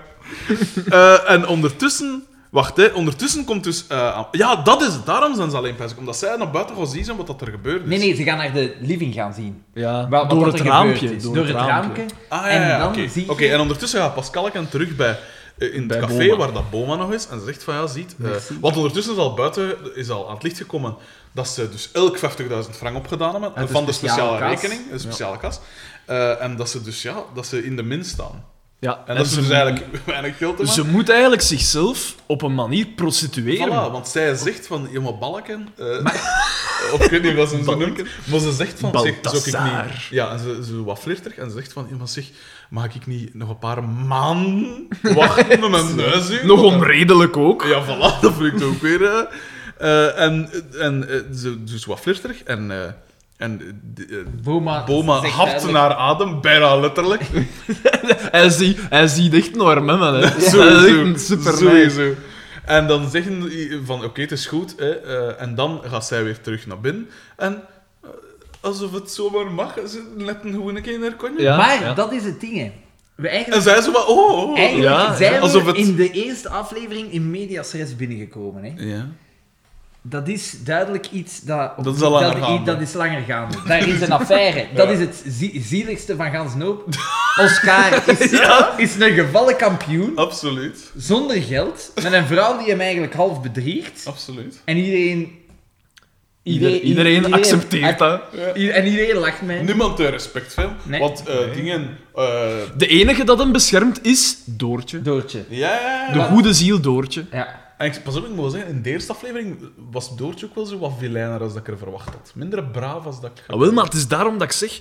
[SPEAKER 1] Eh, en ondertussen... Wacht, hè. Ondertussen komt dus... eh, aan- ja, dat is het. Daarom zijn ze alleen pijs. Omdat zij naar buiten gaan zien zijn wat dat er gebeurd is.
[SPEAKER 2] Nee, nee, ze gaan naar de living gaan zien.
[SPEAKER 3] Ja,
[SPEAKER 2] Wat- wat
[SPEAKER 3] door
[SPEAKER 2] dat
[SPEAKER 3] het
[SPEAKER 2] er
[SPEAKER 3] raampje.
[SPEAKER 2] gebeurd is. Door het raampje.
[SPEAKER 1] Ah, ja,
[SPEAKER 2] En
[SPEAKER 1] ja,
[SPEAKER 2] dan
[SPEAKER 1] oké.
[SPEAKER 2] zie je-
[SPEAKER 1] Oké, en ondertussen gaat Pascal en terug bij, eh, in
[SPEAKER 3] Bij
[SPEAKER 1] het café
[SPEAKER 3] Boma.
[SPEAKER 1] waar dat Boma nog is en zegt van ja, ziet. eh,
[SPEAKER 2] Merci.
[SPEAKER 1] want ondertussen is al buiten is al aan het licht gekomen dat ze dus elk 50.000 frank opgedaan hebben
[SPEAKER 2] Uit de
[SPEAKER 1] van de
[SPEAKER 2] speciale
[SPEAKER 1] speciale
[SPEAKER 2] kas.
[SPEAKER 1] rekening, een speciale kas. Eh, en dat ze dus ja, dat ze in de min staan.
[SPEAKER 3] Ja,
[SPEAKER 1] En dat is
[SPEAKER 3] ze,
[SPEAKER 1] dus eigenlijk weinig geld te maken.
[SPEAKER 3] ze moet eigenlijk zichzelf op een manier prostitueren.
[SPEAKER 1] Voilà, want zij zegt van, jongen, balken. eh, of ik weet niet wat ze hem zo noemt. Maar ze zegt van, zeg, zou ik niet...
[SPEAKER 3] Balthazar.
[SPEAKER 1] Ja, en ze, ze wat flirterig en ze zegt van, ja, maar zeg, mag ik niet nog een paar maanden wachten met mijn neus in?
[SPEAKER 3] Nog onredelijk ook.
[SPEAKER 1] Ja, voilà, dat vind ik toch ook weer... eh. Eh, en en eh, ze dus wat flirterig en... eh, en eh, die, eh,
[SPEAKER 2] Boma,
[SPEAKER 1] Boma
[SPEAKER 2] zegt
[SPEAKER 1] hapt
[SPEAKER 2] duidelijk-
[SPEAKER 1] naar adem, bijna letterlijk.
[SPEAKER 3] Hij, ziet, hij ziet echt een arme man. Hè. Hij is echt
[SPEAKER 1] Sowieso.
[SPEAKER 3] een super
[SPEAKER 1] Sowieso. En dan zeggen die van, oké, het is goed. Hè, eh, en dan gaat zij weer terug naar binnen. En eh, alsof het zomaar mag, ze letten gewoon een keer naar konje.
[SPEAKER 3] Ja,
[SPEAKER 2] maar
[SPEAKER 3] ja.
[SPEAKER 2] dat is het ding, hè. We
[SPEAKER 1] En
[SPEAKER 2] eigenlijk,
[SPEAKER 1] zij zo van, oh, oh, oh.
[SPEAKER 2] eigenlijk
[SPEAKER 3] Ja,
[SPEAKER 2] zijn
[SPEAKER 1] ja.
[SPEAKER 2] we
[SPEAKER 1] Alsof het-
[SPEAKER 2] in de eerste aflevering in medias res binnengekomen, hè.
[SPEAKER 1] Ja.
[SPEAKER 2] Dat is duidelijk iets dat...
[SPEAKER 1] Dat is al langer gaande.
[SPEAKER 2] Dat is langer gaande. Daar is een affaire. Dat is het zie- zieligste van Gans Noop. Oscar is, is een gevallen kampioen,
[SPEAKER 1] Absoluut.
[SPEAKER 2] zonder geld, met een vrouw die hem eigenlijk half bedriegt.
[SPEAKER 1] Absoluut.
[SPEAKER 2] En iedereen...
[SPEAKER 3] Ieder- iedereen accepteert dat.
[SPEAKER 2] i- En iedereen lacht mij.
[SPEAKER 1] Niemand eh, respect van, hem,
[SPEAKER 2] Nee.
[SPEAKER 1] want eh, dingen... eh,
[SPEAKER 3] De enige dat hem beschermt is Doortje.
[SPEAKER 2] Doortje.
[SPEAKER 1] ja, ja,
[SPEAKER 3] De
[SPEAKER 1] ja.
[SPEAKER 3] goede ziel Doortje.
[SPEAKER 2] Ja.
[SPEAKER 1] En ik, pas op, ik moet wel zeggen, in de eerste aflevering was Doortje ook wel zo wat vilijner als dat ik er verwacht had. Minder braaf als dat ik...
[SPEAKER 3] Ah, wel, maar het is daarom dat ik zeg...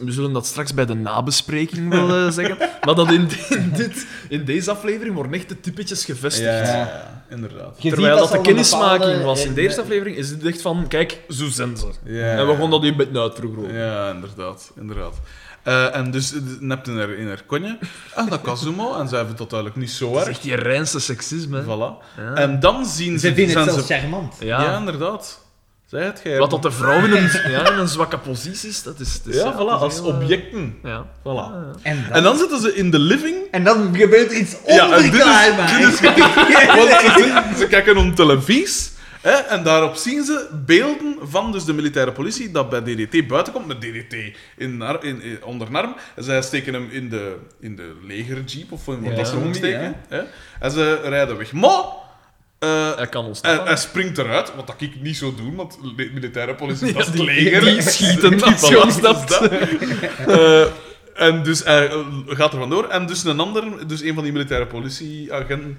[SPEAKER 3] We zullen dat straks bij de nabespreking wel eh, zeggen. Maar dat in, in dit, in deze aflevering worden echt de typetjes gevestigd.
[SPEAKER 1] Ja, ja, ja, inderdaad.
[SPEAKER 2] Je
[SPEAKER 3] Terwijl
[SPEAKER 2] ziet
[SPEAKER 3] dat,
[SPEAKER 2] ze al
[SPEAKER 3] de
[SPEAKER 2] een
[SPEAKER 3] kennismaking
[SPEAKER 2] bepaalde-
[SPEAKER 3] was. In de eerste
[SPEAKER 2] eh,
[SPEAKER 3] aflevering is het echt van, kijk, zo zijn ze.
[SPEAKER 1] Ja.
[SPEAKER 3] En we gaan dat hier een beetje uitvergroten.
[SPEAKER 1] Ja, inderdaad. inderdaad. Eh, en dus eh, nept in haar, in haar konje. En dat Kazumo. En zij vindt dat duidelijk niet zo
[SPEAKER 3] Dat is
[SPEAKER 1] erg.
[SPEAKER 3] echt die reinste seksisme. hè.
[SPEAKER 1] Voilà.
[SPEAKER 3] Ja.
[SPEAKER 1] En dan zien ze...
[SPEAKER 2] Ze vinden het
[SPEAKER 1] zijn
[SPEAKER 2] zelfs
[SPEAKER 1] ze-
[SPEAKER 2] charmant.
[SPEAKER 1] ja.
[SPEAKER 3] Ja.
[SPEAKER 1] inderdaad. Zij het gij.
[SPEAKER 3] Wat dat de vrouw in een, ja, in een zwakke positie is, dat is... dat is-
[SPEAKER 1] Ja,
[SPEAKER 3] dat
[SPEAKER 1] voilà.
[SPEAKER 3] is
[SPEAKER 1] Als
[SPEAKER 3] heel, eh,
[SPEAKER 1] objecten.
[SPEAKER 3] Ja.
[SPEAKER 1] Voilà.
[SPEAKER 2] En dan,
[SPEAKER 1] En dan zitten ze in de living.
[SPEAKER 2] en dan gebeurt er iets
[SPEAKER 1] Ja, en dit is-
[SPEAKER 2] onverklaarbaars.
[SPEAKER 1] dit is Want ze, zitten- ze kijken om televisie. Hè, en daarop zien ze beelden van dus de militaire politie dat bij DDT buiten komt met DDT in, nar- in, in- onder een arm. En zij steken hem in de, in de legerjeep of in wat
[SPEAKER 3] Ja.
[SPEAKER 1] dat ze
[SPEAKER 2] Combi,
[SPEAKER 1] omsteken. Hè. En ze rijden weg. Maar eh,
[SPEAKER 3] Hij kan ons
[SPEAKER 1] hij, hij springt eruit, wat dat ik niet zou doen, want le- militaire politie, dat is het
[SPEAKER 3] die-
[SPEAKER 1] leger.
[SPEAKER 3] die schieten
[SPEAKER 1] Die
[SPEAKER 3] af,
[SPEAKER 1] schieten
[SPEAKER 3] wat is dat?
[SPEAKER 1] af. Eh, en dus hij eh, gaat er vandoor. En dus een ander, dus een van die militaire politieagenten,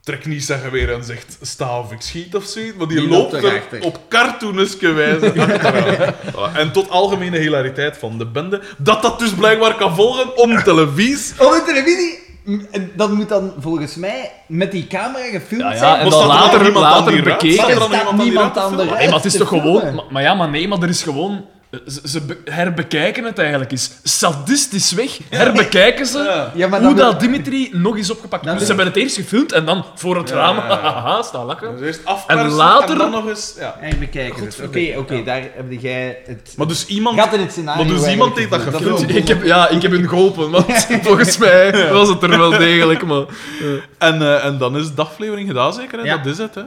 [SPEAKER 1] trekt niet zijn geweer en zegt sta of ik schiet of zoiets, maar die,
[SPEAKER 2] Die
[SPEAKER 1] loopt
[SPEAKER 2] loopt
[SPEAKER 1] er
[SPEAKER 2] erachter.
[SPEAKER 1] op cartooneske wijze achteraan. Ah, En tot algemene hilariteit van de bende, dat dat dus blijkbaar kan volgen om televisie.
[SPEAKER 2] Op de televisie, m- en dat moet dan volgens mij met die camera gefilmd
[SPEAKER 3] Ja, ja,
[SPEAKER 2] zijn.
[SPEAKER 3] en
[SPEAKER 1] Maar
[SPEAKER 3] dan
[SPEAKER 1] staat er
[SPEAKER 3] later-
[SPEAKER 1] nog iemand aan
[SPEAKER 3] later
[SPEAKER 1] die ruit?
[SPEAKER 3] bekeken.
[SPEAKER 1] Staat er
[SPEAKER 2] Er
[SPEAKER 1] nog
[SPEAKER 2] staat
[SPEAKER 1] die
[SPEAKER 2] niemand
[SPEAKER 1] ruit te
[SPEAKER 2] aan de
[SPEAKER 1] filmen?
[SPEAKER 2] ruit.
[SPEAKER 3] Nee, maar het is
[SPEAKER 2] te
[SPEAKER 3] toch
[SPEAKER 2] filmen.
[SPEAKER 3] gewoon... Maar, maar ja, maar nee, maar er is gewoon... Ze, ze be- herbekijken het eigenlijk eens. Sadistisch weg herbekijken ze
[SPEAKER 1] Ja.
[SPEAKER 2] Ja, maar
[SPEAKER 3] hoe
[SPEAKER 2] dan-
[SPEAKER 3] dat Dimitri nog eens opgepakt
[SPEAKER 2] Dan-
[SPEAKER 3] wordt. Ze hebben het eerst gefilmd en dan voor het
[SPEAKER 1] Ja,
[SPEAKER 3] raam...
[SPEAKER 1] ja, ja.
[SPEAKER 3] Haha, staan lachen.
[SPEAKER 1] Dus eerst afpersen
[SPEAKER 3] En later-
[SPEAKER 1] en dan nog eens... Ja.
[SPEAKER 2] En we kijken het. Oké, oké, daar heb jij het...
[SPEAKER 1] Maar dus iemand...
[SPEAKER 2] Gaat in het scenario
[SPEAKER 1] Maar dus iemand
[SPEAKER 2] eigenlijk
[SPEAKER 1] heeft dat
[SPEAKER 2] gevoerd.
[SPEAKER 1] gefilmd.
[SPEAKER 2] wil-
[SPEAKER 3] Ik heb, ja, ik heb hun geholpen, want volgens mij was het er wel degelijk, maar...
[SPEAKER 1] En, eh, en dan is de aflevering gedaan, zeker? Hè?
[SPEAKER 2] Ja.
[SPEAKER 1] Dat is het, hè?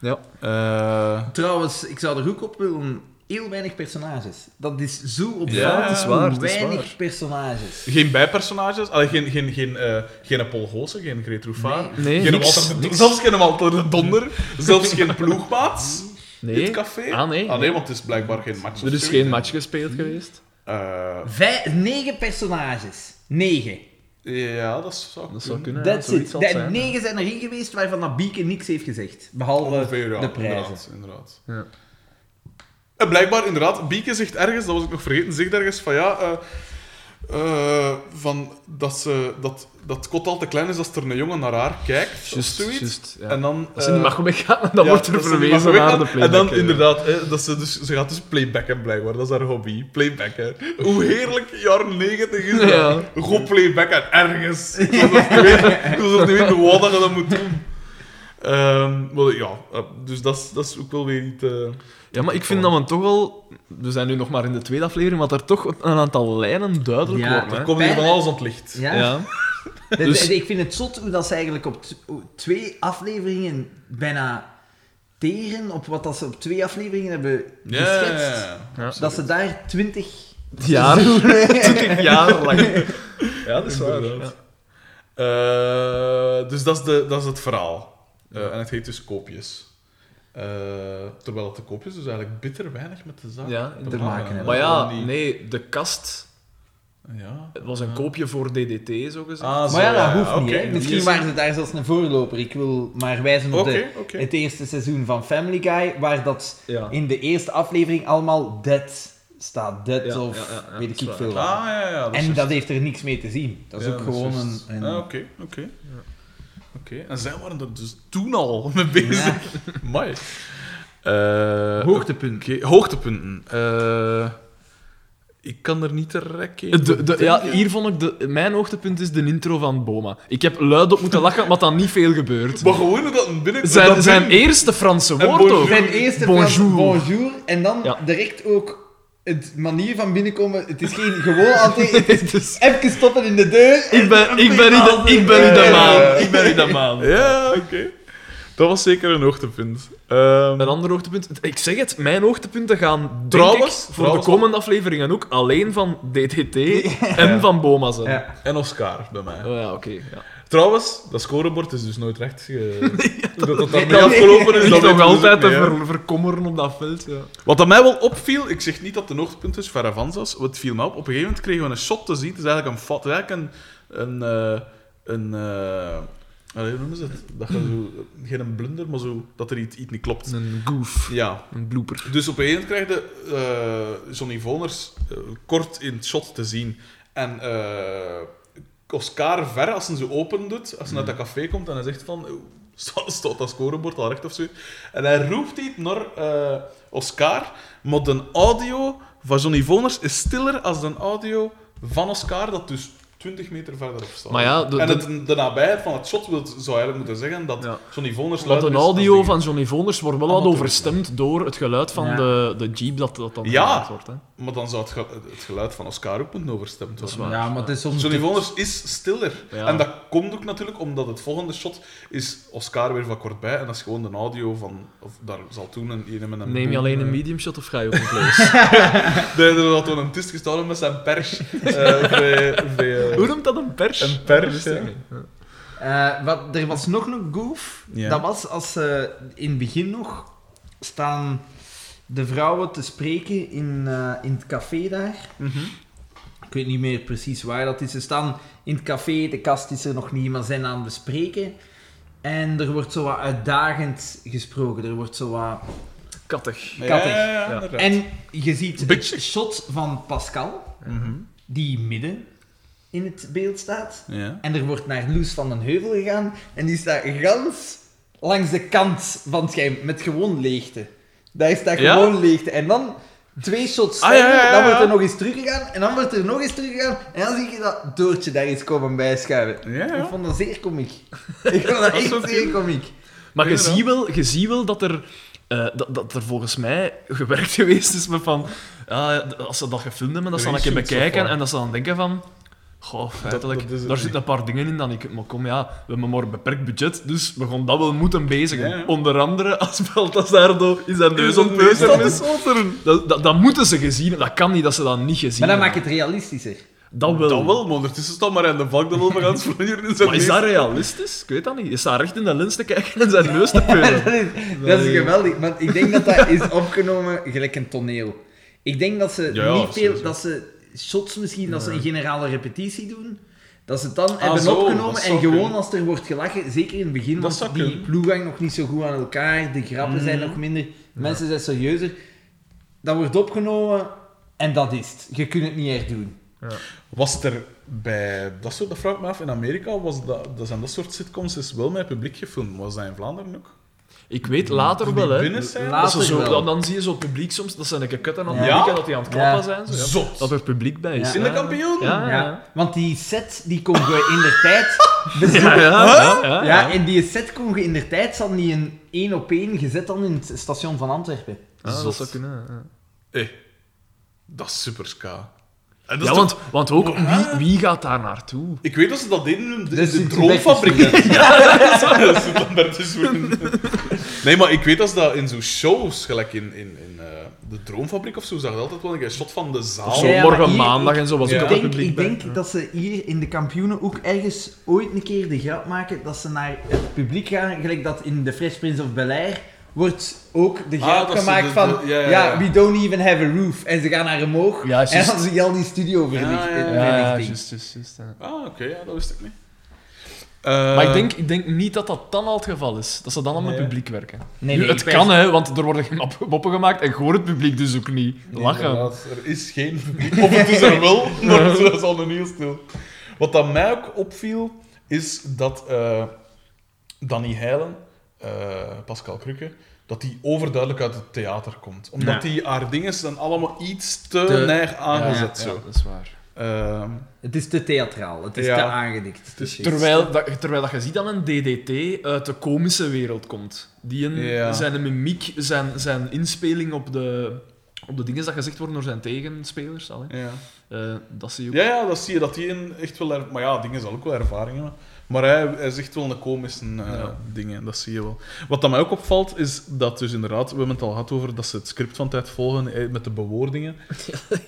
[SPEAKER 3] Ja.
[SPEAKER 1] Eh,
[SPEAKER 2] Trouwens, ik zou er ook op willen... Heel weinig personages. Dat is zo opvallend.
[SPEAKER 1] Ja, het is
[SPEAKER 3] waar,
[SPEAKER 2] hoe
[SPEAKER 3] het is
[SPEAKER 2] weinig
[SPEAKER 3] waar.
[SPEAKER 2] personages.
[SPEAKER 1] geen bijpersonages, Allee, geen, geen, geen, eh, geen Paul Goossen, geen Greet Roefaar,
[SPEAKER 3] Nee. Nee,
[SPEAKER 1] geen
[SPEAKER 3] niks,
[SPEAKER 1] Walter de-
[SPEAKER 3] niks.
[SPEAKER 1] zelfs geen Walter de Donder, zelfs geen ploegmaats in het
[SPEAKER 3] Nee,
[SPEAKER 1] café.
[SPEAKER 3] Ah, nee.
[SPEAKER 1] want het is blijkbaar geen match. of
[SPEAKER 3] er is
[SPEAKER 1] zo.
[SPEAKER 3] geen match gespeeld geweest.
[SPEAKER 1] Eh,
[SPEAKER 2] Vij- negen personages. Negen.
[SPEAKER 1] ja, dat zou,
[SPEAKER 3] Dat zou kunnen. ja,
[SPEAKER 2] That's
[SPEAKER 3] zoiets
[SPEAKER 2] it.
[SPEAKER 3] zal het
[SPEAKER 2] De-
[SPEAKER 3] zijn.
[SPEAKER 2] negen zijn erin geweest waarvan dat Bieke niks heeft gezegd. Behalve
[SPEAKER 1] Ongeveer, ja,
[SPEAKER 2] de prijzen.
[SPEAKER 1] Ah, Inderdaad. inderdaad.
[SPEAKER 3] Ja.
[SPEAKER 1] En blijkbaar, inderdaad, Bieke zegt ergens, dat was ik nog vergeten, zegt ergens van ja. eh, eh, van dat, ze, dat, dat kot al te klein is als er een jongen naar haar kijkt. of
[SPEAKER 3] Juist,
[SPEAKER 1] zoiets.
[SPEAKER 3] juist, ja.
[SPEAKER 1] En dan.
[SPEAKER 3] Als je niet
[SPEAKER 1] eh,
[SPEAKER 3] mag weggaan, dan wordt
[SPEAKER 1] ja,
[SPEAKER 3] er
[SPEAKER 1] dat ze niet
[SPEAKER 3] verwezen
[SPEAKER 1] mag
[SPEAKER 3] naar de
[SPEAKER 1] weggaan.
[SPEAKER 3] playback. eh.
[SPEAKER 1] En dan
[SPEAKER 3] ja.
[SPEAKER 1] inderdaad, hè, dat ze, dus, ze gaat dus playbacken blijkbaar. Dat is haar hobby, playbacken. Hoe heerlijk jaren negentig is dat.
[SPEAKER 3] Ja.
[SPEAKER 1] Gewoon playbacken, ergens. Zoals ik weet, zoals ik niet weet wat dat je dat moet doen. Ehm, wel, ja, eh, dus dat is- dat is ook wel weer niet... eh,
[SPEAKER 3] Ja, maar ik vind
[SPEAKER 1] Oh.
[SPEAKER 3] dat we toch al... We zijn nu nog maar in de tweede aflevering, maar dat er toch een aantal lijnen duidelijk
[SPEAKER 2] Ja.
[SPEAKER 3] worden.
[SPEAKER 1] Er
[SPEAKER 3] hè.
[SPEAKER 1] komt hier van alles aan het licht.
[SPEAKER 2] Ja?
[SPEAKER 3] Ja.
[SPEAKER 2] Dat-
[SPEAKER 3] Dus-
[SPEAKER 2] Ik vind het zot hoe dat ze eigenlijk op t- twee afleveringen bijna teren op wat dat ze op twee afleveringen hebben geschetst.
[SPEAKER 3] Ja.
[SPEAKER 2] Dat ze daar twintig...
[SPEAKER 3] Jaar. 20 jaar lang. Ja, dat
[SPEAKER 1] Inderdaad. Eh, dus dat is, de, dat is het verhaal. Eh, en het heet dus Koopjes. Eh, terwijl het de koopjes dus eigenlijk bitter weinig met de zaak
[SPEAKER 3] Ja,
[SPEAKER 1] te
[SPEAKER 3] inderdaad.
[SPEAKER 2] maken hebben.
[SPEAKER 3] Maar ja,
[SPEAKER 1] Gewoon die-
[SPEAKER 3] nee, de kast
[SPEAKER 1] Ja.
[SPEAKER 3] Het was een koopje voor DDT, zo gezegd.
[SPEAKER 1] Ah, zo,
[SPEAKER 2] Maar ja, dat hoeft niet.
[SPEAKER 1] oké.
[SPEAKER 2] hè. Misschien
[SPEAKER 1] Yes.
[SPEAKER 2] waren ze daar zelfs een voorloper. Ik wil maar wijzen op
[SPEAKER 1] Oké,
[SPEAKER 2] de,
[SPEAKER 1] oké.
[SPEAKER 2] het eerste seizoen van Family Guy, waar dat
[SPEAKER 3] Ja.
[SPEAKER 2] in de eerste aflevering allemaal dead staat. Dead
[SPEAKER 3] Ja,
[SPEAKER 2] of
[SPEAKER 3] ja, ja, ja,
[SPEAKER 2] weet ik
[SPEAKER 3] dat is
[SPEAKER 2] niet veel.
[SPEAKER 1] Ah, ja, ja. Dat is
[SPEAKER 2] en
[SPEAKER 1] juist.
[SPEAKER 2] dat heeft er niks mee te zien. Dat is
[SPEAKER 1] Ja,
[SPEAKER 2] ook
[SPEAKER 1] dat
[SPEAKER 2] gewoon
[SPEAKER 1] juist.
[SPEAKER 2] een... een-
[SPEAKER 1] Ah, Oké, oké. Oké, en zij waren er dus toen al mee bezig. Mai. Eh,
[SPEAKER 2] Hoogtepunt.
[SPEAKER 1] oké, Hoogtepunten. Eh, ik kan er niet direct in.
[SPEAKER 3] De, de, ja, hier vond ik de, mijn hoogtepunt is de intro van Boma. Ik heb luidop moeten lachen, maar dan niet veel gebeurd.
[SPEAKER 1] Maar gewoon hoe dat een binnen...
[SPEAKER 3] Zijn,
[SPEAKER 1] dat
[SPEAKER 3] zijn
[SPEAKER 1] binnen-
[SPEAKER 3] eerste Franse
[SPEAKER 1] En
[SPEAKER 3] woord
[SPEAKER 1] bonjour.
[SPEAKER 3] ook.
[SPEAKER 2] Zijn eerste
[SPEAKER 3] Bonjour.
[SPEAKER 2] Frans, bonjour. En dan
[SPEAKER 3] Ja.
[SPEAKER 2] direct ook het manier van binnenkomen. Het is geen gewoon altijd. Het is
[SPEAKER 3] Dus
[SPEAKER 2] even stoppen in de deur.
[SPEAKER 3] ik ben, ik ben, niet de, ik ben niet de
[SPEAKER 1] Eh,
[SPEAKER 3] maan. Ik ben niet de maan.
[SPEAKER 1] Ja, oké. Dat was zeker een hoogtepunt. Ehm,
[SPEAKER 3] Een ander hoogtepunt. Ik zeg het, mijn hoogtepunten gaan denk
[SPEAKER 1] Trouwens,
[SPEAKER 3] ik, voor
[SPEAKER 1] trouwens-
[SPEAKER 3] de komende afleveringen ook alleen van DDT en
[SPEAKER 1] Ja.
[SPEAKER 3] van Boma zijn.
[SPEAKER 2] Ja.
[SPEAKER 1] en Oscar bij mij.
[SPEAKER 3] Oh ja, oké. ja.
[SPEAKER 1] Trouwens, dat scorebord is dus nooit recht. ge- dat, dat dat daarmee
[SPEAKER 2] dat-
[SPEAKER 1] afgelopen is,
[SPEAKER 3] Ik
[SPEAKER 1] dat
[SPEAKER 3] ligt nog
[SPEAKER 1] weten we dus
[SPEAKER 3] altijd
[SPEAKER 1] ook
[SPEAKER 3] te
[SPEAKER 1] niet, hè.
[SPEAKER 3] ver- verkommeren op dat veld. Ja.
[SPEAKER 1] Wat dat mij wel opviel, ik zeg niet dat het een hoogtepunt is, verre van zelfs, het viel mij op. Op een gegeven moment kregen we een shot te zien, het is eigenlijk een fat, eigenlijk een... een, eh, een eh, allee, hoe noemen ze het? Dat je zo, geen een blunder, maar zo, dat er iets, iets niet klopt.
[SPEAKER 3] Een goof.
[SPEAKER 1] Ja.
[SPEAKER 3] Een blooper.
[SPEAKER 1] Dus op een gegeven moment krijg je eh, Johnny Voners eh, kort in het shot te zien. En eh, Oscar ver, als ze ze open doet, als ze naar dat
[SPEAKER 3] Mm.
[SPEAKER 1] café komt en hij zegt van... "Oeh, sta- Staat dat scorebord al recht of zo? En hij roept iets naar eh, Oscar, maar de audio van Johnny Voners is stiller als de audio van Oscar, dat dus 20 meter verderop staat.
[SPEAKER 3] Maar ja, de-
[SPEAKER 1] en
[SPEAKER 3] de-
[SPEAKER 1] het, de nabijheid van het shot wil, zou eigenlijk moeten zeggen dat
[SPEAKER 3] Ja.
[SPEAKER 1] Johnny Voners...
[SPEAKER 3] Want
[SPEAKER 1] luider
[SPEAKER 3] een
[SPEAKER 1] is als
[SPEAKER 3] audio
[SPEAKER 1] die-
[SPEAKER 3] van Johnny Voners wordt wel wat
[SPEAKER 1] Amateur.
[SPEAKER 3] overstemd door het geluid van
[SPEAKER 2] Ja.
[SPEAKER 3] de, de jeep dat, dat dan
[SPEAKER 1] Ja.
[SPEAKER 3] gemaakt wordt. Hè.
[SPEAKER 1] Maar dan zou het, ge- het geluid van Oscar ook moeten overstemd worden.
[SPEAKER 3] waar.
[SPEAKER 2] Ja, maar het is soms...
[SPEAKER 1] Johnny Voners is stiller.
[SPEAKER 3] Ja.
[SPEAKER 1] En dat komt ook natuurlijk omdat het volgende shot is Oscar weer van kort bij. En dat is gewoon de audio van... Of daar zal toen een... een met een
[SPEAKER 3] Neem je alleen een medium shot of ga je ook een close?
[SPEAKER 1] Nee, er had toen een twist gestolen met zijn pers. Eh, bij- bij, eh,
[SPEAKER 3] Hoe noemt dat een pers?
[SPEAKER 1] Een pers,
[SPEAKER 3] Dat wist ik
[SPEAKER 1] ja.
[SPEAKER 3] niet.
[SPEAKER 2] Eh, wat, er was nog een goof.
[SPEAKER 1] Ja.
[SPEAKER 2] Dat was als ze in het begin nog staan de vrouwen te spreken in, eh, in het café daar.
[SPEAKER 1] mhm.
[SPEAKER 2] Ik weet niet meer precies waar dat is. Ze staan in het café, de kast is er nog niet, maar ze zijn aan het bespreken. En er wordt zo wat uitdagend gesproken. Er wordt zo wat...
[SPEAKER 3] Kattig.
[SPEAKER 1] Ja,
[SPEAKER 2] Kattig.
[SPEAKER 1] ja, ja,
[SPEAKER 3] Ja.
[SPEAKER 1] inderdaad.
[SPEAKER 2] En je ziet het
[SPEAKER 1] Bitches.
[SPEAKER 2] shot van Pascal,
[SPEAKER 1] Mhm.
[SPEAKER 2] die midden in het beeld staat.
[SPEAKER 1] Ja.
[SPEAKER 2] En er wordt naar Loes van den Heuvel gegaan. En die staat gans langs de kant van het scherm, met gewoon leegte. Daar staat
[SPEAKER 1] Ja?
[SPEAKER 2] gewoon leegte. En dan twee shots
[SPEAKER 1] Ah, ja,
[SPEAKER 2] verder,
[SPEAKER 1] ja, ja,
[SPEAKER 2] dan wordt er
[SPEAKER 1] ja.
[SPEAKER 2] nog eens teruggegaan. En dan wordt er nog eens teruggegaan. En dan zie je dat Doortje daar eens komen bijschuiven.
[SPEAKER 1] Ja, ja.
[SPEAKER 2] Ik vond dat zeer komiek. Ik vond dat echt
[SPEAKER 1] zo
[SPEAKER 2] zeer komiek.
[SPEAKER 3] Maar je
[SPEAKER 1] Inderdaad.
[SPEAKER 3] ziet wel, je ziet wel dat, er, eh, dat, dat er volgens mij gewerkt geweest is met van... ja, d- als ze dat gefilmd hebben, dat ze dan een keer
[SPEAKER 1] Zoiets of
[SPEAKER 3] bekijken
[SPEAKER 1] wat?
[SPEAKER 3] en dat ze dan denken van... Goh, feitelijk,
[SPEAKER 1] dat is het
[SPEAKER 3] daar
[SPEAKER 1] niet.
[SPEAKER 3] zitten een paar dingen in dan ik... Maar kom, ja, we hebben maar een beperkt budget, dus we gaan dat wel moeten bezigen.
[SPEAKER 1] Ja, ja.
[SPEAKER 3] Onder andere als Baltasardo in zijn neus ontpeuter is. Dat, dat, dat moeten ze gezien hebben. Dat kan niet dat ze dat niet gezien
[SPEAKER 2] Maar dat maakt
[SPEAKER 3] hebben.
[SPEAKER 2] het realistischer.
[SPEAKER 3] Dat wel.
[SPEAKER 1] Dat wel, maar ondertussen staat maar in de vak de lul van Hans Vleuren in zijn
[SPEAKER 3] Maar is dat
[SPEAKER 1] neus.
[SPEAKER 3] realistisch? Ik weet dat niet. Is dat recht in de lens te kijken en zijn neus te peuren?
[SPEAKER 2] dat, is, dat is geweldig, want ik denk dat dat is opgenomen gelijk een toneel. Ik denk dat ze
[SPEAKER 1] Ja, ja,
[SPEAKER 2] niet veel,
[SPEAKER 1] sowieso.
[SPEAKER 2] dat ze shots misschien, dat ze een generale repetitie doen, dat ze het dan
[SPEAKER 1] Ah,
[SPEAKER 2] hebben
[SPEAKER 1] zo,
[SPEAKER 2] opgenomen
[SPEAKER 1] dat
[SPEAKER 2] en
[SPEAKER 1] zou
[SPEAKER 2] gewoon
[SPEAKER 1] kunnen.
[SPEAKER 2] als er wordt gelachen, zeker in het begin,
[SPEAKER 1] Dat
[SPEAKER 2] want
[SPEAKER 1] zou
[SPEAKER 2] die
[SPEAKER 1] kunnen. Mhm.
[SPEAKER 2] ploeg hangt nog niet zo goed aan elkaar, de grappen zijn nog minder, mensen zijn serieuzer. Dat wordt opgenomen en dat is het. Je kunt het niet herdoen.
[SPEAKER 1] Was er bij dat soort, dat vraag ik me af, in Amerika was dat, dat zijn dat soort sitcoms is wel met publiek gefilmd. Was dat in Vlaanderen ook?
[SPEAKER 3] Ik weet later
[SPEAKER 1] Die
[SPEAKER 3] wel, hè.
[SPEAKER 1] binnen zijn?
[SPEAKER 2] Laat-
[SPEAKER 3] Dat ze
[SPEAKER 2] Later
[SPEAKER 3] zo,
[SPEAKER 2] wel.
[SPEAKER 3] dan, dan zie je zo het publiek soms, dat zijn een keer kutten aan het
[SPEAKER 2] Ja?
[SPEAKER 3] publiek en dat die aan het klappen
[SPEAKER 2] Ja.
[SPEAKER 3] zijn. Zo, ja.
[SPEAKER 1] Zot.
[SPEAKER 3] Dat er publiek bij is.
[SPEAKER 1] In de kampioen?
[SPEAKER 3] Ah, Ja, ja.
[SPEAKER 2] Ja. Want die set, die kon je in de tijd
[SPEAKER 3] Ja, ja, ja, ja, ja.
[SPEAKER 2] Ja, en die set kon je in de tijd zat niet een één op één gezet dan in het station van Antwerpen.
[SPEAKER 3] Ah,
[SPEAKER 1] Zot.
[SPEAKER 3] dat zou kunnen. Ja,
[SPEAKER 1] Hé, Eh, dat is super ska. En dat
[SPEAKER 3] ja
[SPEAKER 1] is
[SPEAKER 3] want,
[SPEAKER 1] Dus toch- Oh,
[SPEAKER 3] want ook,
[SPEAKER 1] Ja.
[SPEAKER 3] wie, wie gaat daar naartoe?
[SPEAKER 1] Ik weet dat ze dat deden in de,
[SPEAKER 2] Dus
[SPEAKER 1] de
[SPEAKER 2] die- die
[SPEAKER 1] droomfabriek.
[SPEAKER 2] bekjes
[SPEAKER 1] Ja, dat zit dan daar tussen. Nee, maar ik weet dat ze dat in zo'n shows, gelijk in, in, in eh, de droomfabriek of zo, zag je altijd wel een keer shot van de zaal.
[SPEAKER 3] Of zo,
[SPEAKER 2] Ja, maar
[SPEAKER 3] morgen
[SPEAKER 2] hier-
[SPEAKER 3] maandag en zo was
[SPEAKER 1] Ja.
[SPEAKER 3] ook
[SPEAKER 2] Ik
[SPEAKER 3] al het
[SPEAKER 2] denk,
[SPEAKER 3] publiek
[SPEAKER 2] ik
[SPEAKER 3] bij.
[SPEAKER 2] denk dat ze hier in de kampioenen ook ergens ooit een keer de grap maken dat ze naar het publiek gaan, gelijk dat in de Fresh Prince of Bel-Air wordt ook de
[SPEAKER 1] Ah,
[SPEAKER 2] grap
[SPEAKER 1] dat is
[SPEAKER 2] gemaakt
[SPEAKER 1] de-
[SPEAKER 2] van
[SPEAKER 1] de-
[SPEAKER 2] ja,
[SPEAKER 1] ja, ja, ja.
[SPEAKER 2] we don't even have a roof. En ze gaan naar omhoog
[SPEAKER 3] Ja,
[SPEAKER 2] en
[SPEAKER 3] juist.
[SPEAKER 2] dan zie je al die studio verlicht.
[SPEAKER 1] Ja, ja, ja.
[SPEAKER 2] verlichting.
[SPEAKER 3] Ja, ja, juist, juist, juist, ja.
[SPEAKER 1] Ah, oké, ja, dat wist ik niet.
[SPEAKER 3] Maar ik
[SPEAKER 1] Eh,
[SPEAKER 3] denk, ik denk niet dat dat dan al het geval is. Dat ze dan al met
[SPEAKER 1] Nee.
[SPEAKER 3] publiek werken.
[SPEAKER 2] Nee,
[SPEAKER 3] Nu,
[SPEAKER 2] nee,
[SPEAKER 3] het
[SPEAKER 2] ik
[SPEAKER 3] kan, hè, want er worden geen mop- moppen gemaakt en gewoon het publiek dus ook niet.
[SPEAKER 1] Nee,
[SPEAKER 3] Lachen.
[SPEAKER 1] inderdaad, Er is geen. Of het is er wel, maar het is al een heel stil. Wat dat mij ook opviel, is dat eh, Danny Heilen, eh, Pascal Krukke, dat die overduidelijk uit het theater komt. Omdat
[SPEAKER 2] Ja.
[SPEAKER 1] die haar dingen zijn allemaal iets te,
[SPEAKER 2] Te-
[SPEAKER 1] neig aangezet.
[SPEAKER 3] Ja, ja,
[SPEAKER 1] Ah, zo.
[SPEAKER 3] dat is waar.
[SPEAKER 1] Ehm,
[SPEAKER 2] Het is te theatraal, het is
[SPEAKER 1] Ja.
[SPEAKER 2] te aangedikt. Het is
[SPEAKER 3] Terwijl dat, terwijl dat je ziet dat een DDT uit de komische wereld komt. Die een,
[SPEAKER 1] Ja.
[SPEAKER 3] Zijn mimiek, zijn, zijn inspeling op de, op de dingen dat gezegd worden door zijn tegenspelers. Al, hè.
[SPEAKER 1] ja.
[SPEAKER 3] Eh, dat zie je ook.
[SPEAKER 1] Ja, ja, dat zie je dat hij een echt wel. er- Maar ja, dingen zal ook wel ervaring hebben. Maar hij, hij is echt wel een komische eh,
[SPEAKER 3] Ja.
[SPEAKER 1] dingen, dat zie je wel. Wat dat mij ook opvalt, is dat dus inderdaad, we hebben het al gehad over dat ze het script van tijd volgen eh, met de bewoordingen.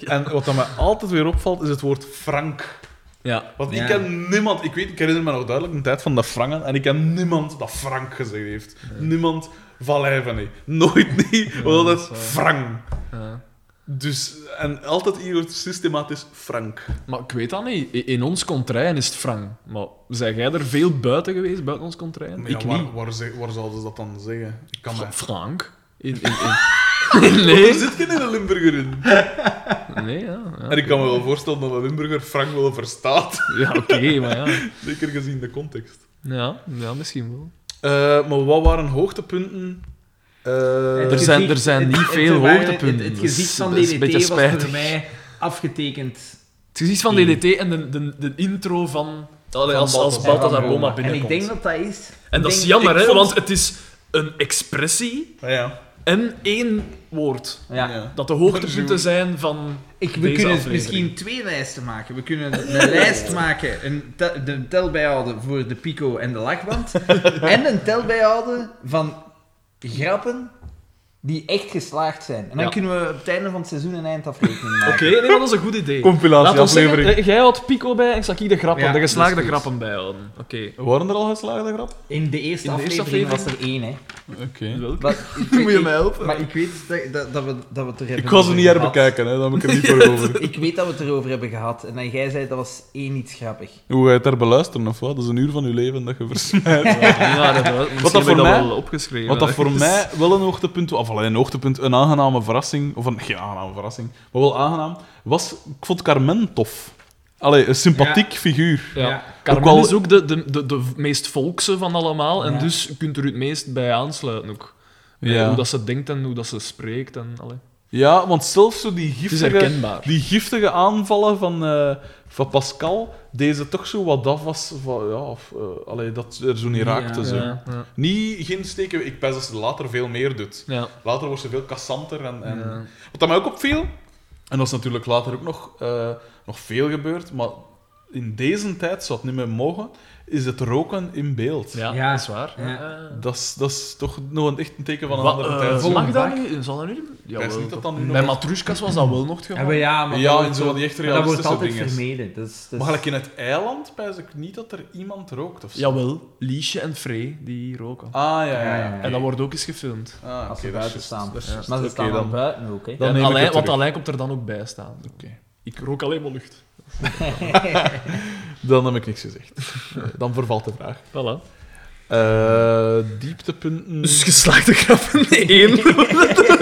[SPEAKER 1] En wat dat mij altijd weer opvalt, is het woord Frank.
[SPEAKER 3] Ja.
[SPEAKER 1] Want
[SPEAKER 2] Ja.
[SPEAKER 1] ik ken niemand, ik weet, ik herinner me nog duidelijk een tijd van de Frangen, en ik ken niemand dat Frank gezegd heeft. Niemand van lijven, nee. Nooit niet, want altijd
[SPEAKER 3] dat is waar.
[SPEAKER 1] Frank.
[SPEAKER 3] ja.
[SPEAKER 1] Dus, en altijd hier wordt systematisch Frank.
[SPEAKER 3] Maar ik weet dat niet. I- In ons contrain is het frank. Maar zijn jij er veel buiten geweest, buiten ons contrain?
[SPEAKER 1] Maar ja,
[SPEAKER 3] ik niet.
[SPEAKER 1] waar, waar, ze- waar zouden ze dat dan zeggen? Ik kan mij...
[SPEAKER 3] Frank? In, in, in... nee.
[SPEAKER 1] Er zit geen ene Limburger in.
[SPEAKER 3] Nee, ja. ja.
[SPEAKER 1] En ik kan me wel voorstellen dat een Limburger Frank wel verstaat.
[SPEAKER 3] Ja, oké, maar ja.
[SPEAKER 1] Zeker gezien de context.
[SPEAKER 3] ja. Ja, misschien wel.
[SPEAKER 1] Eh, maar wat waren hoogtepunten? Eh,
[SPEAKER 3] Er zijn- er zijn niet veel hoogtepunten,
[SPEAKER 2] Het, het
[SPEAKER 3] dus
[SPEAKER 2] gezicht van
[SPEAKER 3] dat is een
[SPEAKER 2] DDT
[SPEAKER 3] beetje
[SPEAKER 2] was voor
[SPEAKER 3] spijtig.
[SPEAKER 2] mij afgetekend.
[SPEAKER 3] Het gezicht van DDT en de, de, de intro van, Allee, als, als
[SPEAKER 1] Balthazar
[SPEAKER 3] Balthazar
[SPEAKER 1] Boma.
[SPEAKER 3] Boma
[SPEAKER 2] En ik
[SPEAKER 3] binnenkomt.
[SPEAKER 2] denk dat dat is...
[SPEAKER 3] En
[SPEAKER 2] ik
[SPEAKER 3] dat
[SPEAKER 2] denk-
[SPEAKER 3] is jammer,
[SPEAKER 1] ik
[SPEAKER 3] hè,
[SPEAKER 1] vond-
[SPEAKER 3] want het is een expressie
[SPEAKER 1] ah ja.
[SPEAKER 3] en één woord.
[SPEAKER 2] Ja.
[SPEAKER 1] ja.
[SPEAKER 3] Dat de
[SPEAKER 1] Bonjour.
[SPEAKER 3] hoogtepunten zijn van...
[SPEAKER 2] Ik, we
[SPEAKER 3] Deze
[SPEAKER 2] kunnen
[SPEAKER 3] aflevering.
[SPEAKER 2] misschien twee lijsten maken. We kunnen een lijst maken, een, te- de tel bijhouden voor de pico en de lakband. en een tel bijhouden van grappen die echt geslaagd zijn. En dan
[SPEAKER 3] Ja.
[SPEAKER 2] kunnen we op het einde van het seizoen een eindafrekening maken.
[SPEAKER 3] Oké, nee, maar dat is een goed idee. Laat ons zeggen,
[SPEAKER 1] Compilatieaflevering.
[SPEAKER 3] eh, jij houdt Pico bij en ik zal ik de grappen,
[SPEAKER 2] Ja,
[SPEAKER 3] de geslaagde
[SPEAKER 2] dat is goed.
[SPEAKER 3] grappen bijhouden. Oké.
[SPEAKER 1] Waren er al geslaagde grap?
[SPEAKER 2] In de eerste
[SPEAKER 3] In de eerste
[SPEAKER 2] aflevering was er één, hè.
[SPEAKER 1] Oké.
[SPEAKER 3] Welke?
[SPEAKER 2] Wat,
[SPEAKER 3] Moet je mij helpen?
[SPEAKER 2] Maar ik weet dat, dat, dat we, dat we het er hebben
[SPEAKER 1] Ik was ze
[SPEAKER 2] over
[SPEAKER 1] niet
[SPEAKER 2] gehad.
[SPEAKER 1] herbekijken, hè. daar heb ik er niet voor over.
[SPEAKER 2] Ik weet dat we het erover hebben gehad. En dan jij zei dat was één iets grappig.
[SPEAKER 1] Hoe ga je het daar beluisteren, of wat? Dat is een uur van je leven dat je versnijdt.
[SPEAKER 3] Ja, dat, wel. Misschien heb
[SPEAKER 1] voor
[SPEAKER 3] ik dat
[SPEAKER 1] mij-
[SPEAKER 3] wel opgeschreven.
[SPEAKER 1] Wat dat voor
[SPEAKER 3] ergens.
[SPEAKER 1] mij wel een hoogtepunt, of alleen een hoogtepunt, een aangename verrassing, of een, geen aangename verrassing, maar wel aangenaam, was, ik vond Carmen tof. Allee, een sympathiek figuur.
[SPEAKER 3] Ja.
[SPEAKER 2] Ja.
[SPEAKER 3] Carmen
[SPEAKER 1] Ook al-
[SPEAKER 3] is ook de, de, de, de meest volkse van allemaal. En
[SPEAKER 2] Ja.
[SPEAKER 3] dus je kunt er het meest bij aansluiten ook. Bij
[SPEAKER 1] Ja.
[SPEAKER 3] Hoe dat ze denkt en hoe dat ze spreekt. En, allee.
[SPEAKER 1] Ja, want zelfs zo die
[SPEAKER 3] Het is
[SPEAKER 1] giftige,
[SPEAKER 3] herkenbaar.
[SPEAKER 1] die giftige aanvallen van, eh, van Pascal, deze toch zo wat af was, van, ja, of, eh, allee, dat er zo niet raakte.
[SPEAKER 2] Ja.
[SPEAKER 1] zo.
[SPEAKER 3] Ja, ja.
[SPEAKER 1] Niet, geen steken, ik pijs dat ze later veel meer doet.
[SPEAKER 3] Ja.
[SPEAKER 1] Later wordt ze veel kassanter. En, en...
[SPEAKER 3] Ja.
[SPEAKER 1] Wat dat mij ook opviel, en dat is natuurlijk later ook nog, eh, nog veel gebeurd, maar in deze tijd zou het niet meer mogen, is het roken in beeld.
[SPEAKER 3] Ja,
[SPEAKER 2] Ja.
[SPEAKER 3] dat is waar.
[SPEAKER 2] Ja.
[SPEAKER 1] Dat, is, dat is toch nog een echt een teken van een
[SPEAKER 3] Wat,
[SPEAKER 1] andere
[SPEAKER 3] eh,
[SPEAKER 1] tijd.
[SPEAKER 2] vol-
[SPEAKER 3] mag
[SPEAKER 2] Zo'n
[SPEAKER 3] dat
[SPEAKER 2] bak.
[SPEAKER 3] nu? Zal dat nu? Ja,
[SPEAKER 1] Ik wist niet dat dat nu nog-
[SPEAKER 3] Bij Matrushkas was dat wel nog het
[SPEAKER 2] Ja,
[SPEAKER 3] geval.
[SPEAKER 2] maar ja, maar
[SPEAKER 1] Ja,
[SPEAKER 2] dat
[SPEAKER 1] en
[SPEAKER 2] wordt
[SPEAKER 1] zo
[SPEAKER 2] wel-
[SPEAKER 1] die echt
[SPEAKER 2] maar Dat wordt
[SPEAKER 1] realistische
[SPEAKER 2] altijd
[SPEAKER 1] dinges.
[SPEAKER 2] vermeden. Dus, dus...
[SPEAKER 1] Maar gelijk in het eiland pijs ik niet dat er iemand rookt. Of zo.
[SPEAKER 3] Jawel, Liesje en Frey, die roken.
[SPEAKER 1] Ah, ja, ja.
[SPEAKER 2] Ja,
[SPEAKER 1] ja.
[SPEAKER 2] ja, ja.
[SPEAKER 3] En dat wordt ook eens gefilmd.
[SPEAKER 1] Ah, oké,
[SPEAKER 2] Als ze
[SPEAKER 1] dat is
[SPEAKER 2] buiten
[SPEAKER 1] juist,
[SPEAKER 2] staan.
[SPEAKER 1] dat is juist.
[SPEAKER 2] Maar ze staan
[SPEAKER 1] Oké,
[SPEAKER 2] dan
[SPEAKER 1] dan.
[SPEAKER 2] buiten ook, hè.
[SPEAKER 1] Dan
[SPEAKER 3] En
[SPEAKER 1] neem ik
[SPEAKER 3] Alain-
[SPEAKER 1] het
[SPEAKER 3] want
[SPEAKER 1] terug.
[SPEAKER 3] Alain komt er dan ook bij staan.
[SPEAKER 1] Oké.
[SPEAKER 3] Ik rook alleen maar lucht.
[SPEAKER 1] Dan heb ik niks gezegd. Eh, dan vervalt de vraag.
[SPEAKER 3] Voilà.
[SPEAKER 1] Eh, dieptepunten.
[SPEAKER 3] Dus geslaagde grappen, nee, één.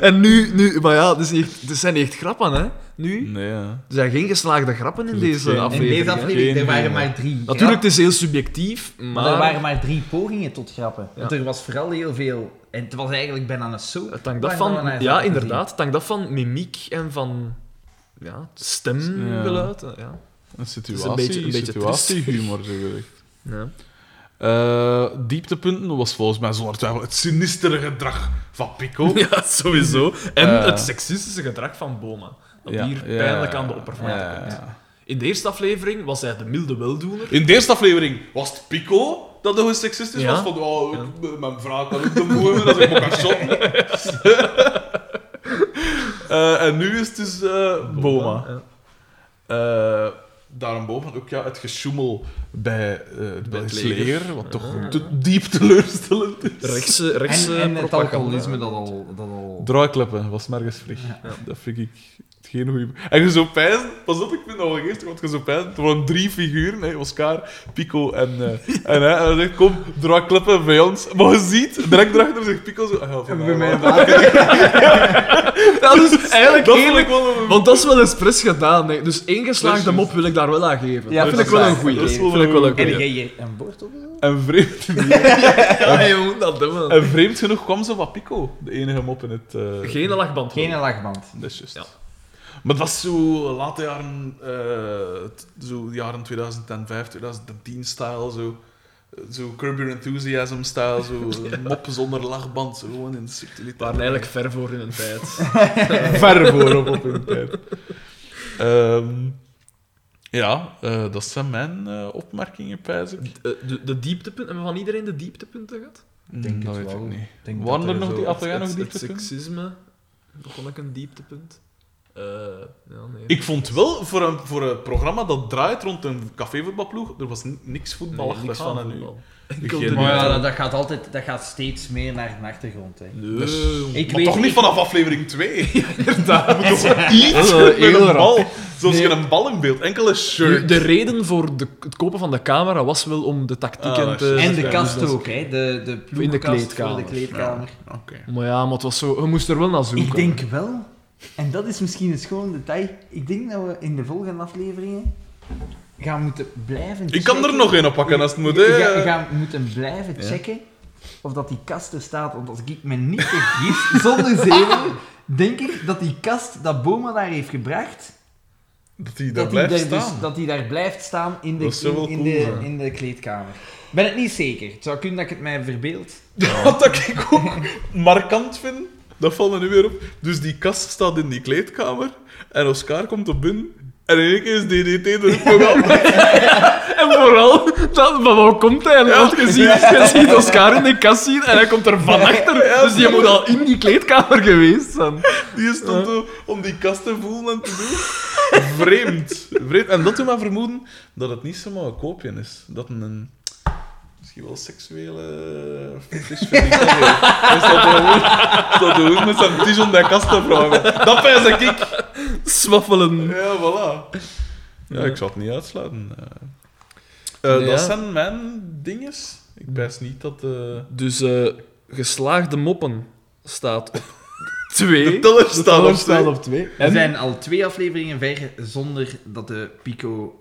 [SPEAKER 3] en nu, nu, maar ja, het, is niet echt- het zijn niet echt grappen, hè? Nu.
[SPEAKER 1] Nee, ja.
[SPEAKER 3] Er zijn geen geslaagde grappen in
[SPEAKER 1] Er zit geen-
[SPEAKER 3] deze
[SPEAKER 1] In
[SPEAKER 2] In
[SPEAKER 3] aflevering.
[SPEAKER 2] deze
[SPEAKER 3] hè.
[SPEAKER 2] aflevering, er
[SPEAKER 1] Geen
[SPEAKER 2] waren
[SPEAKER 1] humor.
[SPEAKER 2] maar drie.
[SPEAKER 3] Natuurlijk, het
[SPEAKER 2] grappen.
[SPEAKER 3] is heel subjectief, maar,
[SPEAKER 2] Maar er waren maar drie pogingen tot grappen. Want
[SPEAKER 3] Ja.
[SPEAKER 2] er was vooral heel veel... En het was eigenlijk bijna een soap.
[SPEAKER 3] het hangt af
[SPEAKER 2] Waar gaan we
[SPEAKER 3] van,
[SPEAKER 2] naar
[SPEAKER 3] ja,
[SPEAKER 2] zaken
[SPEAKER 3] inderdaad, het hangt af van mimiek en van ja, stemgeluid. Ja. Ja.
[SPEAKER 1] Een situatie,
[SPEAKER 3] een beetje- een beetje
[SPEAKER 1] situatiehumor, zo gezegd.
[SPEAKER 3] Ja.
[SPEAKER 1] Eh, dieptepunten was volgens mij zonder twijfel het sinistere gedrag van Pico.
[SPEAKER 3] sowieso. En
[SPEAKER 1] Eh.
[SPEAKER 3] het seksistische gedrag van Boma. Dat
[SPEAKER 1] Ja,
[SPEAKER 3] hier
[SPEAKER 1] ja,
[SPEAKER 3] pijnlijk aan de
[SPEAKER 1] ja,
[SPEAKER 3] oppervlakte
[SPEAKER 1] ja,
[SPEAKER 3] komt.
[SPEAKER 1] ja.
[SPEAKER 3] In de eerste aflevering was hij de milde weldoener.
[SPEAKER 1] In de eerste aflevering was het Pico dat nog eens seksistisch
[SPEAKER 3] Ja.
[SPEAKER 1] was. Van, oh, ik- mijn vrouw kan ook de moeder, dat is een mokasson. Eh, en nu is het dus eh, Boma.
[SPEAKER 3] Ja.
[SPEAKER 1] Eh, daarboven ook ja, het gesjoemel bij eh het Belgisch
[SPEAKER 3] leger.
[SPEAKER 1] leger, wat toch te diep teleurstellend is.
[SPEAKER 3] Rechtse, rechtse
[SPEAKER 2] En, en het
[SPEAKER 3] eh, propaganda.
[SPEAKER 2] alcoholisme dat al... Dat al...
[SPEAKER 1] Draaikleppen was nergens vlieg. Dat vind ik geen goede. En je zo pijzen, pas op, ik vind dat wel geestig, want je zo pijzen. Het waren drie figuren, hè, Oscar, Pico en. eh en, hè, en dan zegt kom, draaikleppen bij ons. Maar je ziet, direct erachter zegt Pico zo. Ah, ja,
[SPEAKER 2] En
[SPEAKER 1] van
[SPEAKER 2] bij mij
[SPEAKER 1] nou,
[SPEAKER 2] water.
[SPEAKER 3] Dat is eigenlijk
[SPEAKER 1] dat vond
[SPEAKER 3] eerlijk.
[SPEAKER 1] ik wel een.
[SPEAKER 3] Want dat is wel expres gedaan. Hè. Dus één
[SPEAKER 1] Dat
[SPEAKER 3] geslaagde
[SPEAKER 1] is
[SPEAKER 3] mop wil ik daar wel aan geven.
[SPEAKER 2] Ja,
[SPEAKER 3] dat
[SPEAKER 2] dat
[SPEAKER 3] vind ik
[SPEAKER 2] is
[SPEAKER 3] wel
[SPEAKER 2] waar.
[SPEAKER 3] een goeie.
[SPEAKER 2] Dat
[SPEAKER 1] is wel
[SPEAKER 3] vind ik
[SPEAKER 1] een
[SPEAKER 3] wel een
[SPEAKER 1] goeie.
[SPEAKER 3] goeie.
[SPEAKER 2] hier een bord op?
[SPEAKER 1] En vreemd,
[SPEAKER 3] Ja, je moet dat doen. man.
[SPEAKER 1] en vreemd genoeg kwam ze van Pico, de enige mop in het. eh,
[SPEAKER 3] Geen lachband.
[SPEAKER 2] Geen lachband.
[SPEAKER 1] Dat is juist.
[SPEAKER 3] Ja.
[SPEAKER 1] Maar dat was zo late jaren, eh, t- zo jaren 2005, 2010-stijl, zo, zo Curb Your Enthusiasm-stijl, zo moppen zonder lachband, zo gewoon in de subtiliteit.
[SPEAKER 3] waren eigenlijk ver voor hun tijd.
[SPEAKER 1] ver voor op, op hun tijd. Ehm, ja, eh, dat zijn mijn eh, opmerkingen, pijs ik.
[SPEAKER 3] De, Eh, de, de dieptepunten, hebben we van iedereen de dieptepunten gehad?
[SPEAKER 2] denk
[SPEAKER 1] Mm, dat
[SPEAKER 2] het
[SPEAKER 1] weet
[SPEAKER 2] wel.
[SPEAKER 1] ik niet.
[SPEAKER 2] Ik denk
[SPEAKER 1] Waren
[SPEAKER 2] dat
[SPEAKER 1] er
[SPEAKER 2] er
[SPEAKER 1] nog
[SPEAKER 2] zo
[SPEAKER 1] die, had jij
[SPEAKER 3] Het-
[SPEAKER 1] nog
[SPEAKER 3] het- Het
[SPEAKER 1] dieptepunten?
[SPEAKER 3] seksisme begon ik een dieptepunt. Eh, ja, nee.
[SPEAKER 1] Ik vond wel, voor een, voor een programma dat draait rond een cafévoetbalploeg, er was ni- niks voetballig
[SPEAKER 3] niks
[SPEAKER 1] van
[SPEAKER 3] aan
[SPEAKER 1] en nu.
[SPEAKER 3] voetbal. Enkel
[SPEAKER 1] Geen-
[SPEAKER 3] de
[SPEAKER 2] Maar Oh ja,
[SPEAKER 3] diepte-
[SPEAKER 2] dat, dat gaat altijd, dat gaat steeds meer naar de achtergrond. Hè.
[SPEAKER 3] Nee, jongen.
[SPEAKER 2] Ik
[SPEAKER 1] Ehm, maar
[SPEAKER 2] weet-
[SPEAKER 1] toch niet
[SPEAKER 2] ik-
[SPEAKER 1] vanaf aflevering 2.
[SPEAKER 3] Inderdaad.
[SPEAKER 1] moet toch iets
[SPEAKER 3] Dat is
[SPEAKER 1] met
[SPEAKER 3] heel
[SPEAKER 1] een
[SPEAKER 3] raar.
[SPEAKER 1] bal. Zoals je
[SPEAKER 3] Nee.
[SPEAKER 1] een bal in beeld. Enkele
[SPEAKER 3] Nu,
[SPEAKER 1] shirt.
[SPEAKER 3] de reden voor de, het kopen van de camera was wel om de tactieken
[SPEAKER 1] Ah,
[SPEAKER 3] te...
[SPEAKER 1] dat is
[SPEAKER 2] En de
[SPEAKER 1] waar.
[SPEAKER 2] kast
[SPEAKER 3] Dus dat
[SPEAKER 2] ook, hè. De, de ploegkast
[SPEAKER 3] In de
[SPEAKER 2] Voor de
[SPEAKER 3] kleedkamer.
[SPEAKER 2] kleedkamer.
[SPEAKER 1] Oké.
[SPEAKER 3] is- Maar ja, maar het was zo... Je moest er wel naar zoeken.
[SPEAKER 2] Ik denk wel, en dat is misschien een schoon detail, ik denk dat we in de volgende afleveringen gaan moeten blijven
[SPEAKER 1] Ik kan er
[SPEAKER 2] checken.
[SPEAKER 1] nog een oppakken als het moet.
[SPEAKER 2] Ga-
[SPEAKER 1] hè.
[SPEAKER 2] gaan moeten blijven checken of dat die kast er staat. Want als ik me niet vergis, zonder zeven, denk ik dat die kast dat Boma daar heeft gebracht,
[SPEAKER 1] Dat hij daar
[SPEAKER 2] dat die,
[SPEAKER 1] blijft
[SPEAKER 2] daar dus,
[SPEAKER 1] staan.
[SPEAKER 2] dat die daar blijft staan in de,
[SPEAKER 1] Dat zou wel
[SPEAKER 2] in, in
[SPEAKER 1] cool
[SPEAKER 2] de,
[SPEAKER 1] zijn.
[SPEAKER 2] in de kleedkamer. Ik ben het niet zeker. Het zou kunnen dat ik het mij verbeeld.
[SPEAKER 1] Wat dat ik ook markant vind, dat valt me nu weer op. Dus die kast staat in die kleedkamer en Oscar komt op binnen. En in één keer is DDT er ook nog aan.
[SPEAKER 3] En vooral, dat, van waar komt hij? Want je ziet, je ziet Oscar in de kast zien en hij komt er van achter. Dus je moet al in die kleedkamer geweest zijn.
[SPEAKER 1] Die stond zo om die kast te voelen en te doen. Vreemd. Vreemd. En dat doet mij vermoeden dat het niet zomaar een koopje is. Dat een... Misschien wel seksuele fetish vind ik dat heel. Is dat de Dat de hoed met zijn tisch om die kast te vragen. Dat pijs ik. ik.
[SPEAKER 3] Swaffelen.
[SPEAKER 1] Ja, voilà. Ja, ik zal het niet uitsluiten. Eh, eh,
[SPEAKER 3] Nee,
[SPEAKER 1] dat
[SPEAKER 3] ja.
[SPEAKER 1] zijn mijn dinges. Ik pijs niet dat... eh,
[SPEAKER 3] Dus eh, geslaagde moppen staat op twee.
[SPEAKER 1] De teller
[SPEAKER 3] De
[SPEAKER 1] staat
[SPEAKER 3] teller
[SPEAKER 1] op twee.
[SPEAKER 3] twee.
[SPEAKER 2] We
[SPEAKER 3] En
[SPEAKER 2] zijn al twee afleveringen ver zonder dat de Pico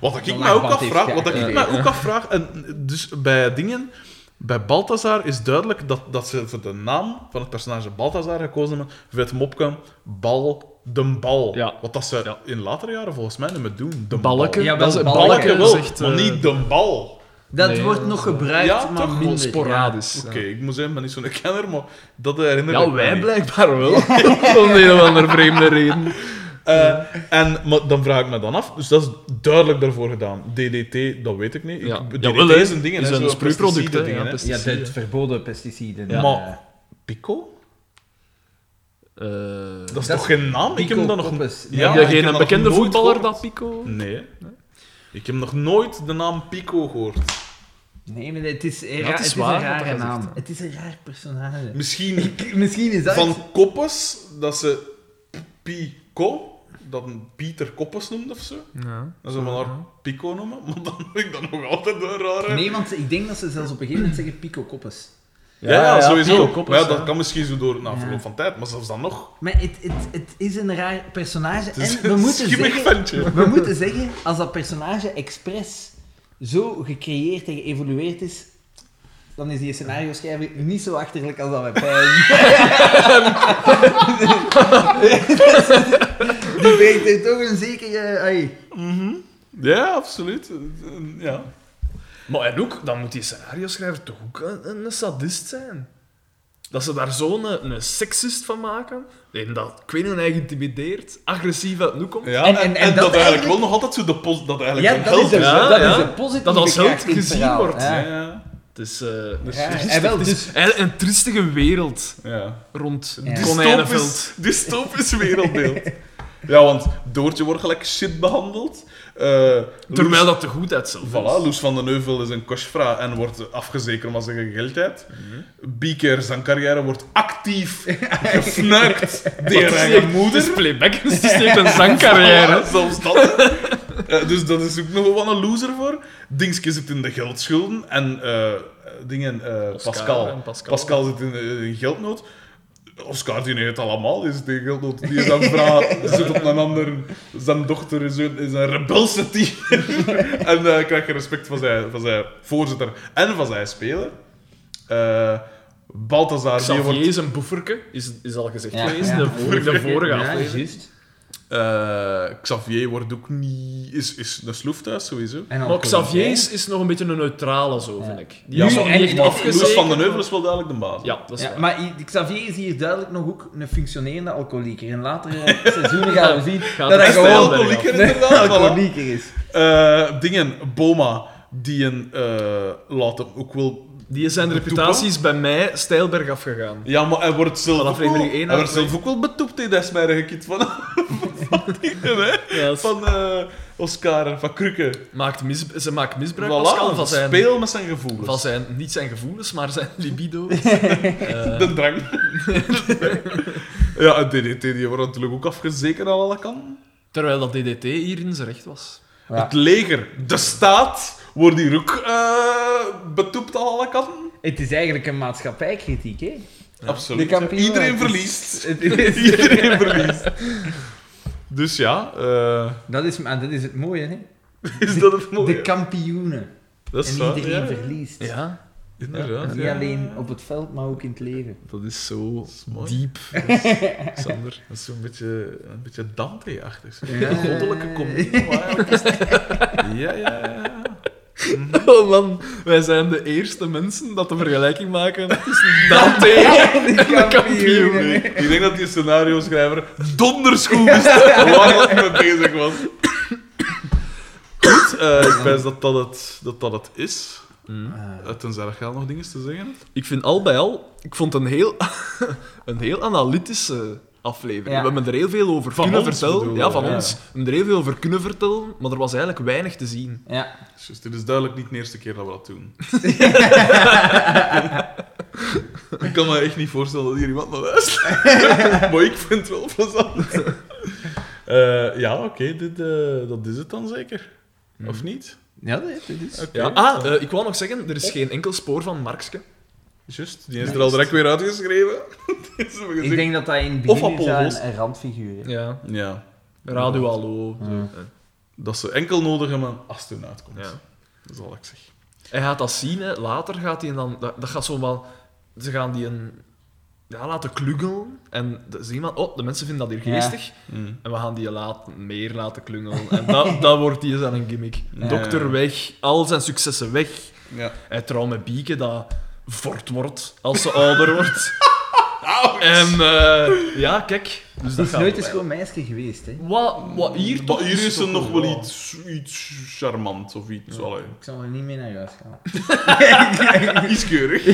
[SPEAKER 1] Wat ik
[SPEAKER 2] De
[SPEAKER 1] mij ook
[SPEAKER 2] lachband heeft
[SPEAKER 1] afvraag, wat ik mij
[SPEAKER 2] geactiveerd.
[SPEAKER 1] ook afvraag, en dus bij dingen, bij Balthazar is duidelijk dat, dat ze voor de naam van het personage Balthazar gekozen hebben, voor het mopje Bal, de bal.
[SPEAKER 3] Ja.
[SPEAKER 1] Wat dat ze in latere jaren volgens mij niet meer doen. De
[SPEAKER 3] balken.
[SPEAKER 2] Ja, wel,
[SPEAKER 3] Dat is-
[SPEAKER 2] balken
[SPEAKER 1] Balken wel,
[SPEAKER 3] zegt,
[SPEAKER 1] maar
[SPEAKER 3] eh,
[SPEAKER 1] niet de bal.
[SPEAKER 2] Dat
[SPEAKER 3] Nee,
[SPEAKER 2] wordt
[SPEAKER 3] dat
[SPEAKER 2] nog
[SPEAKER 3] is wel-
[SPEAKER 2] gebruikt,
[SPEAKER 1] Ja,
[SPEAKER 2] maar
[SPEAKER 1] toch?
[SPEAKER 2] minder.
[SPEAKER 3] Gewoon sporadisch.
[SPEAKER 1] Oké, ik moet zeggen, ik ben niet zo'n kenner, maar dat herinner ik
[SPEAKER 3] Ja,
[SPEAKER 1] me
[SPEAKER 3] wij
[SPEAKER 1] niet.
[SPEAKER 3] blijkbaar wel. Om een of andere vreemde reden.
[SPEAKER 1] Eh, en maar dan vraag ik me dan af, dus dat is duidelijk daarvoor gedaan. DDT, dat weet ik niet. Ik,
[SPEAKER 3] Ja.
[SPEAKER 1] DDT
[SPEAKER 3] Jawel, hè.
[SPEAKER 1] is een ding, hè,
[SPEAKER 3] Is een
[SPEAKER 1] zo'n
[SPEAKER 3] sproeiproduct, hè,
[SPEAKER 1] pesticide dingen,
[SPEAKER 3] ja,
[SPEAKER 1] hè.
[SPEAKER 2] Ja,
[SPEAKER 3] pesticiden.
[SPEAKER 2] het verboden pesticiden.
[SPEAKER 1] Ja. Maar- Pico?
[SPEAKER 3] Eh,
[SPEAKER 1] Dat is
[SPEAKER 2] Dat
[SPEAKER 1] toch geen naam? Ik heb
[SPEAKER 2] Pico
[SPEAKER 1] dat nog
[SPEAKER 2] Poppes.
[SPEAKER 1] Ja,
[SPEAKER 3] heb
[SPEAKER 1] ik heb
[SPEAKER 3] je geen
[SPEAKER 1] dat
[SPEAKER 3] bekende
[SPEAKER 1] nog nooit
[SPEAKER 3] voetballer
[SPEAKER 1] gehoord.
[SPEAKER 3] dat Pico?
[SPEAKER 1] Nee. Ik heb nog nooit de naam Pico gehoord.
[SPEAKER 2] Nee, maar het is, een
[SPEAKER 3] Ja,
[SPEAKER 2] ra-
[SPEAKER 3] het
[SPEAKER 2] het
[SPEAKER 3] is
[SPEAKER 2] is,
[SPEAKER 3] waar
[SPEAKER 2] een
[SPEAKER 3] wat hij
[SPEAKER 2] rare
[SPEAKER 3] zegt.
[SPEAKER 2] naam. Het is een raar personage.
[SPEAKER 1] Misschien
[SPEAKER 2] Misschien is dat...
[SPEAKER 1] van Koppes, dat ze Pico, dat een Pieter Koppes noemt of zo.
[SPEAKER 3] Ja.
[SPEAKER 1] Dat ze hem haar Pico noemen, maar dan vind ik dat nog altijd een rare...
[SPEAKER 2] Nee, want ik denk dat ze zelfs op een gegeven moment zeggen Pico Koppes.
[SPEAKER 1] ja, ja, sowieso.
[SPEAKER 3] Pico Koppes,
[SPEAKER 1] maar ja, dat
[SPEAKER 3] ja.
[SPEAKER 1] kan misschien zo door na verloop
[SPEAKER 2] Ja.
[SPEAKER 1] van tijd, maar zelfs dan nog.
[SPEAKER 2] Maar het, het, het is een raar personage.
[SPEAKER 1] Het is
[SPEAKER 2] En we
[SPEAKER 1] een
[SPEAKER 2] moeten,
[SPEAKER 1] schimmig ventje.
[SPEAKER 2] zeggen, we moeten zeggen, als dat personage expres zo gecreëerd en geëvolueerd is, dan is die scenario schrijver niet zo achterlijk als dat wij pijn. die brengt er toch een zekere... ai.
[SPEAKER 1] Ja, absoluut. Ja.
[SPEAKER 3] Maar en ook, dan moet die scenario-schrijver toch ook een, een sadist zijn. Dat ze daar zo'n eh, een, een seksist van maken, en dat ik weet niet, hij intimideert, agressief uit de hoek komt.
[SPEAKER 1] Ja, en,
[SPEAKER 2] En-
[SPEAKER 1] en,
[SPEAKER 2] en- en
[SPEAKER 1] dat,
[SPEAKER 2] dat
[SPEAKER 1] eigenlijk
[SPEAKER 2] eigenlijk-
[SPEAKER 1] wel nog altijd zo de post... Dat eigenlijk
[SPEAKER 2] Ja,
[SPEAKER 1] een
[SPEAKER 2] dat is,
[SPEAKER 1] held
[SPEAKER 2] een,
[SPEAKER 1] is.
[SPEAKER 3] ja,
[SPEAKER 2] dat
[SPEAKER 3] ja.
[SPEAKER 2] is een positieve
[SPEAKER 3] Dat als held
[SPEAKER 2] kracht in het
[SPEAKER 3] gezien
[SPEAKER 2] verhaal,
[SPEAKER 3] wordt,
[SPEAKER 2] ja.
[SPEAKER 1] Ja, ja.
[SPEAKER 3] Het is, eh, het is
[SPEAKER 2] Ja, en
[SPEAKER 3] triestig.
[SPEAKER 2] wel,
[SPEAKER 3] Het is
[SPEAKER 2] dus-
[SPEAKER 3] eigenlijk een triestige wereld
[SPEAKER 1] ja.
[SPEAKER 3] rond
[SPEAKER 2] Ja.
[SPEAKER 3] het
[SPEAKER 1] Dystopisch,
[SPEAKER 3] konijnenveld.
[SPEAKER 1] dystopisch wereldbeeld. Ja, want Doortje wordt gelijk shit behandeld. Eh,
[SPEAKER 3] Terwijl
[SPEAKER 1] Loes-
[SPEAKER 3] dat te goed uitzelt.
[SPEAKER 1] Voilà, Loes van den Neuvel is een kostvra en wordt afgezekerd omdat ze geen geld heeft.
[SPEAKER 3] Mhm.
[SPEAKER 1] Bieker, zijn carrière wordt actief gefnuikt door haar eigen moeder.
[SPEAKER 3] Het is playback, dus die steekt een zangcarrière.
[SPEAKER 1] Ja, zelfs dat. Eh, dus dat is ook nog wel wat een loser voor. Dingske zit in de geldschulden. En eh, dingen, eh,
[SPEAKER 3] Oscar
[SPEAKER 1] Pascal.
[SPEAKER 3] en
[SPEAKER 1] Pascal.
[SPEAKER 3] Pascal.
[SPEAKER 1] zit in, eh, in geldnood. Oscar die neemt het allemaal, die is in geldnood. Die is aan vrouw, zit op een ander. Zijn dochter is een, is een rebelse team. en eh krijg je respect van zijn, van zijn voorzitter en van zijn speler. Eh Balthazar, die
[SPEAKER 3] Xavier
[SPEAKER 1] wordt...
[SPEAKER 3] is een boeferke, is, is al gezegd
[SPEAKER 2] Ja,
[SPEAKER 3] geweest
[SPEAKER 2] ja.
[SPEAKER 3] in de vorige, de vorige
[SPEAKER 2] Ja,
[SPEAKER 3] aflevering.
[SPEAKER 2] juist.
[SPEAKER 1] eh, Xavier wordt ook niet... Is, is een sloef thuis, sowieso.
[SPEAKER 2] En dan
[SPEAKER 3] Maar
[SPEAKER 2] Colin
[SPEAKER 3] Xavier
[SPEAKER 2] Fay.
[SPEAKER 3] is, is nog een beetje een neutrale zo, vind ik. Die
[SPEAKER 1] Ja,
[SPEAKER 3] is
[SPEAKER 1] maar-
[SPEAKER 3] nog niet echt
[SPEAKER 2] en-
[SPEAKER 3] afgezekerd.
[SPEAKER 1] Loes van den Heuvel is wel duidelijk de baas.
[SPEAKER 3] Ja, dat is
[SPEAKER 2] Ja,
[SPEAKER 3] waar.
[SPEAKER 2] maar i- Xavier is hier duidelijk nog ook een functionerende alcoholieker. In latere seizoenen gaan we zien dat hij
[SPEAKER 3] het
[SPEAKER 1] Wel
[SPEAKER 2] gewoon
[SPEAKER 3] stijl
[SPEAKER 1] alcoholieker,
[SPEAKER 3] Ja.
[SPEAKER 2] een
[SPEAKER 1] inderdaad. voilà.
[SPEAKER 2] alcoholieker is.
[SPEAKER 1] Eh, dingen, Boma, die een eh laat hem ook wel...
[SPEAKER 3] Die zijn reputaties bij mij stijlberg afgegaan.
[SPEAKER 1] Ja, maar hij wordt zelf,
[SPEAKER 3] Vanaf
[SPEAKER 1] ook wel,
[SPEAKER 3] aflevering één
[SPEAKER 1] hij
[SPEAKER 3] naar
[SPEAKER 1] wordt zelf ook wel betoept in dat smerige kind van, van, dingen, hè? van eh, Oscar en van Krukke.
[SPEAKER 3] Maakt mis, ze maakt misbruik Pascal,
[SPEAKER 1] Voilà,
[SPEAKER 3] van, zijn,
[SPEAKER 1] speel met zijn gevoelens.
[SPEAKER 3] van zijn, niet zijn gevoelens, maar zijn libido. Eh,
[SPEAKER 1] De drang. ja, en DDT die wordt natuurlijk ook afgezekerd aan alle kanten.
[SPEAKER 3] Terwijl dat DDT hier in zijn recht was.
[SPEAKER 2] Ja.
[SPEAKER 1] Het leger, de staat, wordt hier ook eh, betoept aan alle kanten.
[SPEAKER 2] Het is eigenlijk een maatschappijkritiek, hè? De
[SPEAKER 1] Absoluut.
[SPEAKER 2] kampioen.
[SPEAKER 1] Iedereen
[SPEAKER 2] Het is-
[SPEAKER 1] verliest.
[SPEAKER 2] het is-
[SPEAKER 1] Iedereen verliest. Dus ja, eh,
[SPEAKER 2] Dat is, maar dat is het mooie, hè?
[SPEAKER 1] is dat het mooie?
[SPEAKER 2] De kampioenen.
[SPEAKER 1] dat
[SPEAKER 2] En
[SPEAKER 1] is waar,
[SPEAKER 2] iedereen
[SPEAKER 1] ja.
[SPEAKER 2] verliest.
[SPEAKER 3] Ja,
[SPEAKER 1] Inderdaad,
[SPEAKER 2] Niet
[SPEAKER 1] ja.
[SPEAKER 2] alleen op het veld, maar ook in het leven.
[SPEAKER 1] Dat is zo
[SPEAKER 3] mooi.
[SPEAKER 1] diep, dat is- Sander. Dat is zo'n beetje, een beetje Dante-achtig. Zo'n
[SPEAKER 2] Ja.
[SPEAKER 1] goddelijke comedie. maar eigenlijk is het- Ja, ja, ja.
[SPEAKER 3] Oh man, wij zijn de eerste mensen dat de vergelijking maken tussen Dante en
[SPEAKER 2] De
[SPEAKER 3] de kampioen.
[SPEAKER 1] Nee, ik denk dat die scenario-schrijver dondersgoed wist waar dat mee bezig was. Goed, eh, ik wijs dat dat het, dat dat het is.
[SPEAKER 2] Ah.
[SPEAKER 1] Eh, Tenzij dat jij nog dingen te zeggen hebt.
[SPEAKER 3] Ik vind al bij al, ik vond een heel, een heel analytische aflevering.
[SPEAKER 2] Ja.
[SPEAKER 3] We hebben er heel veel over
[SPEAKER 1] Van
[SPEAKER 3] kunnen
[SPEAKER 1] ons
[SPEAKER 3] vertellen.
[SPEAKER 1] bedoel je,
[SPEAKER 3] Ja, van
[SPEAKER 1] ja.
[SPEAKER 3] ons. We hebben er heel veel over kunnen vertellen, maar er was eigenlijk weinig te zien.
[SPEAKER 2] Ja.
[SPEAKER 1] Dus dit is duidelijk niet de eerste keer dat we dat doen. ik kan me echt niet voorstellen dat hier iemand naar luistert. maar ik vind het wel plezant. Eh, ja, oké, dit, eh, dat is het dan zeker. Of niet?
[SPEAKER 2] Ja, dat dat is.
[SPEAKER 1] Oké.
[SPEAKER 3] Hm. Ja. Ah, eh, ik wou nog zeggen, er is geen enkel spoor van Markske.
[SPEAKER 1] Just, die is er al direct weer uitgeschreven. Die is er weer
[SPEAKER 2] Ik
[SPEAKER 1] gezien.
[SPEAKER 2] denk dat dat in het
[SPEAKER 1] Of
[SPEAKER 2] begin is dat
[SPEAKER 1] appelroos.
[SPEAKER 2] een, een randfiguur. is.
[SPEAKER 3] Ja.
[SPEAKER 1] Ja,
[SPEAKER 3] Radio Hallo. zo. Eh.
[SPEAKER 1] dat ze enkel nodig hebben als het eruit komt.
[SPEAKER 3] Ja.
[SPEAKER 1] Dat is al ik zeg.
[SPEAKER 3] Hij gaat dat zien, hè. later gaat hij dan... Dat, dat gaat zo wel... Ze gaan die een... Ja, laten klungelen. En de, ze iemand... Oh, de mensen vinden dat hier
[SPEAKER 2] Ja.
[SPEAKER 3] geestig.
[SPEAKER 1] Mm.
[SPEAKER 3] En we gaan die laten, meer laten klungelen. En dat, dat wordt hier zijn een gimmick.
[SPEAKER 1] Ja.
[SPEAKER 3] Dokter weg, al zijn successen weg.
[SPEAKER 1] Ja.
[SPEAKER 3] Hij trouwt met Bieke, dat fort wordt als ze ouder wordt. En eh, ja, kijk. Dus
[SPEAKER 2] Het
[SPEAKER 3] dat
[SPEAKER 2] is
[SPEAKER 3] gaat
[SPEAKER 2] nooit een
[SPEAKER 3] wel.
[SPEAKER 2] schoon meisje geweest, hè?
[SPEAKER 3] Wat, wat hier
[SPEAKER 1] Maar
[SPEAKER 3] toch dus
[SPEAKER 1] hier is er
[SPEAKER 3] toch
[SPEAKER 1] nog wel iets, iets charmant of iets. allee,
[SPEAKER 2] Ik zal er niet mee naar huis gaan.
[SPEAKER 1] Iets keurig.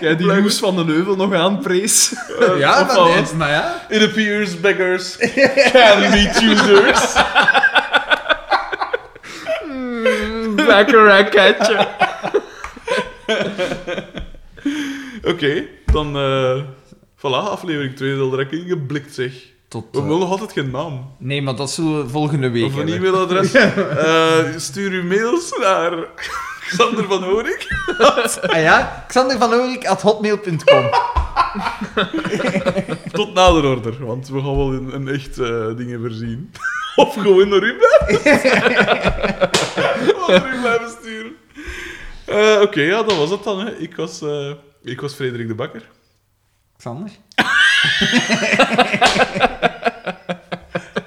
[SPEAKER 3] Jij die Loes van den Heuvel nog aanprees.
[SPEAKER 1] of wel.
[SPEAKER 2] maar ja.
[SPEAKER 1] It appears beggars can be choosers.
[SPEAKER 3] Lekker raketje.
[SPEAKER 1] Oké, dan... eh voilà, aflevering 2 is al direct ingeblikt, zeg.
[SPEAKER 2] Tot, eh,
[SPEAKER 1] We hebben nog altijd geen naam.
[SPEAKER 2] Nee, maar dat zullen we volgende week
[SPEAKER 1] Of een
[SPEAKER 2] hebben.
[SPEAKER 1] e-mailadres. Eh, stuur uw mails naar Xander van Horik.
[SPEAKER 2] Ah ja, Xander van Oorik at hotmail.com.
[SPEAKER 1] Tot nader order, want we gaan wel een, een echt eh, dingen voorzien. Of gewoon naar u blijven sturen. Of naar u blijven sturen. Eh, Oké, ja, dat was het dan. Hè. Ik, was, eh, ik was Frederik de Bakker.
[SPEAKER 2] Xander?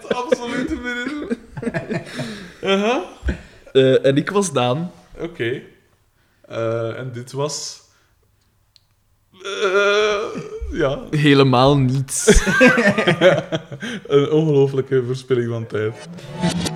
[SPEAKER 1] Absoluut minimum. Aha.
[SPEAKER 3] Eh, en ik was Daan.
[SPEAKER 1] Uh-huh. Oké. Eh, en dit was. eh, ja,
[SPEAKER 3] Helemaal niets.
[SPEAKER 1] een ongelofelijke verspilling van tijd.